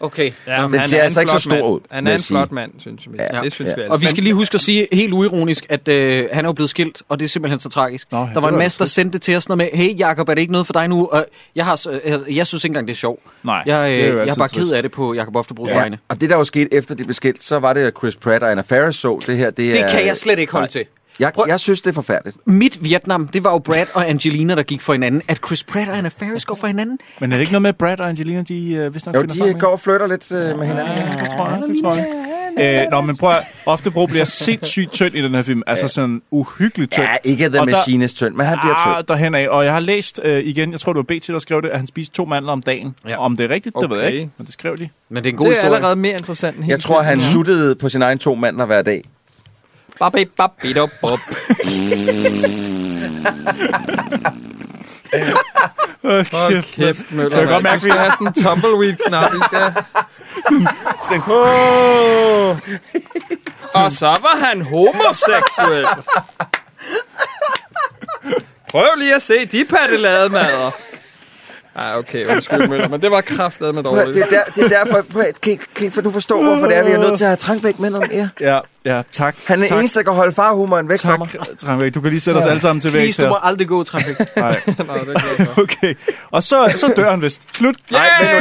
[SPEAKER 1] Okay.
[SPEAKER 7] Ja,
[SPEAKER 8] Den ser altså ikke så stor ud,
[SPEAKER 7] Han
[SPEAKER 8] vil
[SPEAKER 7] er
[SPEAKER 8] jeg
[SPEAKER 7] en
[SPEAKER 8] sige.
[SPEAKER 7] flot mand, synes vi.
[SPEAKER 8] Ja.
[SPEAKER 7] Ja. Det synes
[SPEAKER 8] Ja.
[SPEAKER 7] vi alle.
[SPEAKER 1] Og vi skal lige huske at sige helt uironisk, at øh, han er jo blevet skilt, og det er simpelthen så tragisk. Nå, ja, der var en masse, der sendte det til os noget med, hey Jakob, er det ikke noget for dig nu? Og jeg, har, s- øh, jeg synes ikke engang, det er sjovt.
[SPEAKER 6] Nej,
[SPEAKER 1] Jeg,
[SPEAKER 6] det er
[SPEAKER 1] øh,
[SPEAKER 6] jo
[SPEAKER 1] jeg er
[SPEAKER 6] altid
[SPEAKER 1] bare ked
[SPEAKER 6] trist.
[SPEAKER 1] af det på Jakob Oftebros ja.
[SPEAKER 8] Ja,
[SPEAKER 1] vegne.
[SPEAKER 8] og det, der jo skete efter det blev skilt, så var det, at Chris Pratt og Anna Faris så det her. Det,
[SPEAKER 1] Det
[SPEAKER 8] er,
[SPEAKER 1] kan jeg slet ikke holde
[SPEAKER 8] Nej.
[SPEAKER 1] til.
[SPEAKER 8] Jeg,
[SPEAKER 1] Prøv-
[SPEAKER 8] jeg synes, det er forfærdeligt.
[SPEAKER 1] Mit Vietnam, det var jo Brad og Angelina, der gik for hinanden. At Chris Pratt og Anna Faris går for hinanden,
[SPEAKER 6] Men er det ikke noget med, at Brad og Angelina, de øh, hvis nok
[SPEAKER 8] Jo,
[SPEAKER 6] finder
[SPEAKER 8] de
[SPEAKER 6] sammen?
[SPEAKER 8] øh, går og flytter lidt øh, med hinanden.
[SPEAKER 6] Ja, det tror jeg, det tror jeg. Øh, nå, men prøv at, Oftebro bliver sindssygt tynd i den her film. Altså sådan uhyggeligt tynd.
[SPEAKER 8] Ja, ikke The
[SPEAKER 6] Og der-
[SPEAKER 8] Machines tynd, men han bliver tynd.
[SPEAKER 6] Ah, derhen af. Og jeg har læst øh, igen, jeg tror det var BT, der skrev det, at han spiste to mandler om dagen. Ja.
[SPEAKER 1] Ja.
[SPEAKER 6] Om det er rigtigt, det ved jeg
[SPEAKER 7] Okay.
[SPEAKER 6] ikke, men det skrev de.
[SPEAKER 1] men det er en god
[SPEAKER 7] det er
[SPEAKER 1] historie.
[SPEAKER 7] allerede mere interessant end
[SPEAKER 8] Jeg tror, han suttede på sin egen to mandler hver dag.
[SPEAKER 7] Babi, babi, dop, bop. Hold kæft, Møller.
[SPEAKER 6] kan godt
[SPEAKER 7] mand.
[SPEAKER 6] mærke,
[SPEAKER 7] Du skal
[SPEAKER 6] vi-
[SPEAKER 7] have sådan en tumbleweed-knap. I skal- Og så var han homoseksuel. Prøv lige at se de paddelademader. Ej, okay, undskyld, Møller, men det var kraftet med
[SPEAKER 8] Prøv at høre,
[SPEAKER 7] dårligt.
[SPEAKER 8] Det er, der, det er derfor, prøv at- kan, I- kan I- for du forstår, hvorfor det er, vi er nødt til at have Trangbæk med om jer.
[SPEAKER 6] Ja, ja tak.
[SPEAKER 8] Han er
[SPEAKER 6] tak,
[SPEAKER 8] den eneste, der kan holde farhumoren væk fra mig.
[SPEAKER 6] Tak, Trangbæk. Du kan lige sætte os alle sammen til væk
[SPEAKER 1] Please, du må
[SPEAKER 6] her.
[SPEAKER 1] aldrig gå, Trafik.
[SPEAKER 6] Nej,
[SPEAKER 7] Nå, det er godt.
[SPEAKER 6] okay. Og så, så dør han vist. Slut.
[SPEAKER 8] Nej, vent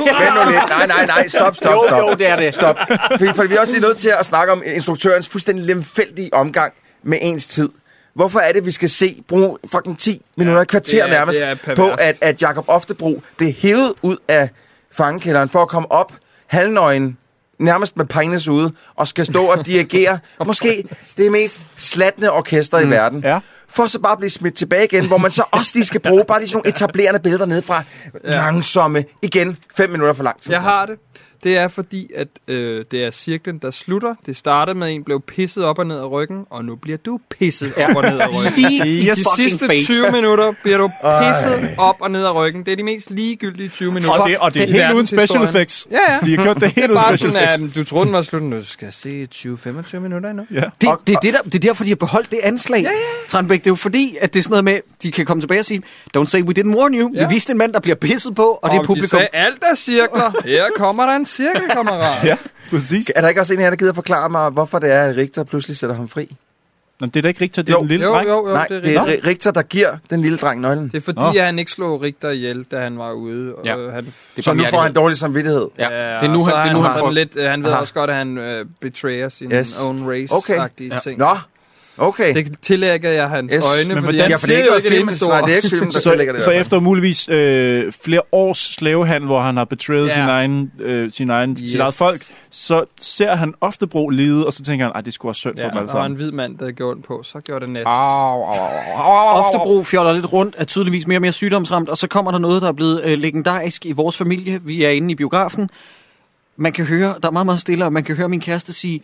[SPEAKER 8] nu lidt. Vent nu lidt. Nej, nej, nej. Stop, stop,
[SPEAKER 1] jo,
[SPEAKER 8] stop.
[SPEAKER 1] jo, det er det.
[SPEAKER 8] Stop. For, for vi er også lige nødt til at snakke om instruktørens fuldstændig lemfældige omgang med ens tid. Hvorfor er det, vi skal se bruge fucking 10 minutter, et kvarter
[SPEAKER 7] det er-
[SPEAKER 8] nærmest,
[SPEAKER 7] det er perverst.
[SPEAKER 8] på, at, at Jakob Oftebro blev hævet ud af fangekælderen for at komme op halvnøgen, nærmest med penis ude, og skal stå og
[SPEAKER 7] *laughs*
[SPEAKER 8] dirigere måske det mest slattende orkester
[SPEAKER 7] Mm.
[SPEAKER 8] i verden.
[SPEAKER 6] ja.
[SPEAKER 8] For så bare at blive smidt tilbage igen, hvor man så også lige skal bruge bare lige sådan nogle etablerende billeder nede fra langsomme, igen, 5 minutter for lang tid.
[SPEAKER 7] Jeg har det. Det er fordi, at øh, det er cirklen, der slutter. Det startede med, at en blev pisset op og ned af ryggen, og nu bliver du pisset op og ned af ryggen.
[SPEAKER 8] *laughs*
[SPEAKER 1] Lige i
[SPEAKER 7] I de
[SPEAKER 1] fucking
[SPEAKER 7] sidste
[SPEAKER 1] face.
[SPEAKER 7] 20 minutter bliver du pisset op og ned af ryggen. Det er de mest ligegyldige 20 minutter.
[SPEAKER 6] Og det, og det er
[SPEAKER 7] Den
[SPEAKER 6] helt uden
[SPEAKER 7] verdenshistorien.
[SPEAKER 6] special effects.
[SPEAKER 7] Ja, ja.
[SPEAKER 6] De har gjort det helt uden
[SPEAKER 7] Bare
[SPEAKER 6] special
[SPEAKER 7] sådan, at
[SPEAKER 6] effects.
[SPEAKER 7] mm, du troede, den var slut. Nu skal jeg se 20-25 minutter endnu.
[SPEAKER 6] Ja.
[SPEAKER 1] Det, det, er det, der, det er derfor, de har beholdt det anslag, ja, ja. Tranbæk. Det er jo fordi, at det er sådan noget med, de kan komme tilbage og sige, don't say we didn't warn you. Ja.
[SPEAKER 7] Ja.
[SPEAKER 1] Vi viste en mand, der bliver pisset på, og, og det er
[SPEAKER 7] Om De
[SPEAKER 1] publikum.
[SPEAKER 7] sagde, alt er cirkler. Her kommer der en cirkelkammerat.
[SPEAKER 6] Ja, præcis.
[SPEAKER 8] Er der ikke også en af jer, der gider forklare mig, hvorfor det er, at Richter pludselig sætter ham fri?
[SPEAKER 6] Nå, det er da ikke rigtigt, det er
[SPEAKER 8] Jo.
[SPEAKER 6] den lille
[SPEAKER 7] Jo,
[SPEAKER 6] dreng.
[SPEAKER 7] jo, jo,
[SPEAKER 8] Nej,
[SPEAKER 7] det er rigtigt.
[SPEAKER 8] Ri- Richter, der giver den lille dreng nøglen.
[SPEAKER 7] Det er fordi,
[SPEAKER 6] Nå.
[SPEAKER 7] at han ikke slog Richter ihjel, da han var ude. Og
[SPEAKER 1] Ja.
[SPEAKER 7] ja. han
[SPEAKER 8] Så nu får han dårlig samvittighed.
[SPEAKER 1] Ja,
[SPEAKER 7] Ja,
[SPEAKER 1] det er nu, han, det er nu, han får...
[SPEAKER 7] sådan lidt, øh, han ved
[SPEAKER 8] Aha.
[SPEAKER 7] også godt, at han øh, betrayer sin
[SPEAKER 8] Yes.
[SPEAKER 7] yes. own
[SPEAKER 8] Okay.
[SPEAKER 7] race-agtige
[SPEAKER 1] Ja.
[SPEAKER 7] okay. ting.
[SPEAKER 8] Nå, okay.
[SPEAKER 7] Det tillægger jeg hans
[SPEAKER 8] Yes.
[SPEAKER 7] yes. øjne,
[SPEAKER 6] Men
[SPEAKER 7] men fordi
[SPEAKER 6] hvordan-
[SPEAKER 7] han
[SPEAKER 6] Ja,
[SPEAKER 7] ja,
[SPEAKER 6] for
[SPEAKER 8] det er
[SPEAKER 7] ser
[SPEAKER 8] ikke
[SPEAKER 7] jo
[SPEAKER 8] noget
[SPEAKER 7] ikke det
[SPEAKER 8] film,
[SPEAKER 7] eneste
[SPEAKER 8] nej,
[SPEAKER 7] ord.
[SPEAKER 8] det er ikke filmen, der tillægger det. i
[SPEAKER 6] så
[SPEAKER 8] hvert fald.
[SPEAKER 6] efter muligvis øh, flere års slavehandel, hvor han har betrayet
[SPEAKER 7] Ja.
[SPEAKER 6] sin egen, øh, sin
[SPEAKER 7] *laughs*
[SPEAKER 6] egen, yes. sit
[SPEAKER 7] Yes.
[SPEAKER 6] eget folk, så ser han ofte Bro lide, og så tænker han, at det skulle også synd for dem
[SPEAKER 7] Ja,
[SPEAKER 6] alle
[SPEAKER 7] og der var en
[SPEAKER 6] sammen.
[SPEAKER 7] hvid mand, der gjorde den på, så gjorde det næste.
[SPEAKER 8] Ah.
[SPEAKER 1] Oftebro fjoller lidt rundt, er tydeligvis mere og mere sygdomsramt, og så kommer der noget, der er blevet øh, legendarisk i vores familie. Vi er inde i biografen. Man kan høre, der er meget, meget stille, og man kan høre min kæreste sige,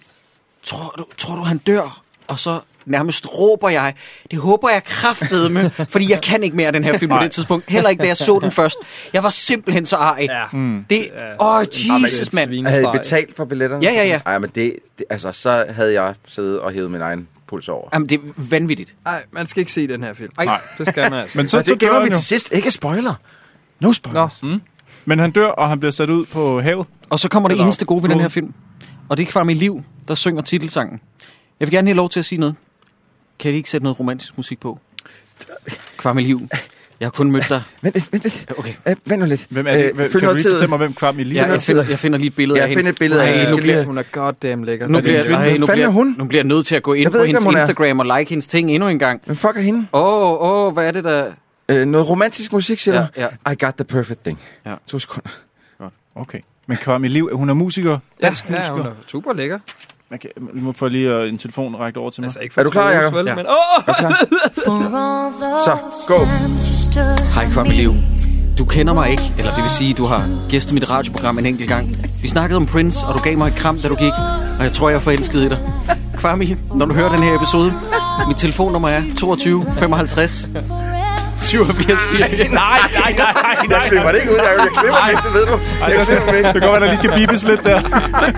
[SPEAKER 1] tror du, tror du han dør? Og så nærmest råber jeg, det håber jeg kraftedeme, fordi jeg kan ikke mere af den her film på
[SPEAKER 6] Nej.
[SPEAKER 1] det tidspunkt. Heller ikke, da jeg så den først. Jeg var simpelthen så arg.
[SPEAKER 7] Ja.
[SPEAKER 1] Mm. Det, åh, oh, Jesus, mand.
[SPEAKER 8] Jeg havde I betalt for billetterne?
[SPEAKER 1] Ja, ja, ja.
[SPEAKER 8] Ej, men det, det, altså, så havde jeg siddet og hævet min egen puls over.
[SPEAKER 1] Jamen, det er vanvittigt.
[SPEAKER 7] Nej, man skal ikke se den her film. Ej,
[SPEAKER 6] Nej.
[SPEAKER 7] det skal man
[SPEAKER 8] *laughs*
[SPEAKER 7] altså.
[SPEAKER 6] Men
[SPEAKER 8] Så,
[SPEAKER 6] så,
[SPEAKER 8] og
[SPEAKER 6] så
[SPEAKER 8] det
[SPEAKER 6] dør
[SPEAKER 8] gemmer vi
[SPEAKER 6] han jo.
[SPEAKER 8] til sidst. Ikke spoiler. No spoiler.
[SPEAKER 7] Nå,
[SPEAKER 6] Men han dør, og han bliver sat ud på havet.
[SPEAKER 1] Og så kommer det
[SPEAKER 6] Eller
[SPEAKER 1] eneste gode ved den her
[SPEAKER 6] floden.
[SPEAKER 1] film. Og det er Kvarmi Liv, der synger titelsangen. Jeg vil gerne have lov til at sige noget. Kan I ikke sætte noget romantisk musik på? Kvarmi Liv, jeg har kun mødt dig.
[SPEAKER 8] Vent lidt, vent lidt.
[SPEAKER 1] Okay.
[SPEAKER 8] Øh, vent nu lidt.
[SPEAKER 6] Hvem er det?
[SPEAKER 8] Øh, følg
[SPEAKER 6] Hvem, kan du
[SPEAKER 8] noget
[SPEAKER 6] ikke
[SPEAKER 8] tid.
[SPEAKER 6] fortælle mig, hvem Kram i livet
[SPEAKER 1] Jeg,
[SPEAKER 6] er?
[SPEAKER 1] jeg, finder, jeg finder lige et billede
[SPEAKER 8] Jeg
[SPEAKER 1] af hende.
[SPEAKER 8] finder et billede af
[SPEAKER 1] Ej,
[SPEAKER 8] hende.
[SPEAKER 1] nu
[SPEAKER 8] Skal vi-
[SPEAKER 1] bliver,
[SPEAKER 7] hun er goddamn lækker.
[SPEAKER 1] nu,
[SPEAKER 7] Så det
[SPEAKER 1] bliver,
[SPEAKER 7] er en kvinde.
[SPEAKER 1] ej, nu,
[SPEAKER 8] Hvem fanden
[SPEAKER 1] bliver,
[SPEAKER 8] er hun?
[SPEAKER 1] nu bliver jeg nødt til at gå
[SPEAKER 8] Jeg
[SPEAKER 1] ind
[SPEAKER 8] ved
[SPEAKER 1] på
[SPEAKER 8] ikke,
[SPEAKER 1] hendes
[SPEAKER 8] hvem hun er.
[SPEAKER 1] Instagram og like hendes ting endnu en gang.
[SPEAKER 8] Men fuck er hende?
[SPEAKER 1] Åh, oh, åh, oh, hvad er det der?
[SPEAKER 8] Øh, noget romantisk musik, siger
[SPEAKER 1] Ja,
[SPEAKER 8] du?
[SPEAKER 1] ja.
[SPEAKER 8] I got the perfect thing.
[SPEAKER 1] Ja.
[SPEAKER 8] To sekunder.
[SPEAKER 6] Okay. Men Kram i liv, hun er musiker. Dansk
[SPEAKER 7] Ja, ja, hun
[SPEAKER 6] musiker.
[SPEAKER 7] er super lækker.
[SPEAKER 6] Man kan, må få lige øh, en telefon rækt over til mig.
[SPEAKER 7] Altså, ikke for
[SPEAKER 8] Er du klar,
[SPEAKER 7] Troels,
[SPEAKER 8] Jacob?
[SPEAKER 7] vel,
[SPEAKER 1] Ja.
[SPEAKER 7] Men, åh!
[SPEAKER 8] Er du klar? Så, gå.
[SPEAKER 1] Hej Kvarmi Liv. Du kender mig ikke, eller det vil sige, du har gæstet mit radioprogram en enkelt gang. Vi snakkede om Prince, og du gav mig et kram, da du gik, og jeg tror, jeg er forelsket i dig. Kvarmi, når du hører den her episode, mit telefonnummer er 22 55 87 4.
[SPEAKER 6] Nej, nej, nej, nej,
[SPEAKER 8] Jeg klipper det ikke ud, Jacob. Jeg klipper det ikke, det ved du.
[SPEAKER 6] Ej,
[SPEAKER 8] Jeg
[SPEAKER 6] det, er så,
[SPEAKER 8] klipper det
[SPEAKER 6] det
[SPEAKER 8] ikke.
[SPEAKER 6] kan godt være, der lige skal bibes lidt der.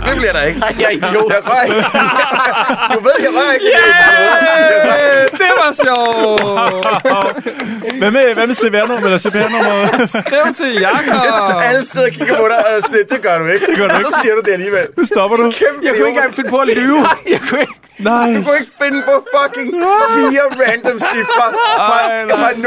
[SPEAKER 8] Det bliver der ikke.
[SPEAKER 1] Jeg er idiot.
[SPEAKER 8] Jeg røg. Du ved, jeg røg ikke.
[SPEAKER 6] *laughs*
[SPEAKER 8] Yeah!
[SPEAKER 7] Øh, det var sjovt!
[SPEAKER 6] Hvad med, hvad med CVR-nummer eller CPR-nummer?
[SPEAKER 7] Skriv til Jacob!
[SPEAKER 8] Alle sidder og kigger på dig og er sådan lidt, det gør du ikke. Det gør du ikke. Så siger du det alligevel.
[SPEAKER 6] Nu
[SPEAKER 8] *laughs*
[SPEAKER 6] stopper du.
[SPEAKER 8] Kæmpe
[SPEAKER 1] Jeg kunne ikke engang finde på at
[SPEAKER 8] *laughs*
[SPEAKER 1] lyve. Jeg kunne ikke.
[SPEAKER 6] Nej.
[SPEAKER 8] Du kunne ikke finde på fucking fire random cifre fra,
[SPEAKER 6] Ej, nej.
[SPEAKER 8] fra 0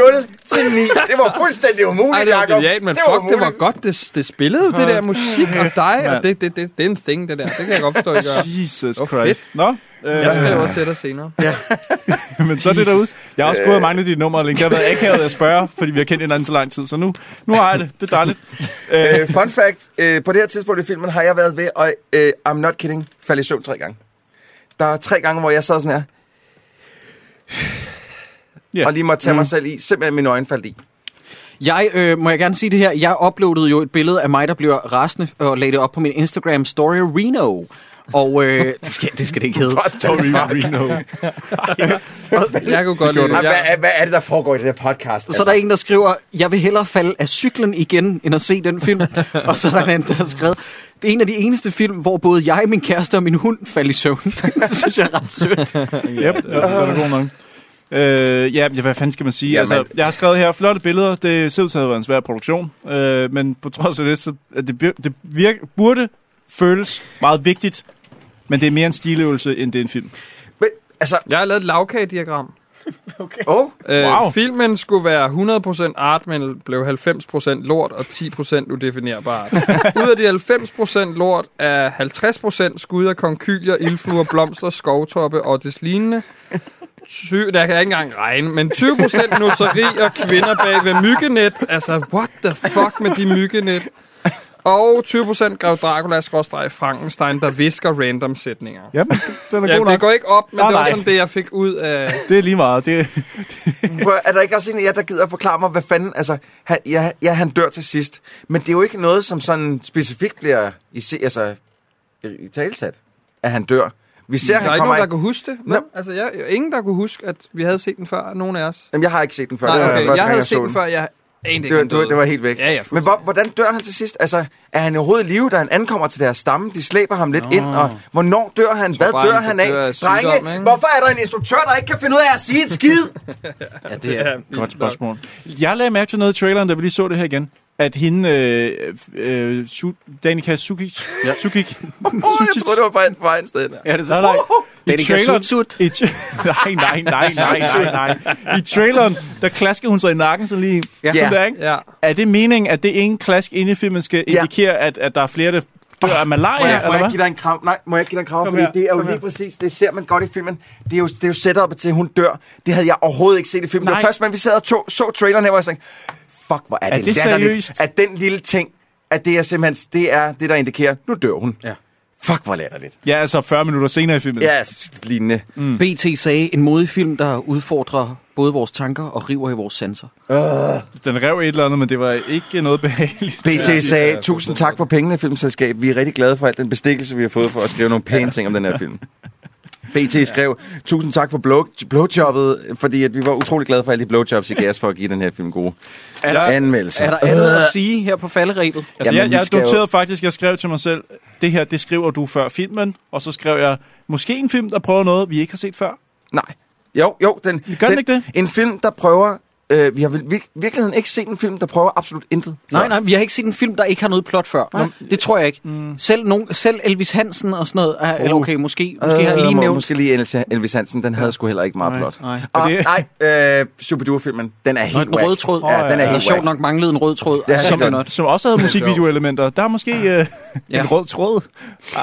[SPEAKER 8] til 9. Det var fuldstændig umuligt,
[SPEAKER 7] Ej, det var
[SPEAKER 8] Jacob.
[SPEAKER 7] genialt, men fuck, det var godt, det, det spillede jo, det der musik og dig, og
[SPEAKER 6] mand.
[SPEAKER 7] det, det, det, det er en thing, det der. Det kan jeg godt forstå, I gør.
[SPEAKER 6] Jesus
[SPEAKER 7] Hvor
[SPEAKER 6] Christ. Nå, øh,
[SPEAKER 7] Jeg skriver til dig senere.
[SPEAKER 6] *laughs* men så er det derude. Jeg har også
[SPEAKER 8] Øh.
[SPEAKER 6] gået og manglet dit nummer længe. Jeg har været akavet at spørge, fordi vi har kendt hinanden så lang tid. Så nu, nu har jeg det. Det er dejligt.
[SPEAKER 8] Øh, fun fact. Øh, på det her tidspunkt i filmen har jeg været ved at, øh, I'm not kidding, falde i søvn tre gange. Der er tre gange, hvor jeg sad sådan her.
[SPEAKER 6] Ja.
[SPEAKER 8] Yeah. Og lige måtte tage mm. mig selv i. Simpelthen mine øjne faldt i.
[SPEAKER 1] Jeg, øh, må jeg gerne sige det her, jeg uploadede jo et billede af mig, der bliver rasende, og lagde det op på min Instagram story Reno. Og øh, det, skal, det skal det ikke hedde.
[SPEAKER 6] Sorry, Reno.
[SPEAKER 7] Jeg kunne godt lide
[SPEAKER 8] Ej,
[SPEAKER 7] det.
[SPEAKER 8] hvad,
[SPEAKER 7] Jeg,
[SPEAKER 8] er, hvad er det, der foregår i det der podcast? altså?
[SPEAKER 1] Så er der en, der skriver, jeg vil hellere falde af cyklen igen, end at se den *laughs* film. og så er der en anden, der har skrevet, det er en af de eneste film, hvor både jeg, min kæreste og min hund faldt i søvn. *laughs* det synes jeg er ret sødt.
[SPEAKER 6] Yep, ja, det var da god nok. Øh, ja, ja, hvad fanden skal man sige?
[SPEAKER 8] Jamen.
[SPEAKER 6] Altså, jeg har skrevet her, flotte billeder. Det ser ud til at have været en svær produktion. Øh, men på trods af det, så at det, bir- det virke, burde føles meget vigtigt. Men det er mere en stiløvelse, end det er en film.
[SPEAKER 8] Men, altså,
[SPEAKER 7] jeg har lavet et lavkagediagram.
[SPEAKER 8] oh,
[SPEAKER 7] Øh,
[SPEAKER 6] Wow.
[SPEAKER 7] Filmen skulle være 100% art, men blev 90% lort og 10% udefinerbar art. Ud af de 90% lort er 50% skud af konkylier, ildfluer, blomster, skovtoppe og des lignende. Ty- der kan jeg ikke engang regne, men 20% nusseri og kvinder bag ved myggenet. Altså, what the fuck med de myggenet? Og 20% Grev Dracula skråstreg Frankenstein, der visker random sætninger.
[SPEAKER 6] Ja, men den er
[SPEAKER 7] Ja,
[SPEAKER 6] god nok.
[SPEAKER 7] det går ikke op, men
[SPEAKER 6] Nej,
[SPEAKER 7] det var
[SPEAKER 6] nej.
[SPEAKER 7] sådan det, jeg fik ud af...
[SPEAKER 6] Det er lige meget. Det,
[SPEAKER 8] Prøv, er der ikke også en af jer, der gider at forklare mig, hvad fanden... Altså, han, ja, ja, han dør til sidst. Men det er jo ikke noget, som sådan specifikt bliver i, se- altså, i, i talsat, at han dør. Vi ser,
[SPEAKER 7] Der er
[SPEAKER 8] han
[SPEAKER 7] ikke
[SPEAKER 8] kommer
[SPEAKER 7] nogen, der
[SPEAKER 8] ind...
[SPEAKER 7] kunne huske det.
[SPEAKER 8] Nå.
[SPEAKER 7] vel? Altså, jeg, ingen, der kunne huske, at vi havde set den før, nogen af os.
[SPEAKER 8] Jamen, jeg har ikke set den før.
[SPEAKER 7] Nej,
[SPEAKER 8] Det var
[SPEAKER 7] okay.
[SPEAKER 8] første
[SPEAKER 7] Jeg
[SPEAKER 8] gang,
[SPEAKER 7] havde set
[SPEAKER 8] så
[SPEAKER 7] den før, jeg anede
[SPEAKER 8] Det
[SPEAKER 7] ikke,
[SPEAKER 8] var,
[SPEAKER 7] han
[SPEAKER 8] det, var,
[SPEAKER 7] døde.
[SPEAKER 8] det var helt væk.
[SPEAKER 7] Ja, ja,
[SPEAKER 8] Men hvor, hvordan dør han til sidst? Altså, er han overhovedet i live, da han ankommer til deres stamme? De slæber ham lidt ind, og hvornår dør han? Hvad
[SPEAKER 7] bare,
[SPEAKER 8] dør
[SPEAKER 7] han
[SPEAKER 8] han
[SPEAKER 7] dør af
[SPEAKER 8] af? Drenge,
[SPEAKER 7] sygdom, ikke?
[SPEAKER 8] hvorfor er der en instruktør, der ikke kan finde ud af at sige et
[SPEAKER 6] *laughs*
[SPEAKER 8] skid?
[SPEAKER 1] Ja, det er.
[SPEAKER 6] Godt spørgsmål. Jeg lagde mærke til noget i traileren, da vi lige så det her igen. At hende, øh, øh, Su- Danica Sukic, ja. *laughs* Sukic,
[SPEAKER 8] Åh, jeg troede, det var bare en vej en sted.
[SPEAKER 1] Ja, det er så.
[SPEAKER 6] Nej, nej. I
[SPEAKER 1] Danica
[SPEAKER 6] traileren...
[SPEAKER 1] Sut-Sut.
[SPEAKER 6] I tra- *laughs* nej, nej, nej,
[SPEAKER 8] *laughs*
[SPEAKER 6] nej, nej, nej. I traileren, der klasker hun sig i nakken sådan lige.
[SPEAKER 1] Ja.
[SPEAKER 6] Ja. Sådan der, ikke?
[SPEAKER 7] Ja.
[SPEAKER 6] Er det meningen, at det ene klask inde i filmen skal
[SPEAKER 8] Ja.
[SPEAKER 6] indikere, at, at der er flere, der dør af malaria,
[SPEAKER 8] Må jeg, må
[SPEAKER 6] eller
[SPEAKER 8] jeg
[SPEAKER 6] hvad?
[SPEAKER 8] give dig en kram? Nej, må jeg ikke give dig en kram?
[SPEAKER 6] Kom
[SPEAKER 8] Fordi
[SPEAKER 6] her,
[SPEAKER 8] det er jo
[SPEAKER 6] kom
[SPEAKER 8] lige
[SPEAKER 6] her.
[SPEAKER 8] præcis, det ser man godt i filmen. Det er jo, det er jo setupet til, at hun dør. Det havde jeg overhovedet ikke set i filmen. Nej. Det
[SPEAKER 6] Nej.
[SPEAKER 8] var først, men vi sad og tog, så traileren her, hvor jeg tænkte, fuck, hvor er det,
[SPEAKER 6] det
[SPEAKER 8] latterligt,
[SPEAKER 6] seriøst?
[SPEAKER 8] At den lille ting, at det er simpelthen, det er det, der indikerer, nu dør hun.
[SPEAKER 1] Ja.
[SPEAKER 8] Fuck, hvor latterligt.
[SPEAKER 6] Ja, altså 40 minutter senere i filmen.
[SPEAKER 8] Ja, yes, lignende.
[SPEAKER 1] BT sagde, en modig film, der udfordrer både vores tanker og river i vores sanser.
[SPEAKER 6] Den rev et eller andet, men det var ikke noget behageligt.
[SPEAKER 8] BT sagde, tusind tak for pengene, filmselskab. Vi er rigtig glade for alt den bestikkelse, vi har fået for at skrive nogle pæne ting om den her film. BT skrev, tusind tak for blow, blowjobbet, fordi at vi var utrolig glade for alle de blowjobs, I gav os for at give den her film gode
[SPEAKER 6] Er der-
[SPEAKER 8] anmeldelser. Øh,
[SPEAKER 1] Er der andet at sige her på falderæbet?
[SPEAKER 6] Altså,
[SPEAKER 8] Jamen,
[SPEAKER 6] Jamen,
[SPEAKER 8] vi
[SPEAKER 6] jeg, jeg
[SPEAKER 8] skal jo-
[SPEAKER 6] noterede jo... faktisk, jeg skrev til mig selv, det her, det skriver du før filmen, og så skrev jeg, måske en film, der prøver noget, vi ikke har set før.
[SPEAKER 8] Nej. Jo, jo. Den,
[SPEAKER 6] Gør den
[SPEAKER 8] den,
[SPEAKER 6] ikke det?
[SPEAKER 8] En film, der prøver... Øh, vi har vel vir- virkeligheden ikke set en film, der prøver absolut intet.
[SPEAKER 1] Nej, nej, vi har ikke set en film, der ikke har noget plot før. Det tror jeg ikke. Mm. Selv, nogen, selv Elvis Hansen og sådan noget, er, eller okay, måske, måske øh, har jeg lige
[SPEAKER 8] må-
[SPEAKER 1] nævnt.
[SPEAKER 8] Måske lige Elvis, Elvis Hansen, den havde sgu heller ikke meget
[SPEAKER 6] Nej,
[SPEAKER 8] plot.
[SPEAKER 1] nej.
[SPEAKER 8] Og,
[SPEAKER 6] det-
[SPEAKER 8] nej, øh, Superdure-filmen, den er
[SPEAKER 1] Nå,
[SPEAKER 8] helt
[SPEAKER 1] en
[SPEAKER 8] whack.
[SPEAKER 1] rød tråd.
[SPEAKER 8] Ja, den er
[SPEAKER 1] Der
[SPEAKER 8] helt
[SPEAKER 1] sjovt
[SPEAKER 8] whack.
[SPEAKER 1] nok manglede en rød tråd.
[SPEAKER 8] Ja,
[SPEAKER 1] Ja,
[SPEAKER 8] det
[SPEAKER 1] som
[SPEAKER 8] gør
[SPEAKER 1] er
[SPEAKER 8] den.
[SPEAKER 1] not.
[SPEAKER 6] Som også havde musikvideoelementer. Der er måske øh,
[SPEAKER 1] Ja.
[SPEAKER 6] en rød tråd. *laughs*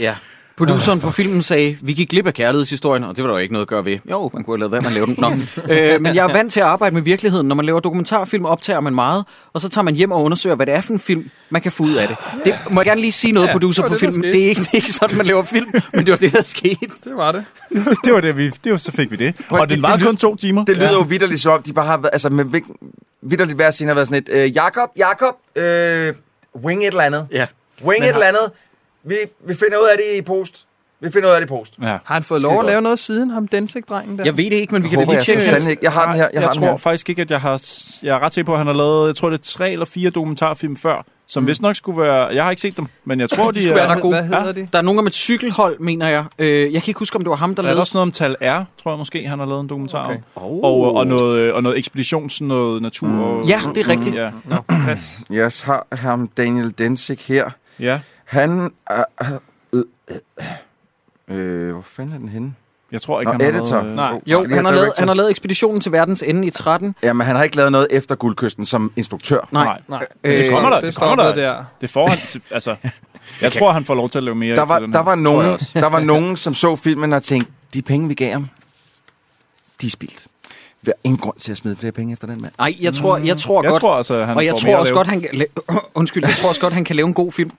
[SPEAKER 1] Ja. Produceren på filmen sagde, vi gik glip af kærlighedshistorien, og det var der jo ikke noget at gøre ved. Jo, man kunne have lavet, hvad man lavede den. Nå. *laughs* øh, men jeg er vant til at arbejde med virkeligheden. Når man laver dokumentarfilm, optager man meget, og så tager man hjem og undersøger, hvad det er for en film, man kan få ud af det. det må jeg gerne lige sige noget, producer
[SPEAKER 7] det
[SPEAKER 1] på
[SPEAKER 7] var det, der
[SPEAKER 1] filmen.
[SPEAKER 7] skete.
[SPEAKER 1] Det er, ikke, det er ikke sådan, man laver film, men det var det, der skete.
[SPEAKER 7] Det var det.
[SPEAKER 6] det var det, vi... Det var, så fik vi det.
[SPEAKER 8] Prøv,
[SPEAKER 6] Og den
[SPEAKER 8] det-
[SPEAKER 6] var
[SPEAKER 8] det lyder-
[SPEAKER 6] kun to timer.
[SPEAKER 8] Det lyder jo vidderligt som om, de bare har været, altså med vik- vidderligt hver scene har været sådan et, øh, Jakob, Jakob, øh, wing et eller andet.
[SPEAKER 1] Ja.
[SPEAKER 8] Wing et eller andet. Vi, vi finder ud af det i post. Vi finder ud af det i post.
[SPEAKER 6] Ja.
[SPEAKER 7] Har han fået
[SPEAKER 8] Skide
[SPEAKER 7] lov at
[SPEAKER 8] godt.
[SPEAKER 7] lave noget siden ham, Densik-drengen der?
[SPEAKER 1] Jeg ved det ikke, men vi
[SPEAKER 8] Jeg
[SPEAKER 1] kan da
[SPEAKER 8] håber,
[SPEAKER 1] lige
[SPEAKER 8] jeg
[SPEAKER 1] tjekke.
[SPEAKER 8] ser sandelig ikke. Jeg har den her. Jeg, har
[SPEAKER 6] jeg
[SPEAKER 8] den
[SPEAKER 6] tror
[SPEAKER 8] her.
[SPEAKER 6] faktisk ikke, at jeg har... s- Jeg er ret sikker på, at han har lavet, jeg tror, det er tre eller fire dokumentarfilm før, som mm. vist nok skulle være... Jeg har ikke set dem, men jeg tror, de, de
[SPEAKER 7] Hvad,
[SPEAKER 6] er...
[SPEAKER 7] hvad, hvad hedder de?
[SPEAKER 1] Der er nogen om et cykelhold, mener jeg. Øh, jeg kan ikke huske, om det var ham, der
[SPEAKER 6] Der er
[SPEAKER 1] lavede
[SPEAKER 6] også noget om Tal R, tror jeg måske, han har lavet en dokumentar okay.
[SPEAKER 7] Okay.
[SPEAKER 6] om. Og, og, noget, øh, og noget ekspedition, sådan noget natur. Mm. Og,
[SPEAKER 1] Ja, det er rigtigt.
[SPEAKER 6] Ja.
[SPEAKER 8] Jeg har ham Daniel Densik her.
[SPEAKER 6] ja.
[SPEAKER 8] Han er... Øh, øh, øh, hvor fanden er den henne?
[SPEAKER 6] Jeg tror ikke,
[SPEAKER 8] Nå,
[SPEAKER 6] han har
[SPEAKER 8] editor.
[SPEAKER 6] Lavet, øh, nej.
[SPEAKER 8] Oh,
[SPEAKER 1] Jo,
[SPEAKER 8] lige
[SPEAKER 1] han har, lavet,
[SPEAKER 8] director.
[SPEAKER 1] han har lavet ekspeditionen til verdens ende i 13.
[SPEAKER 8] Jamen, han har ikke lavet noget efter Guldkysten som instruktør.
[SPEAKER 1] Nej.
[SPEAKER 6] Nej.
[SPEAKER 7] Nej.
[SPEAKER 1] Øh,
[SPEAKER 6] Det kommer der,
[SPEAKER 7] det
[SPEAKER 6] det kommer
[SPEAKER 7] stoppede
[SPEAKER 6] der.
[SPEAKER 7] der.
[SPEAKER 6] Det får han, til- altså... Jeg tror, han får lov til at lave mere
[SPEAKER 8] Der
[SPEAKER 6] efter
[SPEAKER 8] var,
[SPEAKER 6] den
[SPEAKER 8] der,
[SPEAKER 6] her.
[SPEAKER 8] var nogen, der
[SPEAKER 1] *laughs*
[SPEAKER 8] var nogen, som så filmen og tænkte, de penge, vi gav ham, de er spildt. Vi har ingen grund til at smide flere penge efter den mand.
[SPEAKER 1] Nej, jeg tror, jeg tror
[SPEAKER 6] Jeg
[SPEAKER 1] godt...
[SPEAKER 6] tror altså, han
[SPEAKER 1] og jeg
[SPEAKER 6] får
[SPEAKER 1] tror
[SPEAKER 6] mere
[SPEAKER 1] også
[SPEAKER 6] at
[SPEAKER 1] godt, han kan la- *coughs* Undskyld, jeg tror også godt, han kan lave en god film.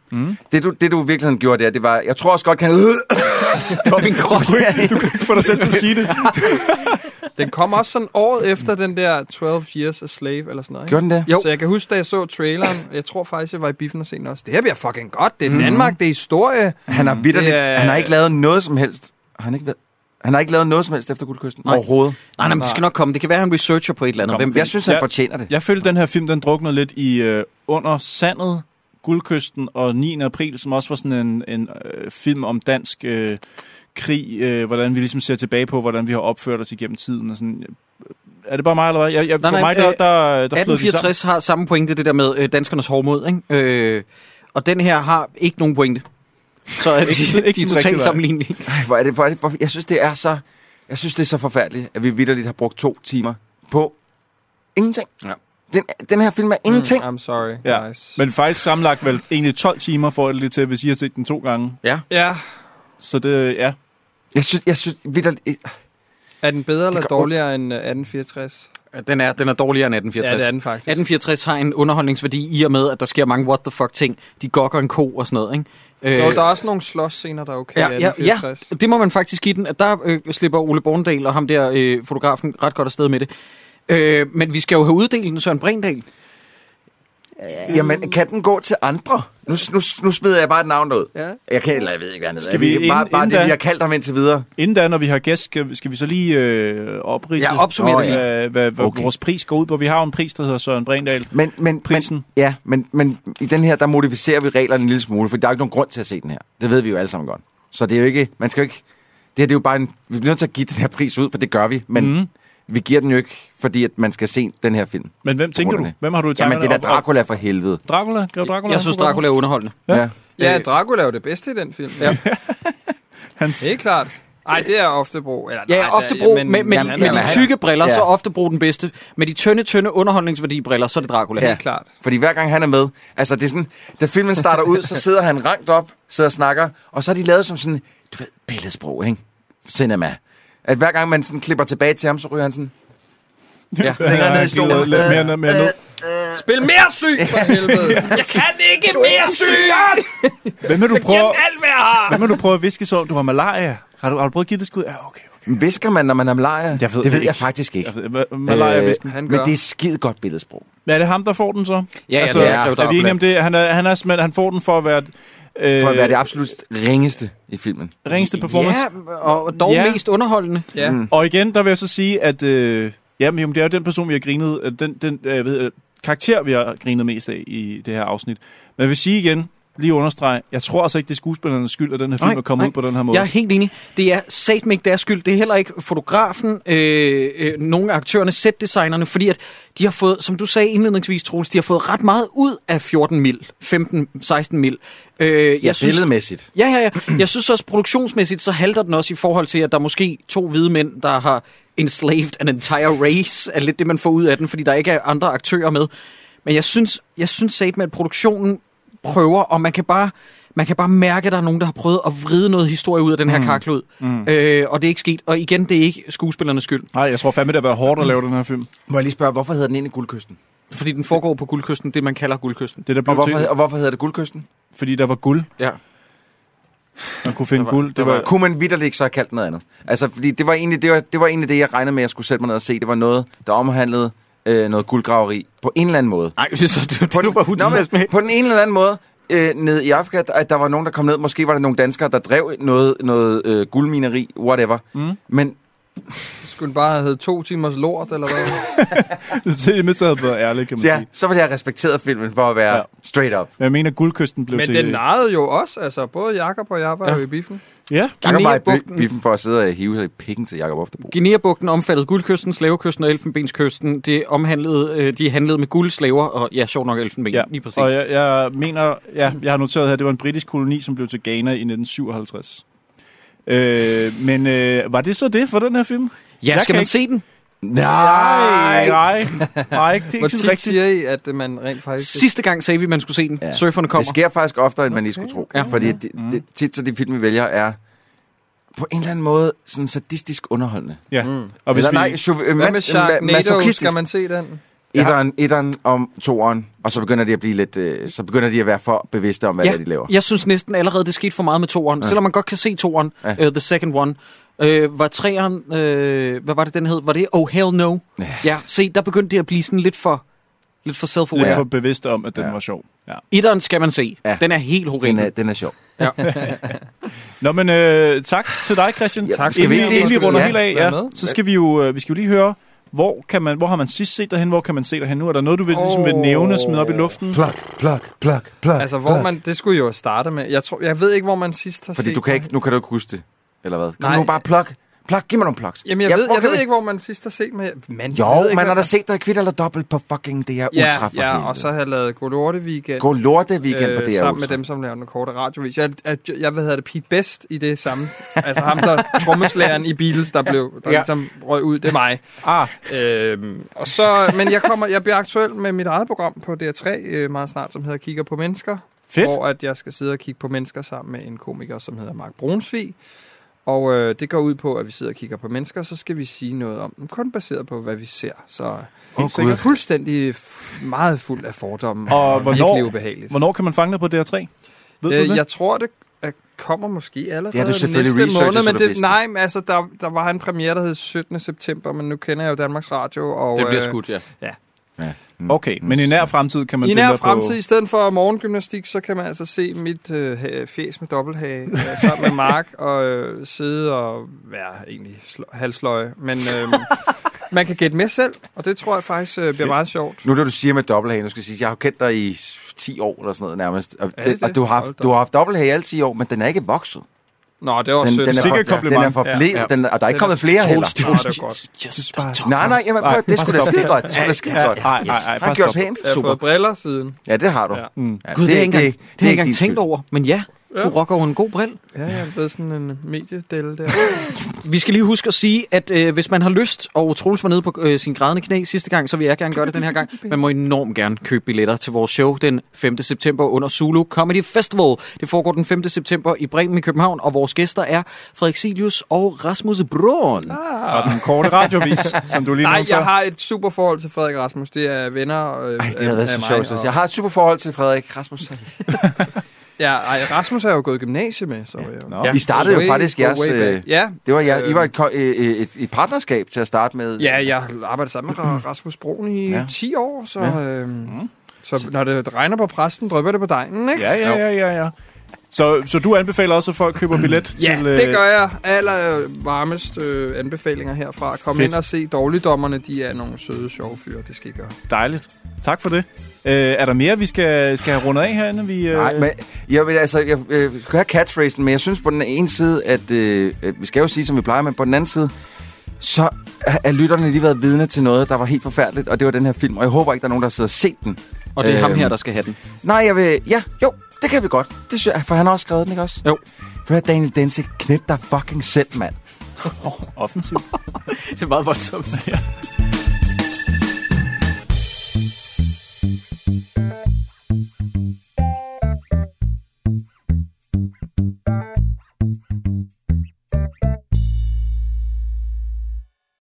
[SPEAKER 8] Det du, det, du i virkeligheden gjorde der, det var, jeg tror
[SPEAKER 1] *laughs*
[SPEAKER 8] også godt, kan... Øh,
[SPEAKER 1] På min krop.
[SPEAKER 6] lave. Få dig selv til at sige det.
[SPEAKER 7] Den kom også sådan året efter den der 12 Years a Slave eller sådan noget. Ikke?
[SPEAKER 8] gjorde den det?
[SPEAKER 1] Jo.
[SPEAKER 7] Så jeg kan huske, da jeg så traileren, jeg tror faktisk, jeg var i biffen og se den også. Det her bliver fucking godt.
[SPEAKER 8] Mhm.
[SPEAKER 7] Det er Danmark, det er historie.
[SPEAKER 8] Han har vidderligt,
[SPEAKER 7] Det er-
[SPEAKER 8] han har ikke lavet noget som helst. Han har ikke, været- han har ikke lavet noget som helst efter Guldkysten
[SPEAKER 1] Nej.
[SPEAKER 8] overhovedet.
[SPEAKER 1] Nej, nej, men det skal nok komme. Det kan være, han researcher på et eller andet.
[SPEAKER 6] Kom.
[SPEAKER 1] Hvem ved?
[SPEAKER 8] Jeg synes, han
[SPEAKER 6] Ja.
[SPEAKER 8] fortjener det.
[SPEAKER 6] Jeg følte, den her film, den druknede lidt i øh, Under Sandet, Guldkysten og 9. april, som også var sådan en, en øh, film om dansk øh, krig, øh, hvordan vi ligesom ser tilbage på, hvordan vi har opført os igennem tiden. Og sådan. Øh, Er det bare mig, eller hvad? Jeg, jeg,
[SPEAKER 1] Nej,
[SPEAKER 6] for
[SPEAKER 1] nej,
[SPEAKER 6] mig, der,
[SPEAKER 1] øh,
[SPEAKER 6] der, der flød de sammen.
[SPEAKER 1] 1864 har samme pointe, det der med øh, danskernes hårdmod, ikke? Øh, og den her har ikke nogen pointe. Så
[SPEAKER 6] *laughs*
[SPEAKER 1] er
[SPEAKER 6] Ikke sådan-
[SPEAKER 1] de,
[SPEAKER 6] ikke
[SPEAKER 1] de er
[SPEAKER 6] sådan rigtig,
[SPEAKER 1] totalt
[SPEAKER 6] nej.
[SPEAKER 1] sammenlignelige.
[SPEAKER 8] Ej, hvor er det, hvor er det, hvor, jeg synes, det er så... Jeg synes, det er så forfærdeligt, at vi vidderligt har brugt to timer på ingenting.
[SPEAKER 1] Ja. Mm.
[SPEAKER 8] Den, den her film er ingenting.
[SPEAKER 7] Mm, I'm sorry,
[SPEAKER 6] Ja.
[SPEAKER 7] guys.
[SPEAKER 6] Men faktisk sammenlagt vel egentlig 12 timer for det lidt til, hvis I har set den to gange.
[SPEAKER 7] Ja,
[SPEAKER 6] Så det, ja.
[SPEAKER 8] Jeg synes, jeg synes vidderligt...
[SPEAKER 7] er den bedre eller
[SPEAKER 8] gør
[SPEAKER 7] dårligere end øh, 1864?
[SPEAKER 1] Den er, den er dårligere end
[SPEAKER 7] Ja,
[SPEAKER 1] 1864.
[SPEAKER 7] det er den faktisk.
[SPEAKER 1] 1864 har en underholdningsværdi i og med, at der sker mange what the fuck ting. De gokker en ko og sådan noget, ikke? Øh,
[SPEAKER 7] Nå, der er også nogle slåsscener, der er okay i
[SPEAKER 1] Ja, ja, ja,
[SPEAKER 7] 1864.
[SPEAKER 1] det må man faktisk give den. at Der øh, slipper Ole Borndal og ham der øh, fotografen ret godt afsted med det. Øh, men vi skal jo have uddelt den Søren Brindal.
[SPEAKER 8] Jamen, kan den gå til andre? Nu, nu, nu smider jeg bare et navn ud.
[SPEAKER 7] Ja.
[SPEAKER 8] Jeg kan eller jeg ved ikke, hvad han hedder.
[SPEAKER 6] Skal vi
[SPEAKER 8] bare,
[SPEAKER 6] inden-
[SPEAKER 8] bare
[SPEAKER 6] inden
[SPEAKER 8] det,
[SPEAKER 6] da-
[SPEAKER 8] vi har kaldt ham indtil videre.
[SPEAKER 6] Inden da, når vi har gæst, skal, skal vi så lige øh, oprise,
[SPEAKER 1] Ja, opsummere
[SPEAKER 8] det
[SPEAKER 6] hvad, hvad, hvad
[SPEAKER 8] Okay.
[SPEAKER 6] vores pris går ud på. Vi har jo en pris, der hedder Søren Brindal.
[SPEAKER 8] Men, men,
[SPEAKER 6] Prisen.
[SPEAKER 8] Men, ja, men, men i den her, der modificerer vi reglerne en lille smule, for der er jo ikke nogen grund til at se den her. Det ved vi jo alle sammen godt. Så det er jo ikke, man skal jo ikke, det her det er jo bare en, vi bliver nødt til at give den her pris ud, for det gør vi,
[SPEAKER 6] Mhm.
[SPEAKER 8] men mm. vi giver den jo ikke, fordi at man skal se den her film.
[SPEAKER 6] Men hvem tænker du?
[SPEAKER 8] Rullerne.
[SPEAKER 6] Hvem har du i tankerne?
[SPEAKER 8] Jamen, det er da
[SPEAKER 6] Op- op-
[SPEAKER 8] Dracula for helvede.
[SPEAKER 6] Dracula? Grev Dracula?
[SPEAKER 1] Jeg synes, Dracula er underholdende.
[SPEAKER 8] Ja.
[SPEAKER 6] Ja.
[SPEAKER 8] ja.
[SPEAKER 7] Ja,
[SPEAKER 1] Øh,
[SPEAKER 7] Dracula er jo det bedste i den film. *laughs* Ja.
[SPEAKER 6] Hans-
[SPEAKER 7] Helt klart. Ej, det er Oftebro. Eller, nej,
[SPEAKER 1] Ja,
[SPEAKER 7] der-
[SPEAKER 1] ofte brug med, med,
[SPEAKER 7] han
[SPEAKER 1] med,
[SPEAKER 7] er-
[SPEAKER 1] med
[SPEAKER 8] jamen,
[SPEAKER 1] de
[SPEAKER 8] han-
[SPEAKER 1] tykke briller,
[SPEAKER 8] ja.
[SPEAKER 1] så ofte brug den bedste. Med de tynde, tynde underholdningsværdibriller, så er det Dracula.
[SPEAKER 8] Ja.
[SPEAKER 1] Ja.
[SPEAKER 7] Helt klart.
[SPEAKER 8] Fordi hver gang han er med, altså det er sådan, da filmen starter ud, så sidder han rangt op, sidder og snakker, og så er de lavet som sådan, du ved, billedsprog, ikke? Cinema. At hver gang man sådan klipper tilbage til ham, så ryger han sådan,
[SPEAKER 1] Ja.
[SPEAKER 6] Altså,
[SPEAKER 8] længere ned i
[SPEAKER 6] Lidt,
[SPEAKER 8] stolen.
[SPEAKER 6] lidt mere, ned- mere ned.
[SPEAKER 7] Spil mere syg, for helvede. Jeg kan ikke mere syg!
[SPEAKER 6] Hvem vil du prøve,
[SPEAKER 7] Alt, hvad jeg har!
[SPEAKER 6] hvem vil du prøve at viske så, om du har malaria? Har du, har du prøvet at give det et skud? Ja, okay. okay.
[SPEAKER 8] Øh, visker man, når man er malaria?
[SPEAKER 6] Jeg
[SPEAKER 8] det ved
[SPEAKER 6] ved det
[SPEAKER 8] jeg
[SPEAKER 6] ikke.
[SPEAKER 8] faktisk ikke. Øh,
[SPEAKER 6] Jeg ved- ma- Altså, Malaria visken.
[SPEAKER 7] Han
[SPEAKER 8] Men
[SPEAKER 7] gør.
[SPEAKER 8] det er skide godt billedsprog.
[SPEAKER 6] Men er det ham, der får den så? Altså,
[SPEAKER 1] ja, det er Grev
[SPEAKER 6] er, vi
[SPEAKER 1] Dracula.
[SPEAKER 6] enige om det? Han, er, han, er, simpelthen- han får den for at være... Øh,
[SPEAKER 8] For at være det absolut ringeste i filmen.
[SPEAKER 6] Ringeste performance.
[SPEAKER 1] Ja, og dog
[SPEAKER 6] Ja.
[SPEAKER 1] mest underholdende.
[SPEAKER 7] Ja.
[SPEAKER 8] Mm.
[SPEAKER 6] Og igen, der vil jeg så sige, at øh, jamen, jamen, det er jo den person, vi har grinet, øh, den, den øh, jeg ved, øh, karakter, vi har grinet mest af i det her afsnit. Men jeg vil sige igen, lige understrege, jeg tror altså ikke, det er skuespillernes skyld, at den her film
[SPEAKER 1] Nej,
[SPEAKER 6] er kommet
[SPEAKER 1] nej.
[SPEAKER 6] ud på den her måde.
[SPEAKER 1] Jeg er helt enig. Det er satme ikke deres skyld. Det er heller ikke fotografen, øh, øh, nogle af aktørerne, setdesignerne, fordi at de har fået, som du sagde indledningsvis, Troels, de har fået ret meget ud af 14 mil, 15, 16 mil. Øh, jeg
[SPEAKER 8] Billedmæssigt.
[SPEAKER 1] Ja, ja, ja. Jeg synes også, produktionsmæssigt, så halter den også i forhold til, at der er måske to hvide mænd, der har enslaved an entire race, er lidt det, man får ud af den, fordi der ikke er andre aktører med. Men jeg synes, jeg synes sat med, at produktionen prøver, og man kan bare... Man kan bare mærke, at der er nogen, der har prøvet at vride noget historie ud af den her mm. karklud. Mm. Øh, og det er ikke sket. Og igen, det er ikke skuespillernes skyld.
[SPEAKER 6] Nej, jeg tror fandme, det har været hårdt at lave den her film.
[SPEAKER 8] Må jeg lige spørge, hvorfor hedder den egentlig Guldkysten?
[SPEAKER 1] Fordi den foregår på guldkysten, det man kalder guldkysten.
[SPEAKER 6] Det der
[SPEAKER 8] Og
[SPEAKER 6] blev
[SPEAKER 8] hvorfor,
[SPEAKER 6] til,
[SPEAKER 8] hed- og hvorfor hedder det Guldkysten?
[SPEAKER 6] fordi der var guld.
[SPEAKER 1] Ja.
[SPEAKER 6] Man kunne finde
[SPEAKER 1] Der var-
[SPEAKER 6] guld.
[SPEAKER 1] der
[SPEAKER 6] Det var,
[SPEAKER 1] var-
[SPEAKER 8] Kunne man vidderligt ikke så have kaldt den noget andet? Altså, fordi det var egentlig det, var, det, var egentlig det jeg regnede med, at jeg skulle sætte mig ned og se. Det var noget, der omhandlede øh, noget guldgraveri på en eller anden måde.
[SPEAKER 1] Nej, så du,
[SPEAKER 8] På
[SPEAKER 1] du
[SPEAKER 8] den,
[SPEAKER 1] var
[SPEAKER 8] Nå,
[SPEAKER 1] utilfreds med.
[SPEAKER 8] men, på den ene eller anden måde, øh, ned i Afrika, der- at der var nogen, der kom ned. Måske var der nogle danskere, der drev noget, noget øh, guldmineri, whatever. Mm. Men
[SPEAKER 7] Skulle den bare have heddet to timers lort, eller hvad?
[SPEAKER 6] til *laughs* det mindste havde været ærligt, kan man
[SPEAKER 8] ja,
[SPEAKER 6] sige.
[SPEAKER 8] så ville jeg have respekteret filmen for at være
[SPEAKER 6] Ja.
[SPEAKER 8] ja. straight up.
[SPEAKER 6] Men Jeg mener, guldkysten blev
[SPEAKER 7] Men
[SPEAKER 6] til...
[SPEAKER 7] den narrede jo også, altså både Jakob og jeg var
[SPEAKER 6] Ja.
[SPEAKER 7] ja. jo i biffen.
[SPEAKER 6] Ja,
[SPEAKER 8] Jakob var i
[SPEAKER 1] Guinea-bugten.
[SPEAKER 8] bi- biffen for at sidde og hive i pikken til Jakob Oftebro.
[SPEAKER 1] Guinea-bugten omfattede guldkysten, slavekysten og elfenbenskysten. Det omhandlede, øh, de handlede med guld, slaver og ja, sjov nok elfenben.
[SPEAKER 6] ja.
[SPEAKER 1] Lige præcis.
[SPEAKER 6] Og jeg, jeg mener, ja, jeg har noteret her, det var en britisk koloni, som blev til Ghana i 1957. Øh, men øh, var det så det for den her film?
[SPEAKER 1] ja,
[SPEAKER 6] jeg
[SPEAKER 1] skal
[SPEAKER 6] kan
[SPEAKER 1] man
[SPEAKER 6] ikke-
[SPEAKER 1] se den?
[SPEAKER 6] Nej, nej, nej, det er
[SPEAKER 7] Hvor
[SPEAKER 6] ikke sådan
[SPEAKER 7] tit
[SPEAKER 6] rigtigt.
[SPEAKER 7] siger I, at øh, man rent faktisk...
[SPEAKER 1] Sidste gang sagde vi, at man skulle se den. Ja.
[SPEAKER 8] Ja.
[SPEAKER 1] Surferne kommer.
[SPEAKER 8] Det sker faktisk oftere, end man lige skulle tro.
[SPEAKER 1] okay,
[SPEAKER 8] fordi det,
[SPEAKER 7] Mm.
[SPEAKER 8] det, tit så de film, vi vælger, er på en eller anden måde sådan sadistisk underholdende.
[SPEAKER 6] Ja.
[SPEAKER 7] Mm.
[SPEAKER 6] Og hvis
[SPEAKER 8] eller nej,
[SPEAKER 6] vi,
[SPEAKER 8] chauv- øh,
[SPEAKER 7] Hvad
[SPEAKER 8] ma-
[SPEAKER 7] med
[SPEAKER 8] ma-
[SPEAKER 7] Sharknado?
[SPEAKER 8] masochistisk.
[SPEAKER 7] Skal man se den?
[SPEAKER 8] Etteren, etteren om toeren, og så begynder de at blive lidt, øh, så begynder de at være for bevidste om, hvad ja.
[SPEAKER 1] ja,
[SPEAKER 8] det er, de laver.
[SPEAKER 1] Jeg synes næsten allerede, det skete for meget med toeren. Ja. Selvom man godt kan se toeren, ja.
[SPEAKER 8] Ja.
[SPEAKER 1] uh, The Second One, uh, var treeren, uh, hvad var det den hed? Var det Oh Hell No? Ja, ja se, der begyndte det at blive sådan lidt for, lidt for self-aware.
[SPEAKER 6] lidt
[SPEAKER 1] Ja.
[SPEAKER 6] for bevidste om, at den
[SPEAKER 8] Ja.
[SPEAKER 6] var sjov. Ja.
[SPEAKER 1] Etteren skal man se. Ja.
[SPEAKER 8] Ja.
[SPEAKER 1] Den er helt
[SPEAKER 8] Den
[SPEAKER 1] horribel.
[SPEAKER 8] er, den er sjov.
[SPEAKER 6] Nå, men øh, tak til dig, Christian.
[SPEAKER 8] Ja,
[SPEAKER 6] tak.
[SPEAKER 8] skal
[SPEAKER 6] inden,
[SPEAKER 8] vi-
[SPEAKER 6] inden vi
[SPEAKER 8] skal vi-
[SPEAKER 6] runder
[SPEAKER 8] ja,
[SPEAKER 6] helt af,
[SPEAKER 7] skal
[SPEAKER 6] ja,
[SPEAKER 7] vi med?
[SPEAKER 6] så skal vi jo, øh, vi skal jo lige høre, hvor, kan man, hvor har man sidst set dig hen, hvor kan man se dig hen nu? Er der noget, du vil, ligesom vil
[SPEAKER 7] Åh.
[SPEAKER 6] nævne, smide op i luften?
[SPEAKER 8] Plak, plak, plak, plak.
[SPEAKER 7] Altså, hvor man... Det skulle jo starte med. Jeg, tror, jeg ved ikke, hvor man sidst har
[SPEAKER 8] Fordi
[SPEAKER 7] set
[SPEAKER 8] du kan ikke, nu kan du ikke huske det, eller hvad? Kom
[SPEAKER 7] Nej.
[SPEAKER 8] Nej. nu bare plak. Plak, giv mig nogle plugs.
[SPEAKER 7] Jamen, jeg,
[SPEAKER 8] Ja,
[SPEAKER 7] ved,
[SPEAKER 8] hvor
[SPEAKER 7] jeg
[SPEAKER 8] kan
[SPEAKER 7] ved
[SPEAKER 8] vi-
[SPEAKER 7] ikke, hvor man sidst har set med... Man,
[SPEAKER 8] Jo, man har da
[SPEAKER 7] der
[SPEAKER 8] set dig kvitter eller dobbelt på fucking DR
[SPEAKER 7] ja,
[SPEAKER 8] Ultra for
[SPEAKER 7] ja,
[SPEAKER 8] helvede.
[SPEAKER 7] og så har jeg lavet God Lorte Weekend. øh,
[SPEAKER 8] Gå lorte weekend på DR Ultra.
[SPEAKER 7] sammen med dem, som laver den korte radiovis. Jeg, jeg, jeg, hvad hedder det, Pete Best i det samme. altså ham,
[SPEAKER 8] *laughs*
[SPEAKER 7] der trommeslæren i Beatles, der blev der
[SPEAKER 1] Ja.
[SPEAKER 7] ja. ligesom røg ud. Det er mig.
[SPEAKER 6] Ah,
[SPEAKER 7] Øhm, og så, men jeg, kommer, jeg bliver aktuel med mit eget program på DR3 øh, meget snart, som hedder Kigger på mennesker.
[SPEAKER 6] fedt.
[SPEAKER 7] Hvor at jeg skal sidde og kigge på mennesker sammen med en komiker, som hedder Mark Brunsvig. Og øh, det går ud på, at vi sidder og kigger på mennesker, og så skal vi sige noget om dem, kun baseret på, hvad vi ser. Så
[SPEAKER 6] Helt
[SPEAKER 7] det er
[SPEAKER 6] sikkert.
[SPEAKER 7] fuldstændig f- meget fuld af fordomme og,
[SPEAKER 6] Og
[SPEAKER 7] virkelig
[SPEAKER 6] hvornår,
[SPEAKER 7] ubehageligt. Øh,
[SPEAKER 6] hvornår kan man fange dig på DR3? Ved du det?
[SPEAKER 7] Jeg tror, det øh, kommer måske allerede
[SPEAKER 8] Det har du selvfølgelig
[SPEAKER 7] næste
[SPEAKER 8] researchet,
[SPEAKER 7] måned,
[SPEAKER 8] så
[SPEAKER 7] men
[SPEAKER 8] du
[SPEAKER 7] det,
[SPEAKER 8] vidste.
[SPEAKER 7] nej, men altså, der, der var en premiere, der hed 17. september, men nu kender jeg jo Danmarks Radio. Og,
[SPEAKER 1] Den bliver
[SPEAKER 7] øh,
[SPEAKER 1] skudt, ja.
[SPEAKER 6] Okay, men i nær fremtid kan man
[SPEAKER 7] Mm. I
[SPEAKER 6] finde
[SPEAKER 7] nær
[SPEAKER 6] dig
[SPEAKER 7] fremtid,
[SPEAKER 6] på...
[SPEAKER 7] i stedet for morgengymnastik, så kan man altså se mit øh, ha- fjes med
[SPEAKER 8] *laughs*
[SPEAKER 7] dobbelthage øh, sammen med Mark og øh, sidde og være egentlig sl- halsløje. Men øh, man kan gætte med selv, og det tror jeg faktisk øh, bliver meget sjovt.
[SPEAKER 8] Nu da du siger med dobbelthage, nu skal jeg sige, jeg har jo kendt dig i 10 år eller sådan noget nærmest. Og,
[SPEAKER 7] Er
[SPEAKER 8] det
[SPEAKER 7] det
[SPEAKER 8] og
[SPEAKER 7] det?
[SPEAKER 8] du, har
[SPEAKER 7] Hold
[SPEAKER 8] haft,
[SPEAKER 7] da
[SPEAKER 8] du har haft dobbelthage i alle 10 år, men den er ikke vokset.
[SPEAKER 7] Nå, det var
[SPEAKER 8] Den,
[SPEAKER 7] sødt.
[SPEAKER 8] den, er,
[SPEAKER 6] Sikkert
[SPEAKER 8] for, den
[SPEAKER 6] kompliment.
[SPEAKER 8] er forblevet,
[SPEAKER 7] Ja.
[SPEAKER 8] ja. den, og der er ikke
[SPEAKER 7] Den er-
[SPEAKER 8] kommet flere heller.
[SPEAKER 7] Nå, det var
[SPEAKER 8] *laughs*
[SPEAKER 7] godt.
[SPEAKER 1] Just bare
[SPEAKER 8] Nej, nej, jamen, prøv,
[SPEAKER 6] Nej,
[SPEAKER 8] at- det skulle
[SPEAKER 6] bare
[SPEAKER 8] da
[SPEAKER 6] stop.
[SPEAKER 8] skide godt. Det skulle da skide godt.
[SPEAKER 6] Nej, nej, nej,
[SPEAKER 8] Har
[SPEAKER 6] bare
[SPEAKER 8] du gjort
[SPEAKER 6] stop.
[SPEAKER 8] pænt?
[SPEAKER 7] Jeg har fået briller siden.
[SPEAKER 8] Ja, det har du.
[SPEAKER 7] Ja.
[SPEAKER 8] Ja.
[SPEAKER 6] Mm.
[SPEAKER 8] Ja,
[SPEAKER 1] Gud, det, det, har jeg ikke engang- det har jeg ikke engang
[SPEAKER 8] din
[SPEAKER 1] tænkt
[SPEAKER 8] skyld.
[SPEAKER 1] over. Men ja, du rocker over en god bril.
[SPEAKER 7] Ja, jeg er blevet sådan en
[SPEAKER 8] *laughs*
[SPEAKER 7] mediedel der.
[SPEAKER 1] Vi skal lige huske at sige, at øh, hvis man har lyst, og Troels var nede på øh, sin grædende knæ sidste gang, så vil jeg gerne gøre det den her gang. Man må enormt gerne købe billetter til vores show den 5. september under Zulu Comedy Festival. Det foregår den 5. september i Bremen i København, og vores gæster er Frederik Silius og Rasmus Brun.
[SPEAKER 6] Fra den korte
[SPEAKER 7] *laughs*
[SPEAKER 6] radiovis, som du lige
[SPEAKER 7] Nej,
[SPEAKER 6] nævnte før.
[SPEAKER 7] jeg har et super forhold til Frederik Rasmus. Det er venner øh,
[SPEAKER 8] Ej, det havde været
[SPEAKER 7] af
[SPEAKER 8] så
[SPEAKER 7] mig,
[SPEAKER 8] sjovt. så
[SPEAKER 7] og-
[SPEAKER 8] Jeg har et super forhold til Frederik Rasmus.
[SPEAKER 7] Ja, ej, Rasmus har jo gået i gymnasiet med, så jeg jo.
[SPEAKER 6] Nå.
[SPEAKER 8] I startede
[SPEAKER 7] Way-
[SPEAKER 8] jo faktisk jeres...
[SPEAKER 7] way back.
[SPEAKER 8] øh,
[SPEAKER 7] Ja,
[SPEAKER 8] Det var, jeg, I
[SPEAKER 7] Øhm.
[SPEAKER 8] var et, ko- øh, øh, et, et partnerskab til at starte med.
[SPEAKER 7] ja, jeg har arbejdet sammen med Ra- Rasmus Broen i ja.
[SPEAKER 8] Ja.
[SPEAKER 7] 10 år, så,
[SPEAKER 8] Ja.
[SPEAKER 6] Mm.
[SPEAKER 7] øhm, så når det regner på præsten, drøber det på dejen, ikke?
[SPEAKER 6] Ja, ja, ja, ja, ja. Så, så du anbefaler også, at folk køber billet
[SPEAKER 7] Mm. Ja,
[SPEAKER 6] til... øh,
[SPEAKER 7] det gør jeg. Aller varmest øh, anbefalinger herfra. Kom
[SPEAKER 6] Fedt.
[SPEAKER 7] Fedt. ind og se dårligdommerne. De er nogle søde, sjove fyre. Det skal I gøre.
[SPEAKER 6] Dejligt. Tak for det. Øh, er der mere, vi skal, skal have rundet af her, inden vi... Øh...
[SPEAKER 8] Nej, men jeg vil altså, jeg øh, kan høre catchphrasen, men jeg synes på den ene side, at øh, øh, vi skal jo sige, som vi plejer, men på den anden side, så er er lytterne lige været vidne til noget, der var helt forfærdeligt, og det var den her film, og jeg håber ikke, der er nogen, der sidder og set den.
[SPEAKER 1] Og det er ham
[SPEAKER 8] Øhm.
[SPEAKER 1] her, der skal have den.
[SPEAKER 8] Nej, jeg vil... Ja, jo, det kan vi godt. Det synes jeg, for han har også skrevet den, ikke også?
[SPEAKER 1] Jo.
[SPEAKER 8] For det er Daniel Dense, knæt dig fucking selv, mand.
[SPEAKER 6] Offensivt.
[SPEAKER 1] Det er meget voldsomt.